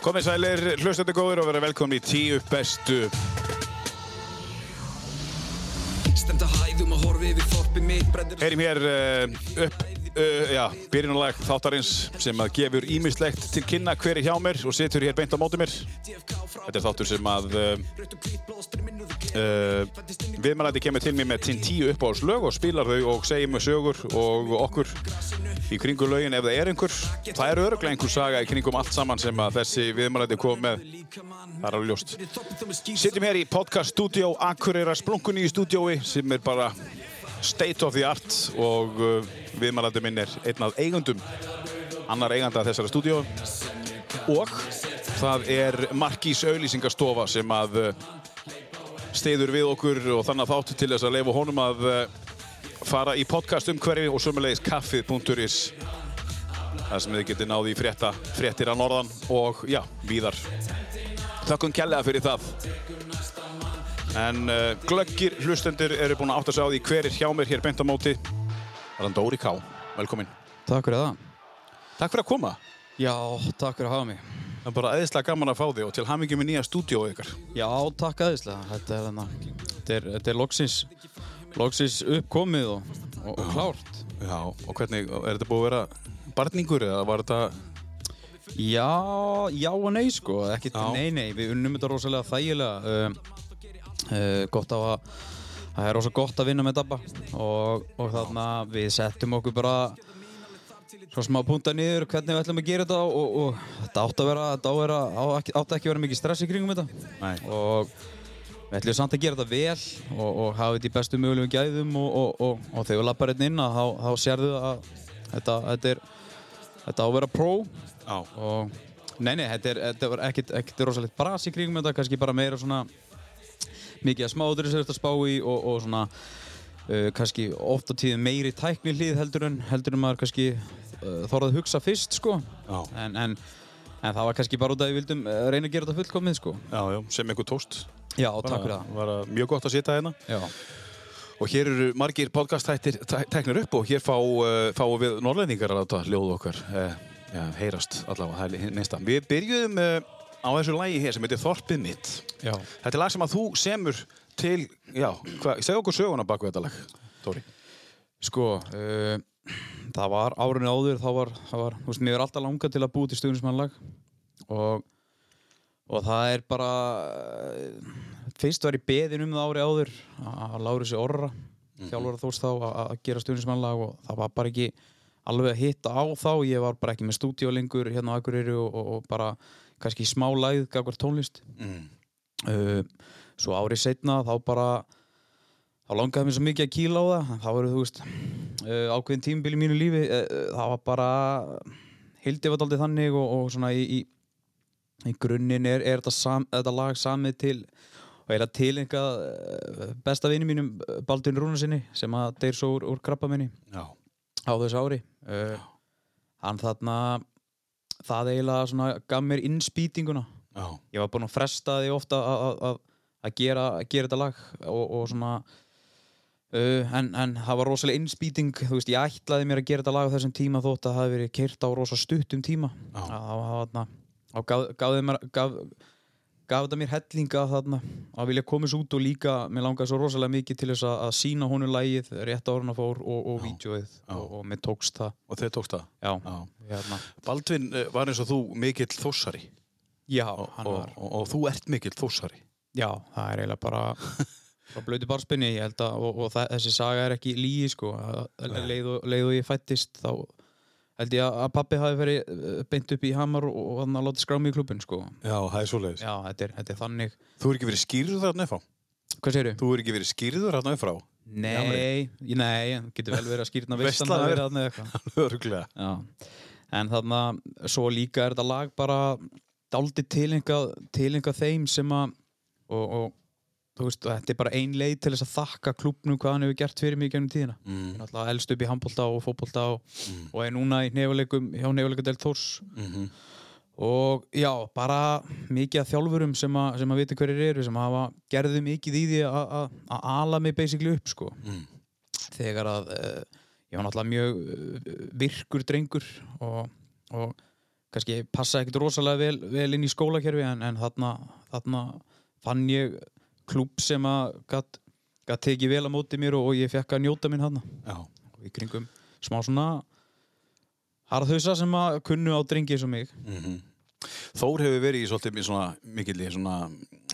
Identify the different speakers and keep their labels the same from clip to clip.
Speaker 1: Komið sælir, hlustandi góður og verið velkomin í tíu bestu.
Speaker 2: Stemd að hæðum og horfi yfir þorpi mitt Brendir
Speaker 1: Heyrim hér uh, upp, uh, já, byrjunulag þáttarins sem að gefur ímislegt til kynna hver er hjá mér og situr hér beint á móti mér.
Speaker 2: TFK frá
Speaker 1: Þetta er þáttur sem að uh,
Speaker 2: Rött og hvít blóstur í minnuðu
Speaker 1: uh, viðmælandi kemur til mér með tín tíu upp á slög og spilar þau og segir mér sögur og okkur í kringum lögin ef það er einhver. Það er öruglega einhver saga í kringum allt saman sem að þessi viðmælandi kom með.
Speaker 2: Líkamann
Speaker 1: Það er alveg ljóst.
Speaker 2: Fyrir þorpið þó með skýr
Speaker 1: Sittum hér í podcast stúdíó Akureyra Splunkunni í stúdíói sem er bara state of the art og uh, viðmælandi minn er einn af eigundum annar eiganda þessara stúdíó og það er Markís auðlýsingastofa sem að uh, steyður við okkur og þannig að þáttu til þess að leifa honum að uh, fara í podcast umhverfi og sömulegis kaffið.is þar sem þið getið náði í frétta, fréttir að norðan og já, víðar Þakkum kærlega fyrir það. En uh, glöggir hlustendur eru búin að átta sig á því hver er hjá mér hér beint á móti. Það er hann Dóri Ká. Velkomin.
Speaker 3: Takk fyrir það.
Speaker 1: Takk fyrir að koma.
Speaker 3: Já, takk fyrir að hafa mig.
Speaker 1: Það er bara aðeinslega gaman að fá þig og til hamingi með nýja stúdíói ykkar.
Speaker 3: Já, takk aðeinslega. Þetta er, hana, þetta er, þetta er loksins, loksins uppkomið og, og, og klárt.
Speaker 1: Já, og hvernig, er þetta búið að vera barningur eða var þetta...
Speaker 3: Já, já og nei sko. Ekki,
Speaker 1: Já.
Speaker 3: nei, nei, við unnum þetta rosalega þægilega. Uh, uh, gott á að, það er rosa gott að vinna með Dabba og, og þarna við settum okkur bara svo smá punta niður hvernig við ætlum að gera þetta og, og þetta átt að vera, þetta á að vera, á ekki, átt ekki að vera mikið stress í kringum þetta.
Speaker 1: Nei.
Speaker 3: og við ætlum samt að gera þetta vel og, og hafa þetta í bestu mögulegum gæðum og, og, og, og þegar við lappar hérna inn að þá, þá sérðu að þetta, þetta er þetta á að vera pro
Speaker 1: Já.
Speaker 3: og nei, nei, þetta er, þetta er ekkit, ekkit rosalegt bras í kringum þetta, kannski bara meira svona mikið að smáður sem þetta spá í og, og svona uh, kannski oft á tíðum meiri tækni hlýð heldur en, heldur en maður kannski uh, þorðað hugsa fyrst sko
Speaker 1: Já.
Speaker 3: en, en, en það var kannski bara út að við vildum uh, reyna að gera þetta fullkomið sko
Speaker 1: Já, já, sem einhver tóst.
Speaker 3: Já, takk fyrir
Speaker 1: Bara-
Speaker 3: það.
Speaker 1: Var að- mjög gott að sitja hérna.
Speaker 3: Já.
Speaker 1: Og hér eru margir podcast-tættir tæ- teknir upp og hér fá, uh, fá við norrlendingar að láta ljóð okkar uh, já, heyrast allavega, það er neista. Við byrjuðum uh, á þessu lægi hér sem heitir Þorpið mitt.
Speaker 3: Já.
Speaker 1: Þetta er lag sem að þú semur til, já, hva, segja okkur söguna baku þetta lag, Tóri.
Speaker 3: Sko, uh, það var árunni áður, þá var, það var, þú veist, mér er alltaf langað til að búa til stuðnismannlag og, og það er bara, eh, fyrst var ég beðin um það ári áður að Lárusi Orra, þjálfara þóst þá að að gera stuðnismannlag og það var bara ekki alveg að hitta á þá, ég var bara ekki með stúdíolengur hérna á Akureyri og, og, og bara kannski smá læð gagvar tónlist.
Speaker 1: Mm.
Speaker 3: uh, svo árið setna þá bara þá langaði mér svo mikið að kýla á það þá eru þú veist uh, ákveðin tímabil í mínu lífi uh, uh, það var bara hildi var aldrei þannig og, og svona í, í, í grunninn er, er þetta, sam, þetta lag samið til og eiginlega til einhvað besta vini mínum eh, Baldvin Rúnarsinni sem að deyr svo úr, úr krabba minni
Speaker 1: Já.
Speaker 3: á þessu ári uh, hann þarna það eiginlega svona gaf mér innspýtinguna
Speaker 1: Já.
Speaker 3: ég var búinn að fresta því ofta að, að- að, að, gera, að gera þetta lag og, og svona uh, en, en það var rosalega innspýting þú veist, ég ætlaði mér að gera þetta lag á þessum tíma þótt að það hafi verið keirt á rosa stuttum tíma
Speaker 1: Já.
Speaker 3: að það var þarna og gaf, gaf, mér, gaf, gaf þetta mér hellinga þarna að vilja komast út og líka mér langaði svo rosalega mikið til þess að, að sína honum lagið rétt ára hann að fór og, og vídjóið
Speaker 1: Já.
Speaker 3: og, og mér tókst það
Speaker 1: Og þeir tókst það.
Speaker 3: já,
Speaker 1: Já.
Speaker 3: Hérna.
Speaker 1: Baldvin eh, var eins og þú mikill þossari.
Speaker 3: já
Speaker 1: og,
Speaker 3: hann var
Speaker 1: og, og, þú ert mikill þossari.
Speaker 3: Já, það er eiginlega bara bara blötu barspinni, ég held að og, og það, þessi saga er ekki líi sko að leið og, leið og ég fættist þá held ég að, að pappi hafi verið eh, beint upp í hamar og, og hann að láta skrá mig í klubin sko
Speaker 1: Já, það er svoleiðis.
Speaker 3: Já, þetta er, þetta er þannig
Speaker 1: Þú er ekki verið skýrður þarna upp frá.
Speaker 3: Hvað segirðu?
Speaker 1: Þú er ekki verið skýrður þarna upp frá.
Speaker 3: Nei, ég- nei, getur vel verið að skýrna veistan
Speaker 1: Veislan
Speaker 3: að
Speaker 1: er-
Speaker 3: vera þarna eða eitthvað
Speaker 1: Örglega.
Speaker 3: Já, en þarna svo líka er þetta lag bara dálítið tilengað tilenga þeim sem að og, og þú veist, þetta er bara ein leið til þess að þakka klubnum hvað hann hefur gert fyrir mig í gennum tíðina
Speaker 1: Mm.
Speaker 3: ég er alltaf elst upp í handbólta og fótbólta og, og er núna í nefuleikum hjá nefuleikadel Þórs
Speaker 1: Mhm.
Speaker 3: og já, bara mikið af þjálfurum sem að, sem að vita hverjir eru sem hafa gerðu mikið í því að- að að ala mig basically upp sko
Speaker 1: Mm.
Speaker 3: þegar eh, að uh, ég var náttúrulega mjög uh, virkur drengur og, og kannski passa ekkert rosalega vel, vel inn í skólakerfi en, en þarna, þarna fann ég klúb sem að gat, gat tekið vel á móti mér og, og ég fekk að njóta minn þarna
Speaker 1: Já.
Speaker 3: og í kringum smá svona harðhausa sem að kunnu á drengi eins og mig
Speaker 1: Mhm. Þór hefur verið í svolítið mjög svona mikill í svona,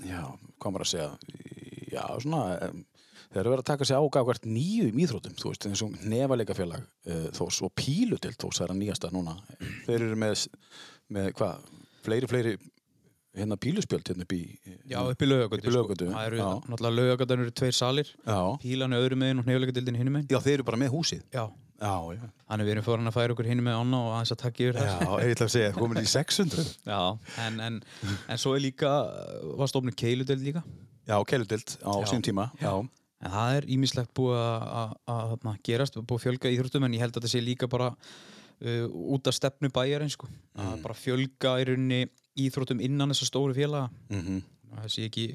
Speaker 1: já, hvað maður að segja, í- já, svona, um, þeir eru verið að taka sér ágafvært nýjum íþrótum, þú veist, eins og nefalega félag uh, Þórs og pílu til Þórs það er að nýjasta núna. Þeir eru með, með hvað, fleiri, fleiri, hérna píluspjöld hérna upp í,
Speaker 3: Já, upp í
Speaker 1: Upp
Speaker 3: laugagötu sko.
Speaker 1: í Laugagötu,
Speaker 3: Það eru
Speaker 1: já.
Speaker 3: náttúrulega laugagötan eru tveir salir
Speaker 1: já,
Speaker 3: Pílan er öðru megin og hnefuleikadildin hinum megin
Speaker 1: já, þeir eru bara með húsið.
Speaker 3: Já,
Speaker 1: Já, já.
Speaker 3: þannig við erum foran að færa okkur hinum megin ána og aðeins að taka yfir
Speaker 1: Já,
Speaker 3: það
Speaker 1: ég ætla að segja, komin í 600.
Speaker 3: Já, en, en, en svo er líka uh, var stofnir keiludild líka
Speaker 1: Já, keiludild á
Speaker 3: Já.
Speaker 1: sínum tíma. Já.
Speaker 3: En það er ímislegt búið að- að að þarna gerast, búið að fjölga íþróttum en ég held að þetta sé líka bara uh, út af stefnu bæjarinn sko.
Speaker 1: Mm.
Speaker 3: Að bara fjölga í rauninni íþróttum innan þessa stóru félaga.
Speaker 1: Mm
Speaker 3: Það sé ekki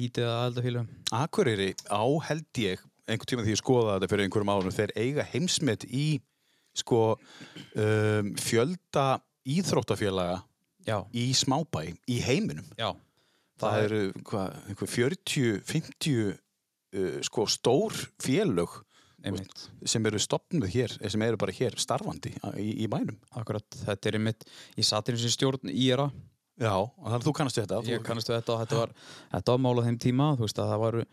Speaker 3: lítið að aðelda félagum.
Speaker 1: Akureyri á held ég einhvern tíma því ég skoða þetta fyrir einhverjum árum þeir eiga heimsmet í sko um, fjölda íþróttafélaga
Speaker 3: Já,
Speaker 1: í smábæ í heiminum
Speaker 3: já.
Speaker 1: það eru hvað, einhver 40, 50 uh, sko stór félög
Speaker 3: einmitt.
Speaker 1: sem eru stopnud hér, eh, sem eru bara hér starfandi a- í, í bænum
Speaker 3: Akkurat, þetta er einmitt, ég satt einu sem stjórn í era,
Speaker 1: Já, og þannig að þú kannast við þetta
Speaker 3: ég
Speaker 1: þú-
Speaker 3: kannast við þetta og þetta var, þetta var mál á þeim tíma, þú veist að það var,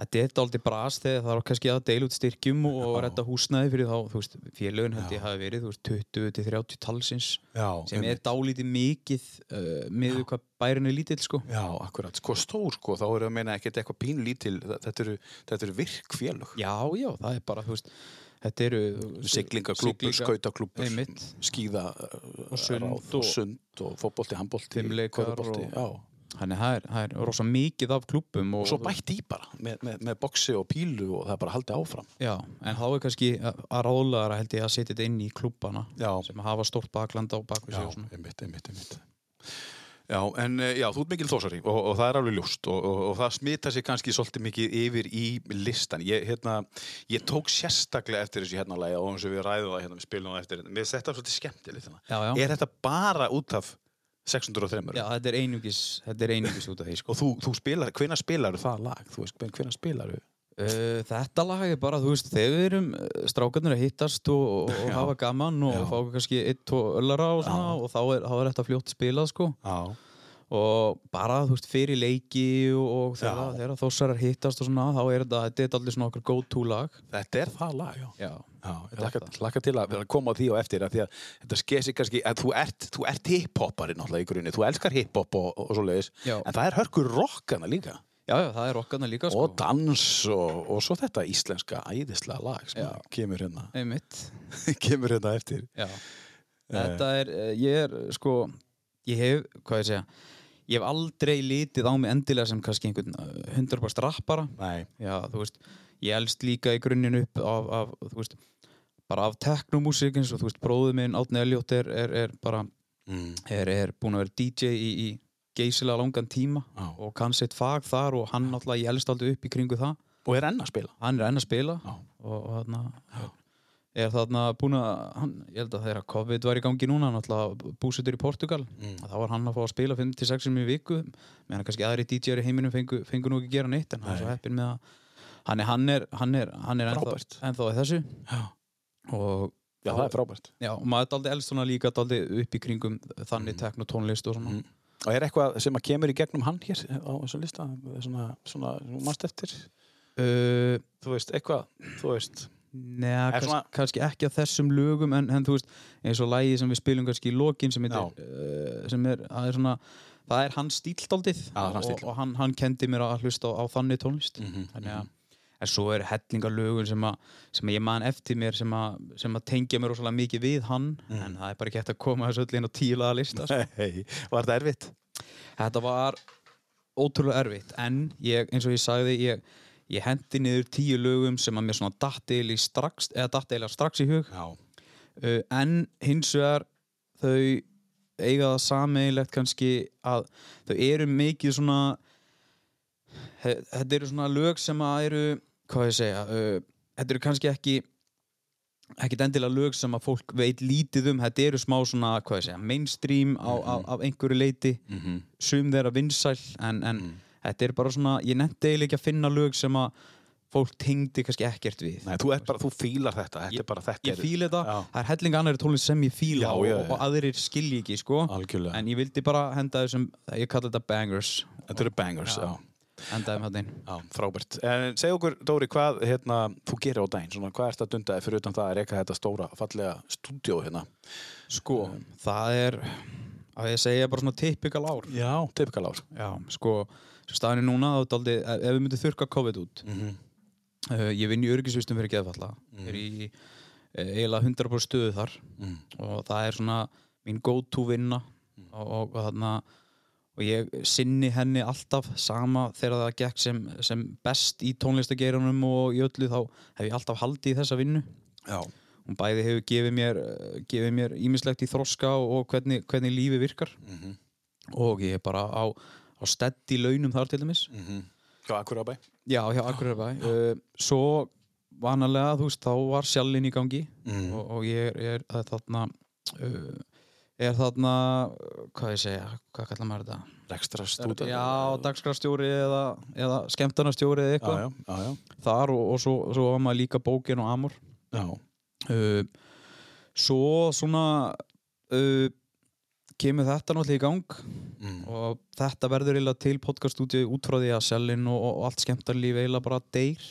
Speaker 3: þetta er aldrei brast þegar það var kannski að deila út styrkjum og, og redda húsnæði fyrir þá, þú veist, félögin held ég hafi verið, þú veist, 20 til 30 talsins
Speaker 1: Já,
Speaker 3: sem er dálítið mikið uh, miður hvað bærin er lítill sko
Speaker 1: Já, akkurat, sko stór sko, þá eru að meina ekkert eitthvað pínlítil, þa- þetta eru, þetta eru virk félög,
Speaker 3: já, já, það er bara, þú veist þetta eru
Speaker 1: siglingaklúpur,
Speaker 3: siglinga-
Speaker 1: skautaklúpur,
Speaker 3: einmitt,
Speaker 1: skíða
Speaker 3: Og sund og-
Speaker 1: og, sund og fótbolti, handbolti,
Speaker 3: Fimleikar
Speaker 1: körfubolti,
Speaker 3: og-
Speaker 1: já.
Speaker 3: þannig það er, það er rosa mikið af klúppum
Speaker 1: og svo bætt í bara með, með, með boksi og pílu og það er bara haldið áfram
Speaker 3: já, en þá er kannski að að ráðlegara held ég að setja þetta inn í klúppana
Speaker 1: já,
Speaker 3: sem hafa stórt baklanda og bakvið
Speaker 1: já
Speaker 3: sig og svona.
Speaker 1: einmitt, einmitt, einmitt já, en eh, já, þú ert mikil þósari og, og það er alveg ljúst og, og, og það smita sig kannski svolítið mikið yfir í listan ég, hérna, ég tók sérstaklega eftir þessu hérna lægi og eins og við ræðum það hérna, við spilum það eftir, mér finnst þetta svolítið skemmtilegt hérna.
Speaker 3: já, já,
Speaker 1: er þetta bara út af 603
Speaker 3: já, þetta er einungis þetta er einungis út af því sko
Speaker 1: og þú, þú spilar, hvenær spilar það lag, þú veist, hvenær spilar
Speaker 3: Uh, þetta lag er bara, þú veist, þegar við erum uh, strákarnir að hittast og, og, og
Speaker 1: Já.
Speaker 3: hafa gaman og
Speaker 1: Já.
Speaker 3: fá kannski eitt, tvo öllara og svona og þá er, þá er þetta fljótt spilað, sko
Speaker 1: já
Speaker 3: og bara, þú veist, fyrir leiki og, og þegar,
Speaker 1: Já.
Speaker 3: þegar þossarar hittast og svona, þá er þetta, þetta er allir svona okkur go-to lag
Speaker 1: Þetta er það lag, já.
Speaker 3: Já,
Speaker 1: Já, ég laka, laka til að vera að koma á því og eftir að því að þetta sker sig kannski að þú ert, þú ert hiphopari náttúrulega í grunni, þú elskar hiphop og, og svo leiðis,
Speaker 3: Já.
Speaker 1: en það er hörkur rockana líka
Speaker 3: já, það er rockarna líka,
Speaker 1: og
Speaker 3: sko
Speaker 1: dans og, og svo þetta íslenska æðislega lag sem
Speaker 3: Já.
Speaker 1: kemur hérna,
Speaker 3: Einmitt,
Speaker 1: kemur hérna eftir.
Speaker 3: já Þetta er, eh, ég er, sko ég hef, hvað ég segja ég hef aldrei litið á mig endilega sem kannski einhvern eh, 100% rappara
Speaker 1: Eh, Nei,
Speaker 3: já, þú veist, ég elst líka í grunninn upp af, af þú veist, bara af teknomúsikins og þú veist, bróðu minn Átni Eljótt er, er, er bara
Speaker 1: mm.
Speaker 3: er, er búin að vera DJ í, í geysilega langan tíma
Speaker 1: Já.
Speaker 3: og kann sitt fag þar og hann náttúrulega, ég elst aldrei upp í kringu það
Speaker 1: og er enn að spila.
Speaker 3: hann er enn að spila
Speaker 1: Já.
Speaker 3: og, og þarna er þarna búin að, hann, ég held að þegar COVID var í gangi núna, náttúrulega búsettur í Portugal
Speaker 1: Mm.
Speaker 3: að þá var hann að fá að spila 5-6 sinni í viku, meðan kannski aðri DJ-ar í heiminum fengu, fengu nú ekki að gera neitt en hann er svo heppinn með að hann er, hann er, hann er, hann er ennþá,
Speaker 1: Frábært.
Speaker 3: ennþá í þessu
Speaker 1: Já.
Speaker 3: og
Speaker 1: Já, það er frábært.
Speaker 3: já, og maður er aldrei elst svona líka aldrei upp í kringum þannig mm. tekn og tónlist og svona
Speaker 1: Mm. Og er eitthvað sem að kemur í gegnum hann hér á þessum lista, svona, svona, svona mannst eftir,
Speaker 3: uh,
Speaker 1: þú veist, eitthvað, þú veist,
Speaker 3: Neða,
Speaker 1: Er
Speaker 3: kannski,
Speaker 1: svona-
Speaker 3: kannski ekki að þessum lögum en, en þú veist, eins og lægi sem við spilum kannski í lokin sem,
Speaker 1: Já.
Speaker 3: heitir, uh, sem er, það er svona, það er hans stíldaldið
Speaker 1: það er hans
Speaker 3: og,
Speaker 1: stíll. Mhm.
Speaker 3: og hann, hann kendi mér að hlusta á, á þannig tónlist þannig að En svo er hellingar lögum sem, að, sem að ég man eftir mér sem að, sem að tengja mér rosalega mikið við hann
Speaker 1: Mhm.
Speaker 3: en það er bara ekki hægt að koma þessu öll inn á tílaða lista. sko.
Speaker 1: hei, var þetta erfitt?
Speaker 3: Þetta var ótrúlega erfitt en ég, eins og ég sagði ég, ég hendi niður tíu lögum sem að mér svona datt eil í strax eða datt eil strax í hug
Speaker 1: Já.
Speaker 3: uh, en hins vegar þau eiga það sameigilegt kannski að þau eru mikið svona he- eh, þetta eru svona lög sem að eru hvað á ég að segja uh, þetta eru kannski ekki ekkert endilega lög sem að fólk veit lítið um þetta eru smá svona, hvað ég segja, mainstream á, á,
Speaker 1: Mhm.
Speaker 3: af einhverju leiti sum þeirra vinsæl en,
Speaker 1: Mhm.
Speaker 3: en þetta er bara svona, ég nefndi eiginlega ekki að finna lög sem að fólk tengdi kannski ekkert við
Speaker 1: Nei, þú, ert bara, þú fílar þetta, þetta er bara þetta
Speaker 3: ég
Speaker 1: er-
Speaker 3: fíla þetta,
Speaker 1: Já.
Speaker 3: það er helling annar tónlist sem ég fíla
Speaker 1: Já,
Speaker 3: og,
Speaker 1: já, já.
Speaker 3: og aðrir skilji ekki sko
Speaker 1: Algjörlega.
Speaker 3: en ég vildi bara henda þessum, ég kalla þetta bangers
Speaker 1: Þetta eru bangers, já.
Speaker 3: endaði með hann
Speaker 1: Já, frábært. En segja okkur, Dóri, hvað hérna, þú gerir á daginn? Svona, hvað ert að dunda þér fyrir utan það að reyka þetta stóra, fallega stúdíó hérna?
Speaker 3: sko, það er að ég að segja bara svona typikal ár
Speaker 1: Já. Typikal ár.
Speaker 3: Já, sko, sem staðan er núna þá er daldi, ef ef við myndum þurka COVID út
Speaker 1: Mhm.
Speaker 3: uh, ég vinn í öryggisvistum fyrir geðfalla er í uh, eiginlega 100% stöðu þar og það er svona mín go-to vinna og, og, og þarna og ég sinni henni alltaf sama þegar það gekk sem, sem best í tónlistageiranum og í öllu þá hef ég alltaf haldið í þessa vinnu
Speaker 1: Já.
Speaker 3: hún bæði hefur gefið mér eh, gefið mér ímislegt í þroska og, og hvernig, hvernig lífi virkar
Speaker 1: Mhm.
Speaker 3: og ég er bara á, á stedd í launum þar til dæmis
Speaker 1: Hjá Akureyra bæ?
Speaker 3: já, hjá Akureyrabæ uh, svo vanalega, þú veist, þá var sjallin í gangi
Speaker 1: Mhm.
Speaker 3: og, og ég er, ég er það er þarna uh, er þarna, eh, hvað ég segja hvað kallar maður þetta?
Speaker 1: Rekstra stúdíó.
Speaker 3: Já, dagskrastjóri eða, eða skemmtarnastjóri eða
Speaker 1: Já,
Speaker 3: eitthvað
Speaker 1: já, já, já.
Speaker 3: þar og, og svo, svo var maður líka bókin og amor
Speaker 1: Já.
Speaker 3: uh, svo svona uh, kemur þetta náttúrulega í gang
Speaker 1: Mhm.
Speaker 3: og þetta verður eiginlega til podcaststúdíu út frá því að selin og, og allt skemmtarlífi eiginlega bara deyr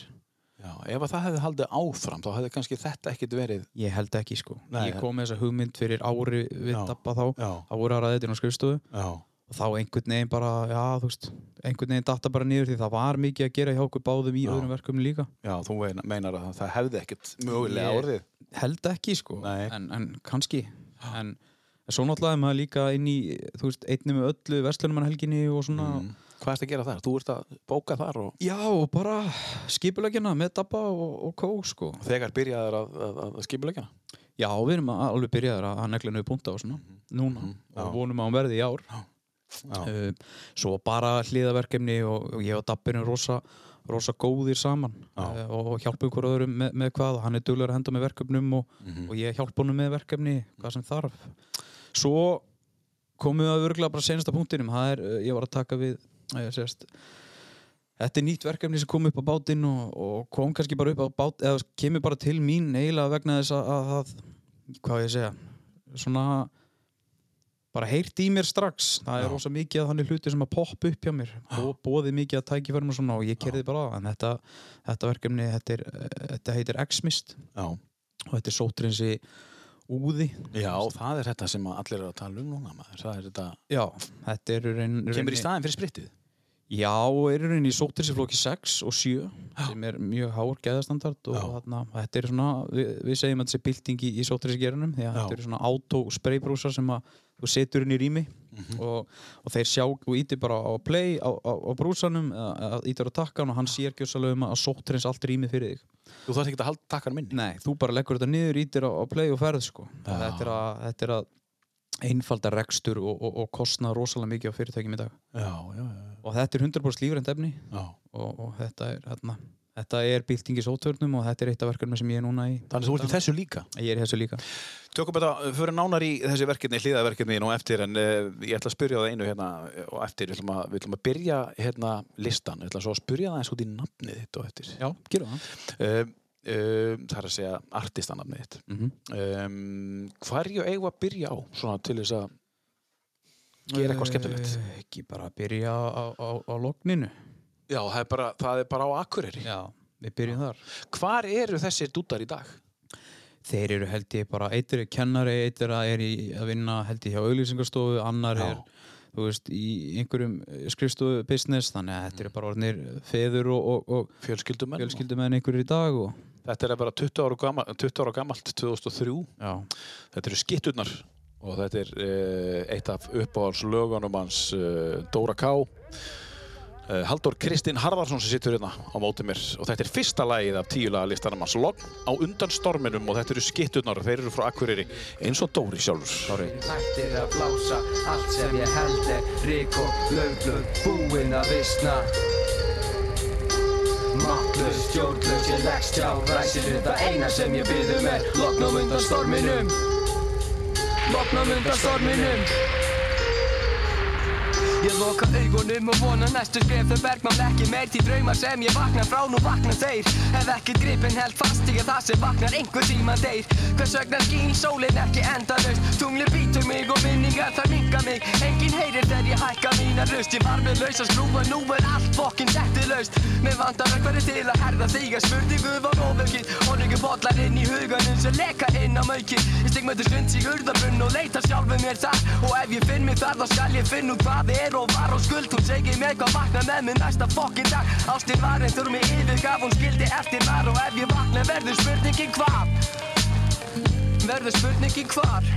Speaker 1: Já, ef að það hefði haldið áfram, þá hefði kannski þetta ekkit verið.
Speaker 3: ég held ekki sko
Speaker 1: Nei,
Speaker 3: ég kom með þessa hugmynd fyrir ári við
Speaker 1: Já,
Speaker 3: dabba þá
Speaker 1: já.
Speaker 3: það voru að ræða þetta á skrifstofu
Speaker 1: Já.
Speaker 3: og þá einhvern veginn bara, já þú veist einhvern veginn datta bara niður því það var mikið að gera hjá okkur báðum í öðrum verkum líka
Speaker 1: Já, þú meina- meinar að það hefði ekkit mögulega
Speaker 3: Ég-
Speaker 1: orðið.
Speaker 3: held ekki sko
Speaker 1: Nei.
Speaker 3: en, en kannski en svo náttúrulega er maður líka inn í þú veist, einni með öllu verslunumannhelginni og svona
Speaker 1: Hvað ert að gera þar? Þú ert að bóka þar og
Speaker 3: já og bara skipulegjana með dabba og, og kó sko
Speaker 1: þegar byrjaðir að, að, að skipulegina.
Speaker 3: já við erum að- alveg byrjaður að að negla niður punta og svona
Speaker 1: Mhm.
Speaker 3: núna og vonum að hún verði í ár
Speaker 1: Já.
Speaker 3: uh, svo bara hliðaverkefni og, og ég og Dabbi erum rosa, rosa góðir saman uh, og hjálpum hver öðrum með, með hvað og hann er duglegur að henda með verkefnum og, og ég hjálpa honum með verkefni hvað sem þarf svo komum við að örgulega bara senasta punktinum það er, uh, ég var að taka við uh, sérst, þetta er nýtt verkefni sem kom upp á bátinn og, og kom kannski bara upp á bát eða kemur bara til mín eiginlega vegna þess að, að það, hvað á ég að segja svona bara heyrt í mér strax það er rosa mikið að þannig hluti sem að poppa upp hjá mér og bóði mikið að tækifærum og svona og ég kerði bara að en þetta, þetta verkefni þetta, er, eh, þetta heitir X-Mist
Speaker 1: Já.
Speaker 3: og þetta er sótrinsi úði
Speaker 1: Já, það er þetta sem að allir eru að tala um núna, maður. Það er þetta...
Speaker 3: já, þetta er raun,
Speaker 1: Kemur í staðin fyrir sprittið?
Speaker 3: já, er raun í sótrinsi flóki 6 og 7 sem er mjög hár gæðastandard og þarna, þetta er svona, við, við segjum að þetta er bylting í, í sótrinsi gerunum því að
Speaker 1: Já.
Speaker 3: þetta eru svona auto spraybrúsar sem að þú setur inn í rými og, og þeir sjá og ítir bara á play á, á, á brúsanum, eða- eða ítir á takkan og hann sér gjössalega um að sótrins allt rými fyrir þig
Speaker 1: Þú þarf ekki að halda takkar minni?
Speaker 3: Nei, þú bara leggur þetta niður, ítir á, á play og ferð sko. þetta, er að, þetta er að einfalda rekstur og, og, og kostna rosalega mikið á fyrirtækjum í dag
Speaker 1: Já, já, já.
Speaker 3: og þetta er 100% lífrænt efni
Speaker 1: já.
Speaker 3: og, og þetta er hérna, þetta er byltingi sótvörnum og þetta er eitt af verkefnum sem ég er núna í
Speaker 1: Þannig þú ert í þessu líka.
Speaker 3: ég er í þessu líka
Speaker 1: Tökum þetta, fyrir nánar í þessi verkefni, hlýðaverkefni nú eftir, en uh, ég ætla að spyrja það einu hérna eh, og eftir, við ætlum að, við ætlum að byrja hérna listan, við ætlum svo að spyrja það eins út í nafnið þitt og eftir.
Speaker 3: Já, gerum það
Speaker 1: Uh, uh, það er að segja artistanafnið þitt.
Speaker 3: mm -hmm.
Speaker 1: Um, hverju eigum við að byrja á, svona til þess að gera eitthvað skemmtilegt?
Speaker 3: Eh, Ekki bara að byrja á, á, á logninu
Speaker 1: Já, það er bara, það er bara á Akureyri.
Speaker 3: Já, við byrjum þar
Speaker 1: Hvar eru þessir dútar í dag?
Speaker 3: Þeir eru held ég bara, eitt er kennari, eitt er að, er í, að vinna held ég hjá auglýsingarstofu, annar
Speaker 1: Já.
Speaker 3: er þú veist, í einhverjum skrifstofu business, þannig að þetta eru bara orðnir feður og, og, og
Speaker 1: Fjölskyldumenn?
Speaker 3: fjölskyldumenn einhverjir í dag og
Speaker 1: Þetta er bara 20 ára, gammal, 20 ára gamalt, 2003.
Speaker 3: já,
Speaker 1: Þetta eru skitturnar og þetta er uh, eitt af uppáhaldslögunum hans uh, Dóra K. Uh, Haldur Kristinn Harðarsson sem sittur hérna á móti mér og þetta er fyrsta lagið af tíulaga listanum hans Logn á undan storminum og þetta eru skitturnar og þeir eru frá Akureyri eins og Dóri sjálfur.
Speaker 3: sorry
Speaker 4: Hættir að blása allt sem ég held er Rík og lönglöð búinn að visna Máttlaus, stjórnlaus, ég leggst hjá ræsinu Það eina sem ég byðum er Loknum undan storminum Loknum undan storminum Ég loka augunum og vona næstu skref þau bergmál ekki meir Því draumar sem ég vakna frá nú vakna þeir Ef ekki gripin held fast ég er það sem vaknar einhver tíma deyr Hvers vegna skín sólin ekki endalaust Tungli býtur mig og minningar þar minga mig Engin heyrir þegar ég hækka mína rust Ég var með lausa skrúfa nú er allt fokkin settið laust Mér vandar ökværi til að herða þig að spurningu var ofökið Honningu bollar inn í huganum sem leka inn á maukið Ég stig með stund í urðabrunn og leita sjálfur mér þar Og ef ég finn mig þar þá skal ég finna út hvað er og var og skuld Hún segir mér hvað vakna með mig næsta fokkin dag Ástin var en þurr mig yfirgaf, hún skildi eftir var Og ef ég vakna verður spurningin hvar Verður spurningin hvar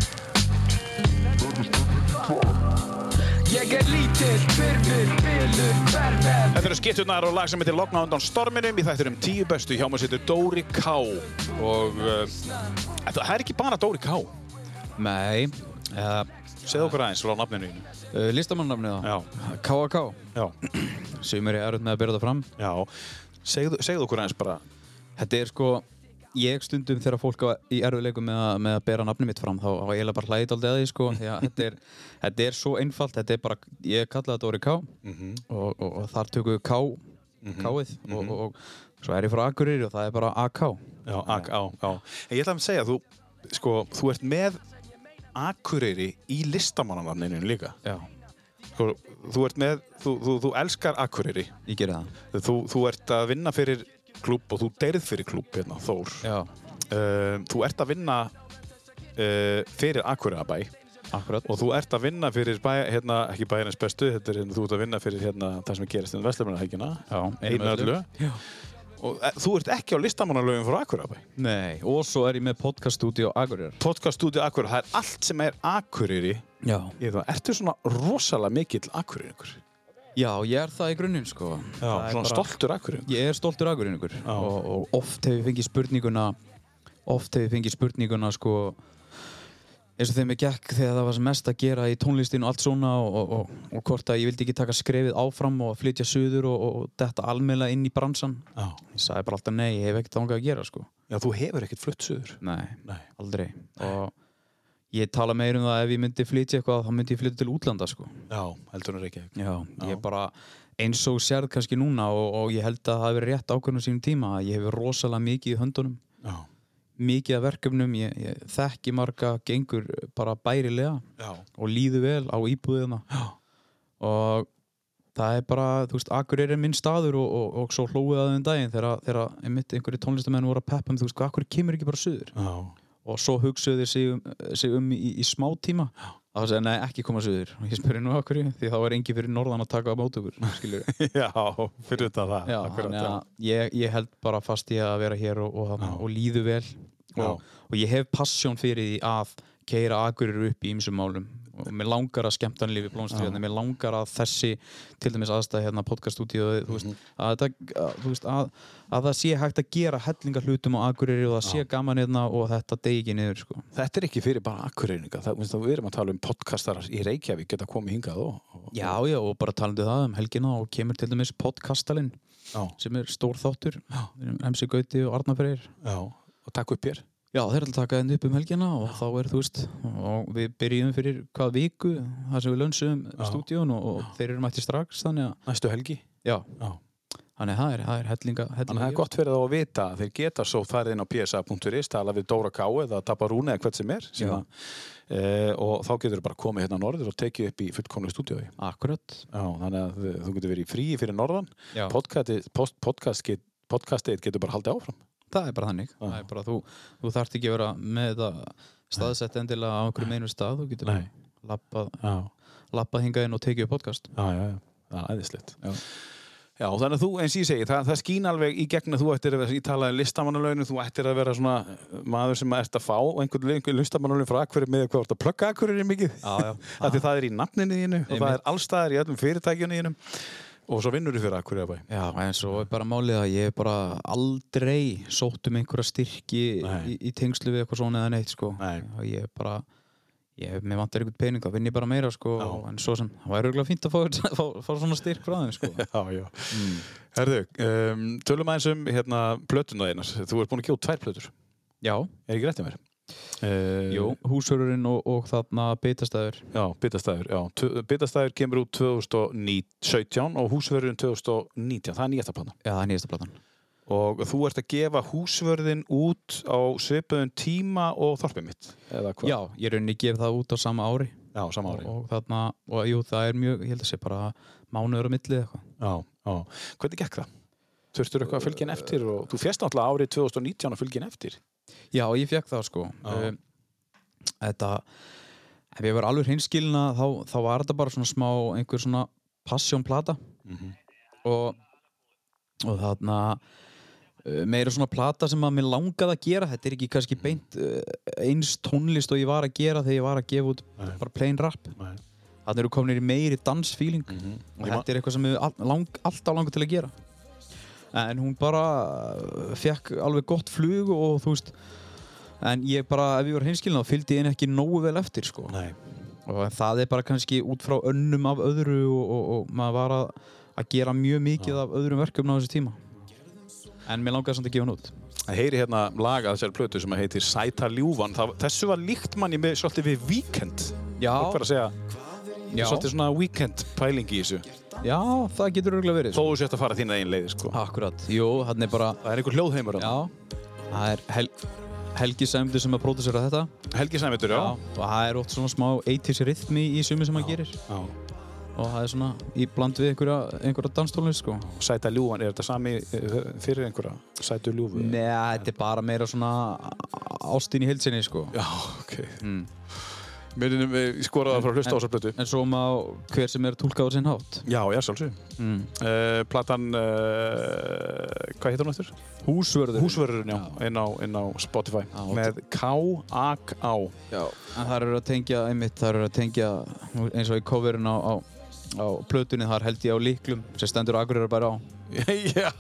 Speaker 4: Ég er lítill, byrfur, bylur, hverfell
Speaker 1: Þetta eru skitturnar og lag sem heitir Logna undan storminum í þættinum tíu bestu hjá maður setur Dóri K og uh, það er ekki bara Dóri K
Speaker 3: Nei, uh,
Speaker 1: segð okkur aðeins frá nafninu þínu.
Speaker 3: uh, listamannafnið á,
Speaker 1: Já.
Speaker 3: K.A.K.
Speaker 1: Já,
Speaker 3: sem er erut með að byrja það fram.
Speaker 1: já, segð, segð okkur aðeins bara
Speaker 3: Þetta er sko, ég stundum þegar fólk á- í erfiðleikum með, að- með að bera nafni mitt fram, þá á ég eiginlega bara hlæðið aldrei að því sko, því að þetta er, þetta er svo einfalt, þetta er bara, ég kalla þetta orðið K og, og, og þar tökum við K, K-ið og, og, og svo er ég frá Akureyri og það er bara AK.
Speaker 1: Já, ak, á, á. En ég ætla að segja, þú, sko, þú ert með Akureyri í listamannanafninu líka.
Speaker 3: Já,
Speaker 1: Sko, þú ert með, þú, þú, þú elskar Akureyri.
Speaker 3: ég gerir það.
Speaker 1: Þú, þú ert að vinna fyrir klúb og þú deyrð fyrir klúb, hérna, Þór.
Speaker 3: Já,
Speaker 1: Um, þú ert að vinna uh, fyrir Akureyrabæ
Speaker 3: akkurat.
Speaker 1: og þú ert að vinna fyrir bæ, hérna, ekki bæjarins bestu, þetta er, hérna, þú ert að vinna fyrir hérna, það sem gerist um Vestlumarnahækina.
Speaker 3: Já,
Speaker 1: einu öllu.
Speaker 3: Já.
Speaker 1: Og e, þú ert ekki á listamannalögum frá Akureyrabæ.
Speaker 3: Nei, og svo er ég með podcaststudio Akureyri.
Speaker 1: Podcaststúdíu Akureyri, það er allt sem er Akureyri
Speaker 3: Já.
Speaker 1: Ég það, ertu svona rosalega mikill akkurinningur?
Speaker 3: Já, ég er það í grunninn sko. Það
Speaker 1: Já,
Speaker 3: er
Speaker 1: svona
Speaker 3: bara-
Speaker 1: stoltur akkurinningur?
Speaker 3: Ég er stoltur agurinningur og, og oft hef ég fengið spurninguna oft hef ég fengið spurninguna sko eins og þegar mér gekk þegar það var sem mest að gera í tónlistinu og allt svona og, og, og, og hvort að ég vildi ekki taka skrefið áfram og flytja suður og, og, og detta almela inn í bransan
Speaker 1: Já.
Speaker 3: ég sagði bara alltaf nei, ég hef ekkert þangað að gera sko
Speaker 1: Já, þú hefur ekkert flutt söður.
Speaker 3: nei,
Speaker 1: Nei.
Speaker 3: aldrei og ég tala meir um það ef ég myndi flytja eitthvað þá myndi ég flytja til útlanda sko
Speaker 1: Já, heldur hann ekki.
Speaker 3: Já, ég bara eins og sérð kannski núna og, og ég held að það hafi verið rétt ákvörðum sínum tíma að ég hef rosalega mikið í höndunum
Speaker 1: Já.
Speaker 3: mikið af verkefnum, ég, ég þekki marga gengur bara bærilega
Speaker 1: Já.
Speaker 3: og líðu vel á íbúðina
Speaker 1: Já.
Speaker 3: og það er bara, þú veist, akkur er minn staður og, og, og svo hlóið að þeim daginn þegar, þegar einmitt einhverju tónlistamenn voru að peppa um, þú veist, akkur kemur ekki bara suður
Speaker 1: Já.
Speaker 3: og svo hugsuðu þeir sig um, sig um í, í smá tíma og það segja, nei, ekki koma suður og ég spurði nú akkur, því þá var engi fyrir norðan að taka á mót okkur, skiljur
Speaker 1: Já, fyrir þetta það.
Speaker 3: Já,
Speaker 1: akkurat,
Speaker 3: þannig að ég, ég held bara fast í að vera hér og, og, og líðu vel og, og ég hef passjón fyrir því að keira agurir upp í ýmsum málum og mér langar að skemmtan lífi blómstri hérna, mér langar að þessi til dæmis aðstæð hérna podcaststúdíu þú veist, að, þetta- að, þú veist að, að það sé hægt að gera hellinga hlutum á agurir og það sé gaman hérna og þetta degi ekki niður sko.
Speaker 1: Þetta er ekki fyrir bara akkurinninga. Það, minnst, það við erum að tala um podkastarar í Reykjavík geta komið hingað og... og
Speaker 3: Já, já, og bara talandi um það um helgina og kemur til dæmis podcastalinn
Speaker 1: já.
Speaker 3: sem er stór þáttur MC Gauti og Arnar Freyr
Speaker 1: Já. Og takk upp hér.
Speaker 3: Já, þeir eru að taka henni upp um helgina og þá er, þú veist, og við byrjum fyrir hvað viku, þar sem við lönsum stúdíun og, og þeir eru mætti strax, þannig að,
Speaker 1: Næstu helgi.
Speaker 3: já,
Speaker 1: Já.
Speaker 3: þannig að það er, það er hellinga, hellinga.
Speaker 1: Þannig að það er gott fyrir þá að vita að þeir geta svo farið inn á psa.is, tala við Dóra K. eða Dabba Rúni eða hvert sem er sem
Speaker 3: Já.
Speaker 1: að, e, og þá getur þeir bara komið hérna norður og tekið upp í fullkomlu stúdíói.
Speaker 3: Akkurat,
Speaker 1: Já, þannig að þú- þú getur verið í fríi fyrir norðan
Speaker 3: já,
Speaker 1: podcastið post, podcast get, podcastið getur bara haldið áfram
Speaker 3: það er bara þannig, það er bara, þú, þú þarft ekki að vera með þetta staðsett endilega á einhverjum einu stað, þú getur
Speaker 1: Nei.
Speaker 3: lappað,
Speaker 1: Já,
Speaker 3: lappað hingað inn og tekið upp podcast.
Speaker 1: já, já, já. það er æðislegt
Speaker 3: Já.
Speaker 1: Já, þannig að þú, eins og ég segi, það, það skín alveg í gegn að þú ættir að vera, ég talaði um listamannalauninu, þú ættir að vera svona eh, maður sem ert að fá einhvern, einhvern listamannalaun frá akkurir með hvað þú ert að plugga akkurir mikið.
Speaker 3: Já, já.
Speaker 1: Af því það er í nafninu þínu og það er allstaðar í öllum fyrirtækjunum þínum og svo vinnur þú fyrir akkurir að bæ.
Speaker 3: Já, en svo er bara málið að ég er bara aldrei sótt um einhverja styrki
Speaker 1: Nei.
Speaker 3: í, í tengslu við eitthvað svona eða neitt, sko.
Speaker 1: Nei.
Speaker 3: Og Ég er bara, ég, mér vantar einhvern pening þá vinn ég bara meira sko
Speaker 1: Já.
Speaker 3: en svo sem, það væri auðvitað fínt að fá, fá, fá svona styrk frá þeim sko
Speaker 1: Já, já. Mm. Herðu, um, tölum aðeins um hérna plötuna einar. Þú ert búin að kjóta tvær plötur.
Speaker 3: Já,
Speaker 1: Er ekki rétt í mér? Uh,
Speaker 3: jú, húsörurinn og, og þarna beitastæður
Speaker 1: Já, bitastæður, já. Tö- Bitastæður kemur út 2017 og húsvörðurinn 2019. Það er nýjasta plana.
Speaker 3: Já, það er nýjasta platan
Speaker 1: Og þú ert að gefa húsvörðin út á svipuðum tíma og þorpið mitt. Eða hvað?
Speaker 3: Já, ég rauninni gef það út á sama ári
Speaker 1: Já, sama ári.
Speaker 3: og þarna, og jú, það er mjög, ég held að sé bara mánuður á milli eða eitthvað.
Speaker 1: Já, já. Hvernig gekk það? Þurftur eitthvað að fylgja henni eftir og þú fjast náttúrulega árið 2019 að fylgja henni eftir.
Speaker 3: Já, ég fekk það sko.
Speaker 1: Já.
Speaker 3: Um, þetta, ef ég var alveg hinskilina þá, þá var þetta bara svona smá einhver svona passjónplata
Speaker 1: Mhm.
Speaker 3: og, og þarna uh, meira svona plata sem að mér langaði að gera þetta er ekki kannski beint uh, eins tónlist og ég var að gera þegar ég var að gefa út
Speaker 1: Nei.
Speaker 3: bara plain rap
Speaker 1: Nei.
Speaker 3: þannig eru kominir í meiri dansfíling og
Speaker 1: Ég ma-
Speaker 3: þetta er eitthvað sem við all, lang, alltaf langar til að gera en hún bara uh, fekk alveg gott flug og þú veist en ég bara, ef ég var heimskilin þá fylgdi ég henni ekki nógu vel eftir sko
Speaker 1: Nei.
Speaker 3: og það er bara kannski út frá önnum af öðru og, og, og maður var að, að gera mjög mikið af öðrum verkefni á þessu tíma en mér langaði samt að gefa hann út
Speaker 1: Það heyri hérna lag að þessari plötu sem heitir Sæta ljúfan. Það, þessu var líkt manni með svolítið við Weekend.
Speaker 3: Já,
Speaker 1: Fólk var að segja,
Speaker 3: já,
Speaker 1: svolítið svona Weekend pæling í þessu.
Speaker 3: já það getur örgulega verið
Speaker 1: Þó þú sért að fara þína einn leiði, sko.
Speaker 3: Akkurat, jú, hann er bara
Speaker 1: Það er einhver hljóðheimur hann.
Speaker 3: Já, það er Hel Helgi Sæmdi sem að pródusera þetta
Speaker 1: Helgi Sæmitur, já.
Speaker 3: og það er oft svona smá 80s rytmi í sumu sem hann gerir
Speaker 1: já.
Speaker 3: og það er svona í bland við einhverja, einhverja danstólunist sko
Speaker 1: Sæta ljúfan, er þetta sami eh, fyrir einhverja? Sætu ljúfu?
Speaker 3: Nei, þetta er bara meira svona ástin í heilsinni sko
Speaker 1: Já, ok. eh, Mm. Minnum við skoraða frá hlusta á þessar plötu.
Speaker 3: Hmm. en svo má hver sem er tólkaður sinn hátt
Speaker 1: Já, já, sjálfsög.
Speaker 3: mm.
Speaker 1: Uh, platan, uh, hvað heitir hún eftir?
Speaker 3: Húsvörður
Speaker 1: Húsvörðurinn, já, inn á, inn á Spotify.
Speaker 3: Já.
Speaker 1: með K-A-K-A.
Speaker 3: Já. En það eru að tengja, einmitt, það eru að tengja nú eins og í coverin á, á, á plötunni þar held ég á líklum sem stendur Akureyrar bara á
Speaker 1: já,
Speaker 3: Já.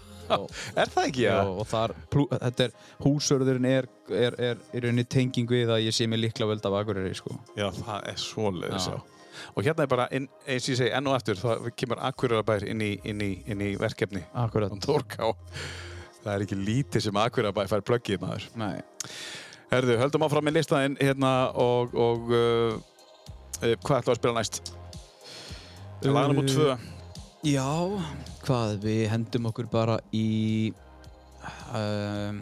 Speaker 1: er það ekki, já?
Speaker 3: og, og þar, plú, þetta er, húsvörðurinn er, er, er, er unni tenging við að ég sé mér líkla völd af Akureyri sko
Speaker 1: Já, það er svoleiðis,
Speaker 3: Já.
Speaker 1: já. Og hérna er bara, inn, eins og ég segi enn og aftur, það kemur Akureyrarbær inn, í- inn, í- inn í verkefni.
Speaker 3: Akkurat
Speaker 1: Hann Þórká. Það er ekki lítið sem Akureyrarbær fær plöggið maður.
Speaker 3: Nei
Speaker 1: Herðu, höldum áfram með listaðinn hérna og, og uh, uh, hvað ætlum við að spila næst? Laganum út tvö.
Speaker 3: Já, hvað við hendum okkur bara í um,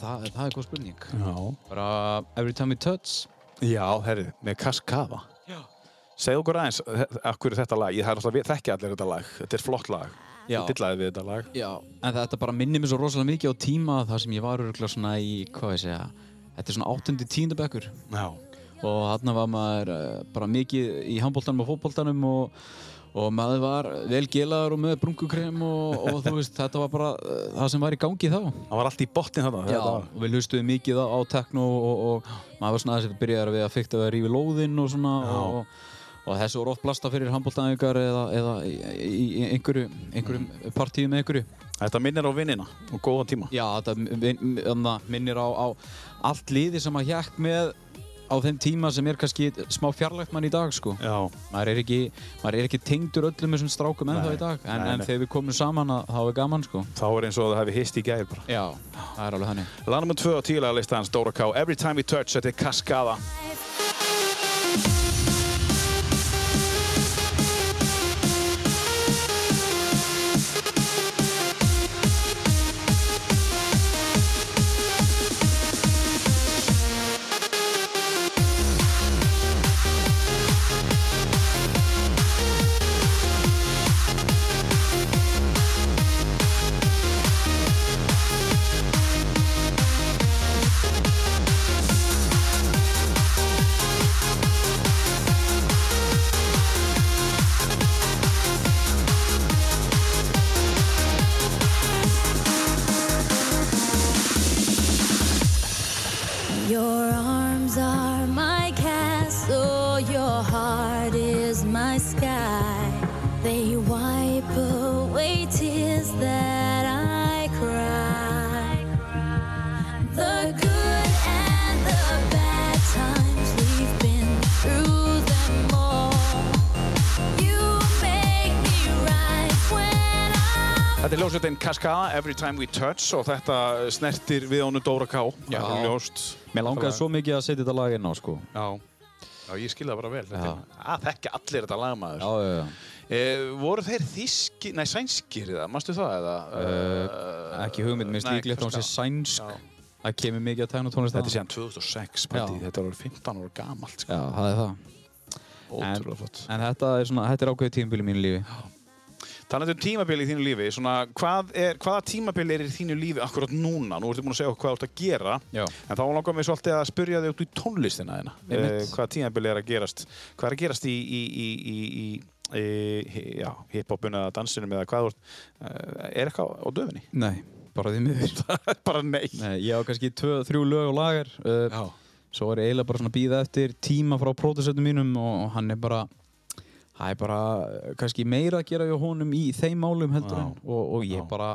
Speaker 3: það, það er góð spurning
Speaker 1: Já.
Speaker 3: bara Every Time We Touch
Speaker 1: Já, herðu, með Kaskava. Já. Segðu okkur aðeins, eh, af hverju þetta lag? Ég það er alltaf, við þekki allir þetta lag. Þetta er flott lag.
Speaker 3: Já.
Speaker 1: Ég dillaði við þetta lag.
Speaker 3: Já, en þetta bara minnir mér svo rosalega mikið á tíma þar sem ég var örgulega svona í, hvað ég segja þetta er svona 8. bekkur
Speaker 1: Já.
Speaker 3: og hann var maður eh, bara mikið í handbóltanum og fótbóltanum og, og maður var vel gelaður og með brungukrem og, og þú veist, þetta var bara eh, það sem var í gangi þá
Speaker 1: Það var allt í botnin þarna.
Speaker 3: Já,
Speaker 1: þetta var-
Speaker 3: og við hlustuðum mikið á, á tekno og, og, og maður var svona aðeins byrjaður við að fykta við að rífi lóðinn og svona og, og þessu voru oft blasta fyrir handbóltanæðingar eða, eða í, í, í einhverju, einhverjum partíum með einhverju
Speaker 1: Þetta minnir á vinnina og góða tíma.
Speaker 3: Já, þetta min- min- þarna minnir á, á allt liði sem að hjekk með á þeim tíma sem er kannski smá fjarlægt mann í dag sko
Speaker 1: Já.
Speaker 3: maður er ekki, maður er ekki tengdur öllum þessum strákum ennþá
Speaker 1: Nei,
Speaker 3: í dag en,
Speaker 1: nei,
Speaker 3: en
Speaker 1: nei.
Speaker 3: þegar við komum saman að, þá er gaman sko
Speaker 1: Þá er eins og það hefði hist í gæði bara.
Speaker 3: Já, það er alveg þannig
Speaker 1: Lanum með tvö á tílega listans, Dóra K. Every time we touch, þetta er Kaskada.
Speaker 5: Your arms are my castle, your heart is my sky. They wipe away tears that I cry. The good and the bad times.
Speaker 1: hljómsveitin Cascada, Every Time We Touch og þetta snertir við honum Dóra K.
Speaker 3: Já.
Speaker 1: Það er ljóst.
Speaker 3: Mér langaði svo mikið að setja þetta lag inn á, sko.
Speaker 1: Já. Já, ég skil það bara vel. Þetta
Speaker 3: Já.
Speaker 1: er- að þekka allir þetta lagmaður.
Speaker 3: Já, já, já.
Speaker 1: Eh, voru þeir þíski, nei sænskir eða, mannstu það eða?
Speaker 3: Uh, ekki hugmynd, minnst
Speaker 1: nei,
Speaker 3: líklegt að hún sé
Speaker 1: Cascada.
Speaker 3: sænsk.
Speaker 1: Já.
Speaker 3: Það kemur mikið að tegna tónlist
Speaker 1: Þetta er síðan 2006, patti,
Speaker 3: Já.
Speaker 1: þetta er orðið 15 ára gamalt, sko.
Speaker 3: Já, það er það.
Speaker 1: Ótrúlega flott.
Speaker 3: En þetta er, svona, þetta er ákveðið tímabili í mínu lífi.
Speaker 1: Talandi um tímabili í þínu lífi, svona, hvað er, hvaða tímabili er í þínu lífi akkurat núna? Nú ertu búin að segja okkur hvað þú ert að gera,
Speaker 3: Já.
Speaker 1: en þá langar mig svolítið að spyrja þig út í tónlistina þína.
Speaker 3: Einmitt.
Speaker 1: hvaða tímabili er að gerast? Hvað er að gerast í, í, í, í, í, í hi- já, hiphopinu eða dansinum eða hvað þú ert, eh, er eitthvað á döfinni?
Speaker 3: Nei, bara því miður.
Speaker 1: Bara nei.
Speaker 3: Nei, ég á kannski tvö, þrjú lög og lagar. Uh, svo er ég eiginlega bara svona að býða eftir tíma frá pródusöndum mínum og, og hann er bara, það er bara uh, kannski meira að gera hjá honum í þeim málum heldur en og, og ég bara,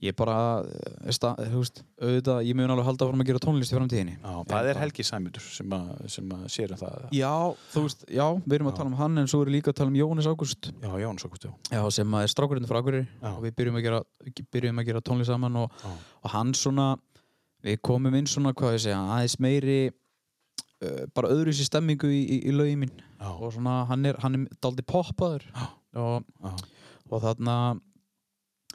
Speaker 3: ég bara, uh, sta, þú veist, auðvitað, ég mun alveg halda fram að gera tónlist í framtíðinni.
Speaker 1: Já, það er Helgi Sæmundur sem, að, sem að sér um það.
Speaker 3: Já, þú veist, já, við erum að tala um hann en svo erum við líka að tala um Jónis Ágúst.
Speaker 1: Já, Jón, svo gott, já.
Speaker 3: Já, sem að er strákurinn frá Akureyri
Speaker 1: Já.
Speaker 3: og við byrjum að gera, byrjum að gera tónlist saman og, og hann svona við komum inn svona, hvað ég segja, aðeins meiri uh, bara öðru sér stemmingu í, í, í lögin mín
Speaker 1: Já.
Speaker 3: og svona hann er, hann er daldi poppaður og, og þarna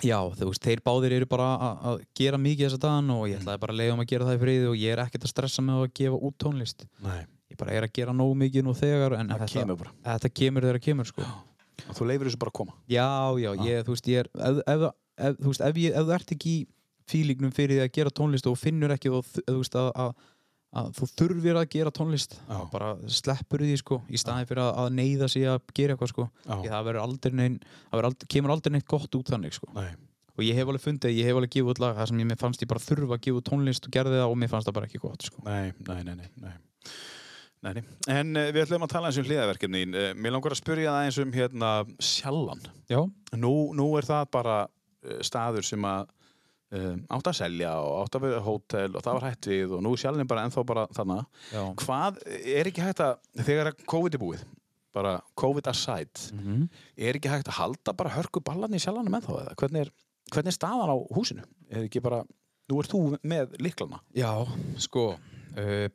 Speaker 3: já, þú veist, þeir báðir eru bara að- að gera mikið þessa dagann og ég
Speaker 1: Mm.
Speaker 3: ætlaði bara að leiða um að gera það í friði og ég er ekkert að stressa með að gefa út tónlist
Speaker 1: Nei.
Speaker 3: ég bara er að gera nógu mikið nú þegar en
Speaker 1: Það
Speaker 3: þetta
Speaker 1: kemur bara.
Speaker 3: þetta kemur þegar það kemur sko.
Speaker 1: Og þú leifir þessu bara að koma.
Speaker 3: Já, já,
Speaker 1: Ah.
Speaker 3: ég, þú veist, ég er ef, ef, ef, þú veist, ef, ég, ef þú ert ekki í fílingnum fyrir því að gera tónlist og finnur ekki og, þú veist, að, að, að þú þurfir að gera tónlist
Speaker 1: Já.
Speaker 3: bara sleppur því, sko, í staðin fyrir að, að neyða sig að gera eitthvað, sko
Speaker 1: Já.
Speaker 3: Því það verður aldrei neinn, það verður aldrei, kemur aldrei neitt gott út þannig, sko
Speaker 1: Nei.
Speaker 3: og ég hef alveg fundið, ég hef alveg gefið út lag það sem ég mér fannst ég bara þurfa að gefa út tónlist og gerði það og mér fannst það bara ekki gott, sko
Speaker 1: Nei, nei, nei, nei. nei. Nei, nei. En uh, við ætlum að tala eins um hliðaverkefni. Uh, mér langar að spyrja það eins um hérna sjallan.
Speaker 3: Já,
Speaker 1: Nú, nú er það bara uh, staður sem að um, átt að selja og átt að vera hótel og það var hætt við og nú er sjallan bara ennþá bara þarna.
Speaker 3: já
Speaker 1: Hvað er ekki hægt að, þegar að COVID er búið, bara COVID aside,
Speaker 3: Mhm.
Speaker 1: er ekki hægt að halda bara hörku ballan í sjallanum ennþá eða? Hvernig er, hvernig er staðan á húsinu? Er ekki bara, nú ert þú með liklana?
Speaker 3: Já, sko uh,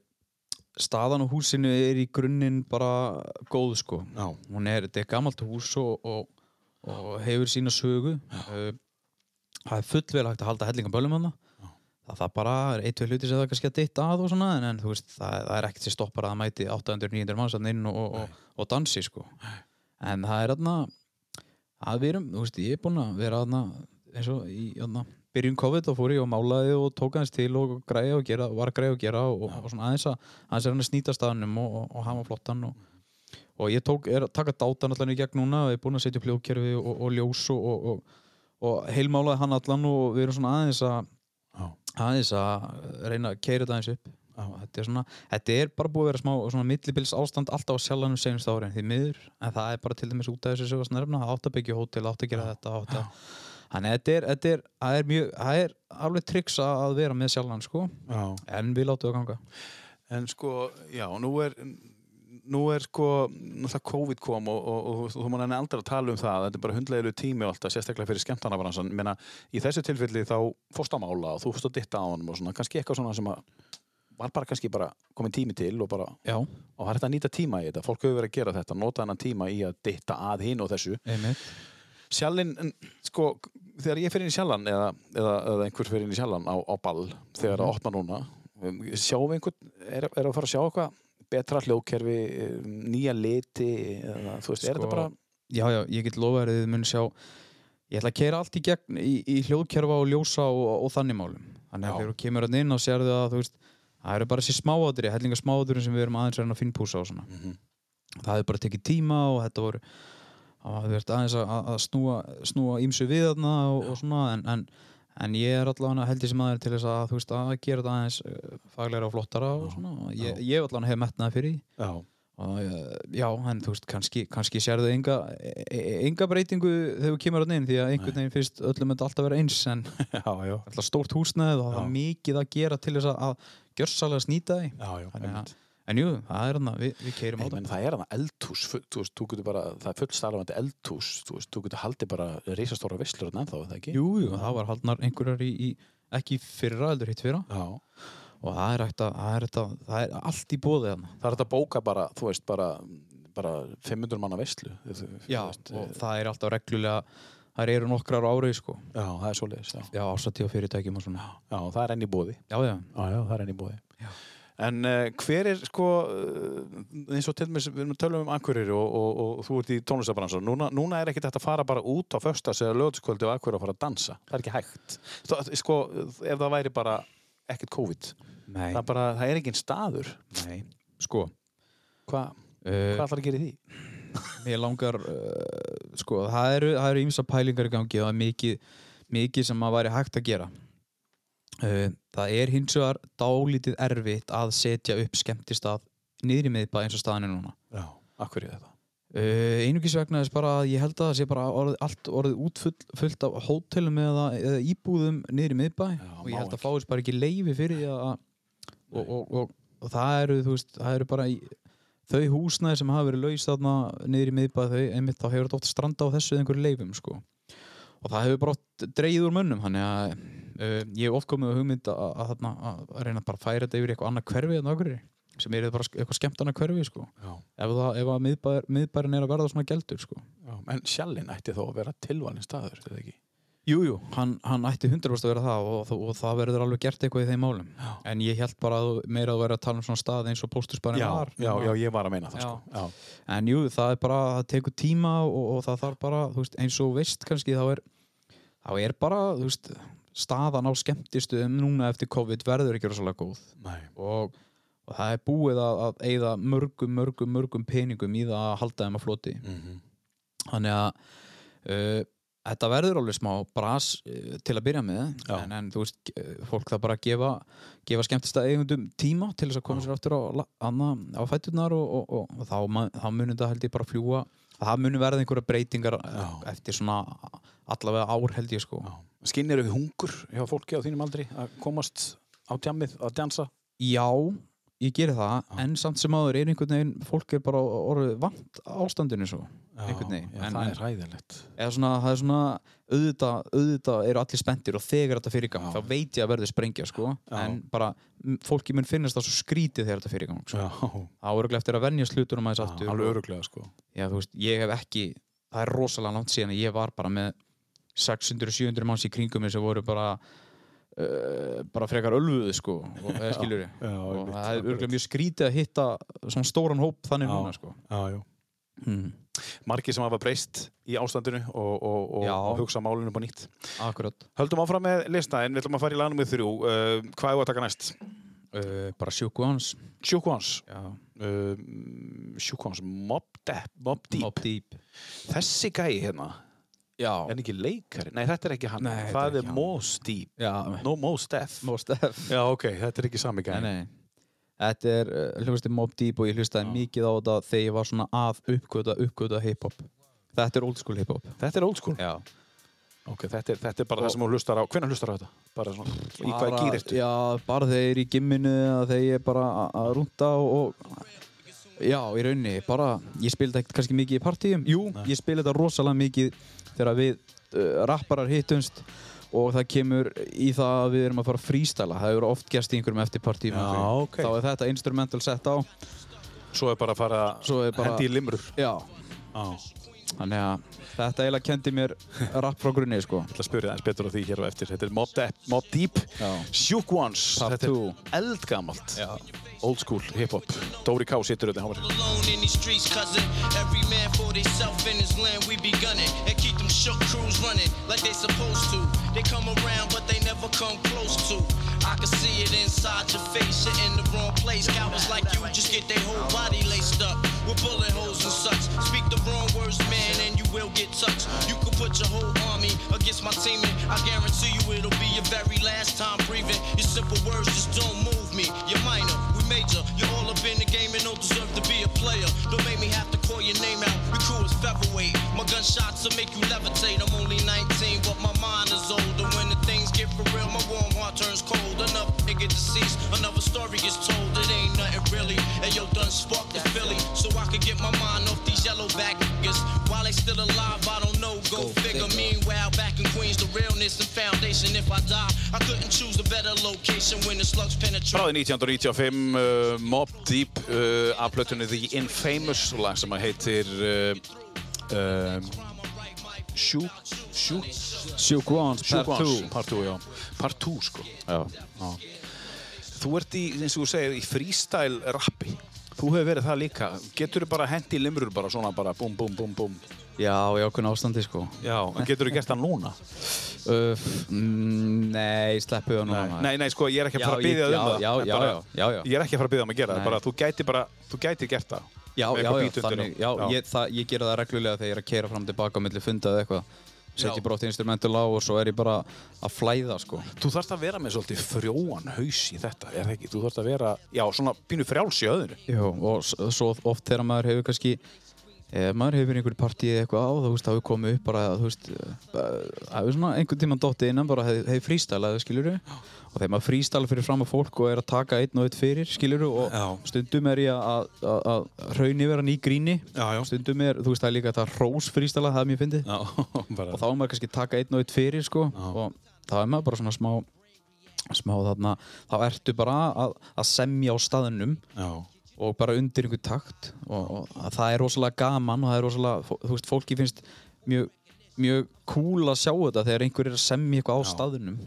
Speaker 3: staðan á húsinu er í grunninn bara góð sko
Speaker 1: Já.
Speaker 3: hún er, þetta er gamalt hús og, og, og hefur sína sögu uh, það er fullvel hægt að halda hellinga bölum hann það, það bara er eitt við hluti sem það er kannski að deyta að og svona en, en þú veist, það, það er ekkert sem stoppar að það mæti 800-900 manns þarna inn og, og, og, og dansi sko en það er aðna að við erum, þú veist, ég er búinn að vera aðna eins og í aðna byrjun COVID þá fór ég og málaði og tók aðeins til og græja og gera, var að græja og gera og, og svona aðeins að aðeins er hann að snýta staðanum og, og, og hama flottan og, og ég tók, er að taka dátan allan í gegn núna, við erum búin að setja upp hljóðkerfi og, og ljós og, og, og, og heilmálaði hann allan og við erum svona aðeins að
Speaker 1: Já.
Speaker 3: aðeins að reyna að keira þetta aðeins upp og þetta er, svona, þetta er bara búið að vera smá svona millibils ástand alltaf á sjallanum senast árin því miður, en það er bara til dæmis út af þessu sem var snærfna, það átt að byggja hótel, átt að gera þetta átt að, þannig að þetta er, þetta er, það er mjög, það er alveg triks að- að vera með sjallan sko,
Speaker 1: Já.
Speaker 3: en við látum það ganga
Speaker 1: En sko, já, nú er nú er sko, náttúrulega COVID kom og, og, og, þú mann enn aldrei að tala um það þetta er bara hundlegilegu tími og alltaf, sérstaklega fyrir skemmtanabransan, menna, í þessu tilfelli þá fórst að mála og þú fórst að ditta á honum og svona, kannski eitthvað svona sem að var bara kannski bara komin tími til og bara,
Speaker 3: Já,
Speaker 1: og það er þetta að nýta tíma í þetta fólk hefur verið að gera þetta, nota hennan tíma í að ditta að hinn og þessu
Speaker 3: einmitt
Speaker 1: sjallinn, en, sko, þegar ég fer inn í sjallan eða, eða, eða einhver fer inn í sjallan á, á ball þegar það opna núna um, sjáum við einhvern, er, er að fara að sjá eitthvað betra hljóðkerfi, um, nýja liti eða, þú veist, er
Speaker 3: Sko,
Speaker 1: þetta bara
Speaker 3: Já, já, ég get lofa þér að þið mun sjá ég ætla að keira allt í gegn í, í hljóðkerfa og ljósa og, og þannig málum þannig
Speaker 1: Já.
Speaker 3: að þegar þú kemur hann inn og sérðu að þú veist, það eru bara þessi smáadri hellinga smáadri sem við erum aðeins að reyna að finnpúsa á svona
Speaker 1: Mhm.
Speaker 3: það hefur bara tekið tíma og þetta voru það hefur verið aðeins að, að snúa, snúa ímsu við þarna og, og svona en, en, en ég er allavega heldur sem aðeins til þess að þú veist, að gera þetta aðeins eh, faglegra og flottara og svona og ég, ég allavega hef metnað fyrir því
Speaker 1: já,
Speaker 3: Og, eh, já, en þú veist, kannski, kannski sérðu enga, e- e- enga breytingu þegar þú kemur hann inn, því að einhvern veginn finnst öllum þetta alltaf vera eins, en
Speaker 1: já, já,
Speaker 3: alltaf stórt húsnæði og það er mikið að gera til þess að, að gjörsalega snýta því
Speaker 1: já, já
Speaker 3: Þannig að- En jú, það er hann að við, við keirum á
Speaker 1: Nei,
Speaker 3: það.
Speaker 1: menn það er hann eldhús, full- þú veist, þú getur bara, það er fullstarfandi eldhús, þú veist, þú getur haldið bara risastóra visslur en ennþá, er það ekki?
Speaker 3: Jú, jú, það var haldnar einhverjar í, í ekki í fyrra, heldur hitt fyrra
Speaker 1: Já.
Speaker 3: og það er, hægt að, það, er hægt að, það er allt í bóði hann
Speaker 1: Það er þetta bóka bara, þú veist, bara, bara 500 manna visslu.
Speaker 3: Já, og
Speaker 1: eh,
Speaker 3: það er alltaf reglulega það eru nokkrar á ári sko
Speaker 1: Já, það er svoleiðis, já.
Speaker 3: Já, ásati og fyrirtækjum og svona
Speaker 1: Já, það er enn í bóði.
Speaker 3: Já, já,
Speaker 1: Já, já, það er enn í bóði. En uh, hver er, sko, uh, eins og til mér, við erum að tala um Akureyri og, og, og þú ert í tónlistabransan. Núna, núna er ekki þetta að fara bara út á föstas eða lögutskvöldi á Akureyri og fara að dansa. Það er ekki hægt. Þó, sko, ef það væri bara ekkert COVID.
Speaker 3: nei,
Speaker 1: Það er bara, það er engin staður.
Speaker 3: nei Sko,
Speaker 1: Hvað
Speaker 3: uh,
Speaker 1: hva ætlar að gera í því?
Speaker 3: mér langar uh, sko, það eru, það eru ýmsa pælingar í gangi og það er mikið, mikið sem að væri hægt að gera uh, Það er hins vegar dálítið erfitt að setja upp skemmtistað niðri miðbæ eins og staðan er núna
Speaker 1: Já, Akureyri þetta.
Speaker 3: Uh, einungis vegna þess bara að ég held að það sé bara orð, allt orðið útfullt fullt af hótelum eða, eða íbúðum niður í miðbæ
Speaker 1: Já,
Speaker 3: og ég
Speaker 1: má
Speaker 3: held að
Speaker 1: ekki.
Speaker 3: fáist bara ekki leifi fyrir því að og, og, og, og það eru þú veist, það eru bara í, þau húsnæði sem hafa verið laus þarna niður í miðbæ þau, einmitt þá hefur þetta oft stranda á þessu eða einhverju leifum sko og það hefur bara oft dreigið úr mönnum þannig að uh, ég hef oft komið á hugmynd að, að, þarna- að, að reyna bara að færa þetta yfir í eitthvað annað hverfi en okkur sem er bara sk- eitthvað skemmtana hverfi sko
Speaker 1: Já.
Speaker 3: ef, það, ef að miðbær, miðbærin er að verða svona gældur sko.
Speaker 1: Já, en sjallinn ætti þá að vera tilvalin staður, eða ekki?
Speaker 3: Jú, jú, hann, hann ætti 100% að vera það og, og, og það verður alveg gert eitthvað í þeim málum já. en ég held bara að þú- meira að vera að tala um svona stað eins og póstusbærin
Speaker 1: Já,
Speaker 3: var
Speaker 1: já, já, ég var að meina það,
Speaker 3: Já.
Speaker 1: sko. Já.
Speaker 3: en jú, það er bara, það tekur tíma og, og það þarf bara, þú veist, eins og þú veist kannski þá er, þá er bara þú veist, staðan á skemmtistu um núna eftir COVID verður ekki rosalega góð
Speaker 1: Nei.
Speaker 3: og, og það er búið að, að eigða mörgum, mörgum, mörgum peningum í það að halda þeim að floti
Speaker 1: Mhm.
Speaker 3: þannig að uh, þetta verður alveg smá bras uh, til að byrja með
Speaker 1: Já.
Speaker 3: en, en þú veist, eh, fólk það bara að gefa, gefa skemmtista eigundum tíma til þess að koma sér aftur á, la- anna, á fæturnar og, og, og, og þá, ma- þá munir þetta held ég bara fljúa það munir verða einhverja breytingar eh, eftir svona allavega ár held ég sko
Speaker 1: Skinnir við hungur hjá fólki á þínum aldri að komast á tjammið að dansa?
Speaker 3: Já, ég geri það en samt sem áður er einhvern veginn fólk er bara orðið vant ástandinu svo einhvern veginn
Speaker 1: Já,
Speaker 3: en,
Speaker 1: það
Speaker 3: en,
Speaker 1: er ræðilegt.
Speaker 3: eða svona, það er svona auðvitað, auðvitað eru allir spenntir og þegar þetta fyrirgang
Speaker 1: Já.
Speaker 3: þá veit ég að verður sprengja sko
Speaker 1: Já.
Speaker 3: en bara m- fólki mun finnast það svo skrítið þegar þetta fyrirgang sko. þá er örugglega eftir að venja slutunum aðeins aftur
Speaker 1: alveg öruglega, sko.
Speaker 3: Já, þú veist, ég hef ekki það er rosalega langt síðan að ég var bara með 600-700 manns í kringum mig sem voru bara uh, bara frekar ölfuðu sko og, eða skilur ég
Speaker 1: já,
Speaker 3: og
Speaker 1: einmitt,
Speaker 3: það er
Speaker 1: akkurat.
Speaker 3: örgulega mjög skrítið að hitta svona stóran hóp þannig núna sko
Speaker 1: Já, Mhm. já.
Speaker 3: mm.
Speaker 1: Margir sem hafa breyst í ástandinu og, og, og,
Speaker 3: Já.
Speaker 1: og hugsa málinu upp á nýtt.
Speaker 3: Akkurat
Speaker 6: Höldum áfram með lista en við ætlum að fara í lagnum við þrjú. Uh, hvað er að taka næst?
Speaker 3: uh, bara sjúku hans
Speaker 1: Sjúkvans.
Speaker 3: Já,
Speaker 1: Uh, Sjúkvans. Mob Depp. Mob Deep.
Speaker 3: Mobb Deep
Speaker 1: Þessi gæi hérna.
Speaker 3: Já,
Speaker 1: En ekki leikari. Nei, þetta er ekki hann.
Speaker 3: Nei, þetta er
Speaker 1: það
Speaker 3: ekki
Speaker 1: er
Speaker 3: hann.
Speaker 1: Mos Deep.
Speaker 3: já
Speaker 1: No Mos Depp.
Speaker 3: Most F
Speaker 1: Já, ok. Þetta er ekki sami
Speaker 3: Nei,
Speaker 1: gæi.
Speaker 3: nei Þetta er uh, hljóðusti Mobb Deep og ég hlustaði mikið á þetta þegar ég var svona að uppkvöta, uppkvöta hip-hop Þetta er old school hip-hop
Speaker 1: Þetta er old school.
Speaker 3: Já
Speaker 1: Ok, þetta er, þetta er bara það sem hún hlustar á. Hvernig hlustar á þetta? Bara svona, í hvað
Speaker 3: Bara-
Speaker 1: gýr ertu?
Speaker 3: Já, bara þegar ég er í gimminu eða þegar ég er bara a- að rúnda og, og Já, í raunni, bara ég spila þetta ekkert kannski mikið í partíum Jú, ég spila þetta rosalega mikið þegar við uh, rapparar hittumst og það kemur í það að við erum að fara að freestyla það hefur oft gerst í einhverjum eftir partíum
Speaker 1: Já,
Speaker 3: einhverju.
Speaker 1: ok.
Speaker 3: þá er þetta instrumental sett á
Speaker 1: Svo er bara að fara
Speaker 3: Svo er bara-
Speaker 1: hendi í limrur.
Speaker 3: Já,
Speaker 1: Á, ég
Speaker 3: þannig að þetta eiginlega kendi mér rapp frá grunni sko.
Speaker 1: ætla að spyrja aðeins betur á því hér á eftir. Þetta er Mob, Depp, Mob Deep,
Speaker 3: Já.
Speaker 1: Shook Ones.
Speaker 3: Part
Speaker 1: Þetta
Speaker 3: two.
Speaker 1: er eldgamalt. Old school hip-hop. Dóri K. situr þetta. hann var-
Speaker 7: alone in these streets, cousin. Every man for himself in his land, we be gunning and keep them shook crews running like they supposed to. They come around, but they never come close to. I can see it inside your face, you're in the wrong place. Cowards like you just get their whole body laced up with bullet holes and such. Speak the wrong words, man, and you will get touched. You can put your whole army against my teammate. I guarantee you it'll be your very last time breathing. Your simple words just don't move me. You're minor, we major. You're all up in the game and don't deserve to be a player. Don't make me have to call your name out. Your crew is featherweight. My gunshots will make you levitate. I'm only 19, but my mind is old. And when the things get for real, my warm heart turns cold. Another nigga deceased, another story gets told. It ain't nothing really. Ayo, done sparked the Philly, so I could get my mind off these yellow back niggas. While they still alive, I don't know, go, figure. Meanwhile, back in Queens, the realness and foundation. If I die, I couldn't choose a better location when the slugs penetrate.
Speaker 1: Bráði 1995, uh, Mob Deep uh, af plötunni The Infamous og lag sem að heitir uh, uh, Shoe, Shoe,
Speaker 3: Shook Ones,
Speaker 1: Shoe
Speaker 3: Part 2
Speaker 1: Part 2, já. Part 2, sko.
Speaker 3: Já.
Speaker 1: Þú ert í, eins og þú segir, í freestyle rappi. Þú hefur verið það líka. Getur þú bara hendi limrur bara svona bara búm, búm, búm, búm.
Speaker 3: Já, í okkur ástandi sko
Speaker 1: Já. En getur þú gert það núna?
Speaker 3: Öf, mm, Nei, sleppu það núna maður.
Speaker 1: Nei, nei, sko, ég er ekki að fara að
Speaker 3: Já, ég-
Speaker 1: byggja þig um
Speaker 3: já,
Speaker 1: það.
Speaker 3: já,
Speaker 1: En
Speaker 3: já,
Speaker 1: bara,
Speaker 3: já, já, já.
Speaker 1: Ég er ekki að fara að byggja þig um að gera það.
Speaker 3: Nei.
Speaker 1: Bara, þú gæti bara, þú gæti gert það.
Speaker 3: Já,
Speaker 1: Með
Speaker 3: já,
Speaker 1: eitthvað
Speaker 3: já,
Speaker 1: beat undir
Speaker 3: þannig,
Speaker 1: og-
Speaker 3: já, Ég, það, ég gera það reglulega þegar ég er að keira fram og tilbaka á milli funda eða eitthvað setja bara oft instrumental á og svo er ég bara að flæða sko
Speaker 1: Þú þarfst að vera með svolítið frjóan haus í þetta, er það ekki? Þú þarfst að vera, já, svona pínu frjáls í öðru.
Speaker 3: Jó, og s- svo oft þegar maður hefur kannski ef maður hefur einhver partí eða eitthvað á þú veist, þá hefur komið upp bara þú veist, hefur svona einhvern tímann dottið innan bara hefur hef frístælað, skilur og þegar maður frístæla fyrir fram að fólk og er að taka einn og einn fyrir, skilur og stundum er ég að- að að hraun yfir hann í gríni
Speaker 1: Já, já.
Speaker 3: stundum er, þú veist, það er líka þetta rós frístæla það er mjög fyndið
Speaker 1: Já, bara.
Speaker 3: og þá er maður kannski að taka einn og einn fyrir sko og þá er maður bara svona smá smá þarna, þá ertu bara að, að semja á staðnum
Speaker 1: Já.
Speaker 3: og bara undir einhver takt og, og að það er rosalega gaman og það er rosalega, fó- þú veist, fólki finnst mjög, mjög cool að sjá þetta þegar einhver er að semja eitthvað á staðnum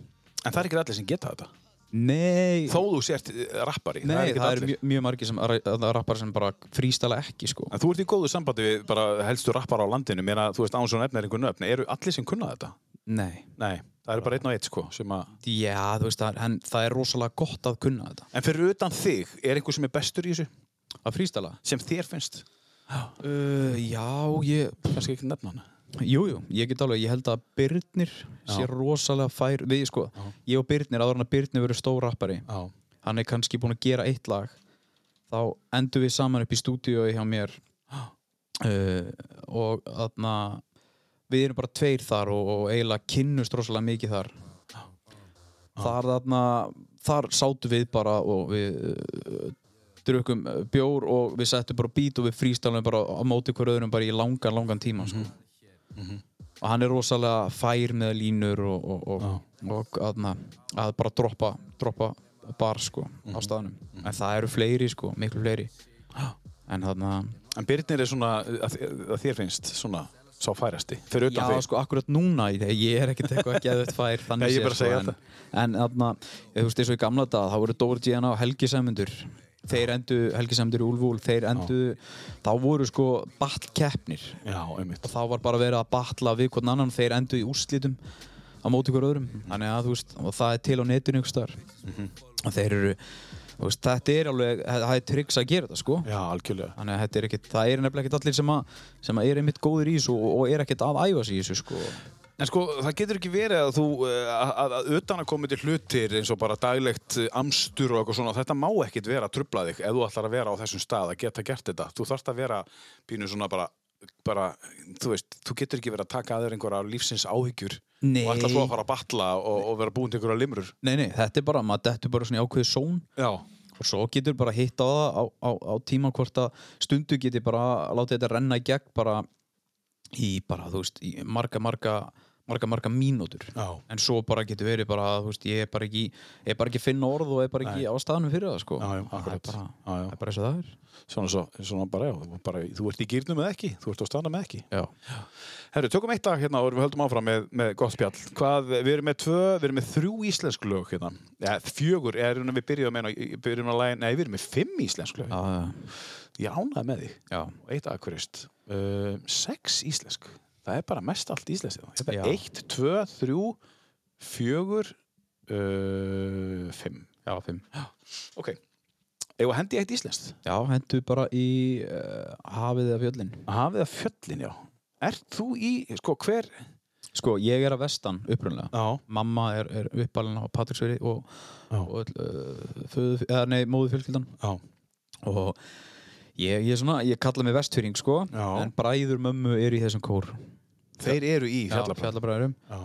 Speaker 1: En það er ekki allir sem geta þetta.
Speaker 3: Nei,
Speaker 1: Þó þú sért eh, rappari,
Speaker 3: nei,
Speaker 1: það er
Speaker 3: það,
Speaker 1: ekki
Speaker 3: eru
Speaker 1: allir.
Speaker 3: mjög, mjög margir sem, að, að rappar sem bara frístala ekki sko.
Speaker 1: En þú ert í góðu sambandi við bara helstu rappar á landinu, mér að þú veist án svo nefnir einhver nöfn, eru allir sem kunna þetta?
Speaker 3: Nei,
Speaker 1: Nei, það eru bara einn og einn sko, sem að...
Speaker 3: já, þú veist, það, er- en, það er rosalega gott að kunna þetta
Speaker 1: En fyrir utan þig, er einhver sem er bestur í þessu,
Speaker 3: að frístala
Speaker 1: sem þér finnst?
Speaker 3: uh, Já, ég,
Speaker 1: Kannski ekki nefna hann.
Speaker 3: Jú, jú, ég get alveg, ég held að Byrnir sé rosalega fær við, sko, ég og Byrnir, áður en að Byrnir verið stór rappari,
Speaker 1: Já.
Speaker 3: hann er kannski búinn að gera eitt lag þá endur við saman upp í stúdíói hjá mér uh, og þarna við erum bara tveir þar og, og eiginlega kynnust rosalega mikið þar þar þarna þar sátum við bara og við uh, drukum uh, bjór og við settum bara bít og við frístælum bara á móti hver öðrum bara í langan, langan tíma sko. og hann er rosalega fær með línur og, og, og, og aðna, að bara droppa, droppa bar sko, á
Speaker 1: Mhm.
Speaker 3: staðnum en það eru fleiri sko, miklu fleiri en þarna
Speaker 1: En Birnir er svona, eh, að, að þér finnst, svona, sá færasti, fyrir utan
Speaker 3: Já,
Speaker 1: þig.
Speaker 3: sko, akkurat núna, ég ég er ekkert eitthvað að geða þetta fær þannig
Speaker 1: Nei, ég er bara að segja
Speaker 3: sko, en, en þarna, þú veist, eins og í gamla dag þá voru Dóri G.N.A. og Helgi Sæmundur þeir endu, Helgi Sæmundur í Úlfúl þeir endu, þá voru sko battlkeppnir
Speaker 1: Já, einmitt.
Speaker 3: þá var bara verið að batla við hvern annan þeir endu í úrslitum á móti hver öðrum þannig að þú veist, og það er til á netinu einhvers staðar og þeir eru þú veist, þetta er alveg, það er triks að gera þetta sko
Speaker 1: Já, algjörlega.
Speaker 3: Þannig að þetta er ekkit, það er nefnilega ekkit allir sem að, sem að er einmitt góðir í þessu og, og er ekkit að æfa sig í þessu sko.
Speaker 1: En sko, það getur ekki verið að þú, eh, að, að- að utan að koma til hlutir eins og bara daglegt eh, amstur og eitthvað svona, þetta má ekkit vera að trubla þig ef þú ætlar að vera á þessum stað að geta gert þetta. Þú þarft að vera pínu svona bara, bara, þú veist, þú getur ekki verið að taka að þér einhverja lífsins áhyggjur
Speaker 3: Nei.
Speaker 1: og ætla svo að fara að batla og, og vera búin til einhverja limrur.
Speaker 3: Nei, nei, þetta er bara, maður dettur bara svona í ákveðið són
Speaker 1: Já.
Speaker 3: og svo getur bara hitt á það á, á, á tíma hvort að stundu getur bara að láta þetta renna í gegn bara í bara, þú veist, í marga, marga marga, marga mínútur
Speaker 1: Já.
Speaker 3: en svo bara getur verið bara, þú veist, ég er bara ekki ég er bara ekki að finna orð og er bara ekki á staðanum fyrir það, sko
Speaker 1: Já, já,
Speaker 3: það er
Speaker 1: akkurat.
Speaker 3: bara,
Speaker 1: Já, já.
Speaker 3: það er bara eins og það er
Speaker 1: Svona, svo, svona bara, já, þú- bara, þú ert í gýrnum með ekki, þú ert á standa með ekki.
Speaker 3: Já,
Speaker 1: Herru, tökum eitt dag hérna og við höldum áfram með, með gott spjall. Hvað, við erum með tvö, við erum með þrjú íslensk lög hérna. Ja, fjögur, er, við byrjum að, byrjum að læna, nei, við erum með fimm íslensk lög.
Speaker 3: já, já,
Speaker 1: Ég ánaði með þig.
Speaker 3: já.
Speaker 1: Og Eitt akkurist. Uh, sex íslensk. Það er bara mest allt íslensk. hérna. Þetta
Speaker 3: Já.
Speaker 1: er eitt, tvö, þrjú, fjögur, uh, fimm.
Speaker 3: já fimm
Speaker 1: Ok. Eða hendi eitt íslenskt.
Speaker 3: Já, hendu bara í uh, hafið eða fjöllin
Speaker 1: eh, Hafið að fjöllin, já. Ert þú í, sko, hver...
Speaker 3: Sko, ég er að vestan upprunlega
Speaker 1: Já.
Speaker 3: Mamma er, er uppalinn á Patricksveri og,
Speaker 1: Já.
Speaker 3: og öll, uh, föðu, eða, nei, móðu fjölskyldan
Speaker 1: Já.
Speaker 3: og ég, ég, svona, ég kalla mig vestfyrring sko
Speaker 1: Já.
Speaker 3: en bræður mömmu eru í þessum kór
Speaker 1: Þeir eru í fjallabræð.
Speaker 3: fjallabræðurum
Speaker 1: Já.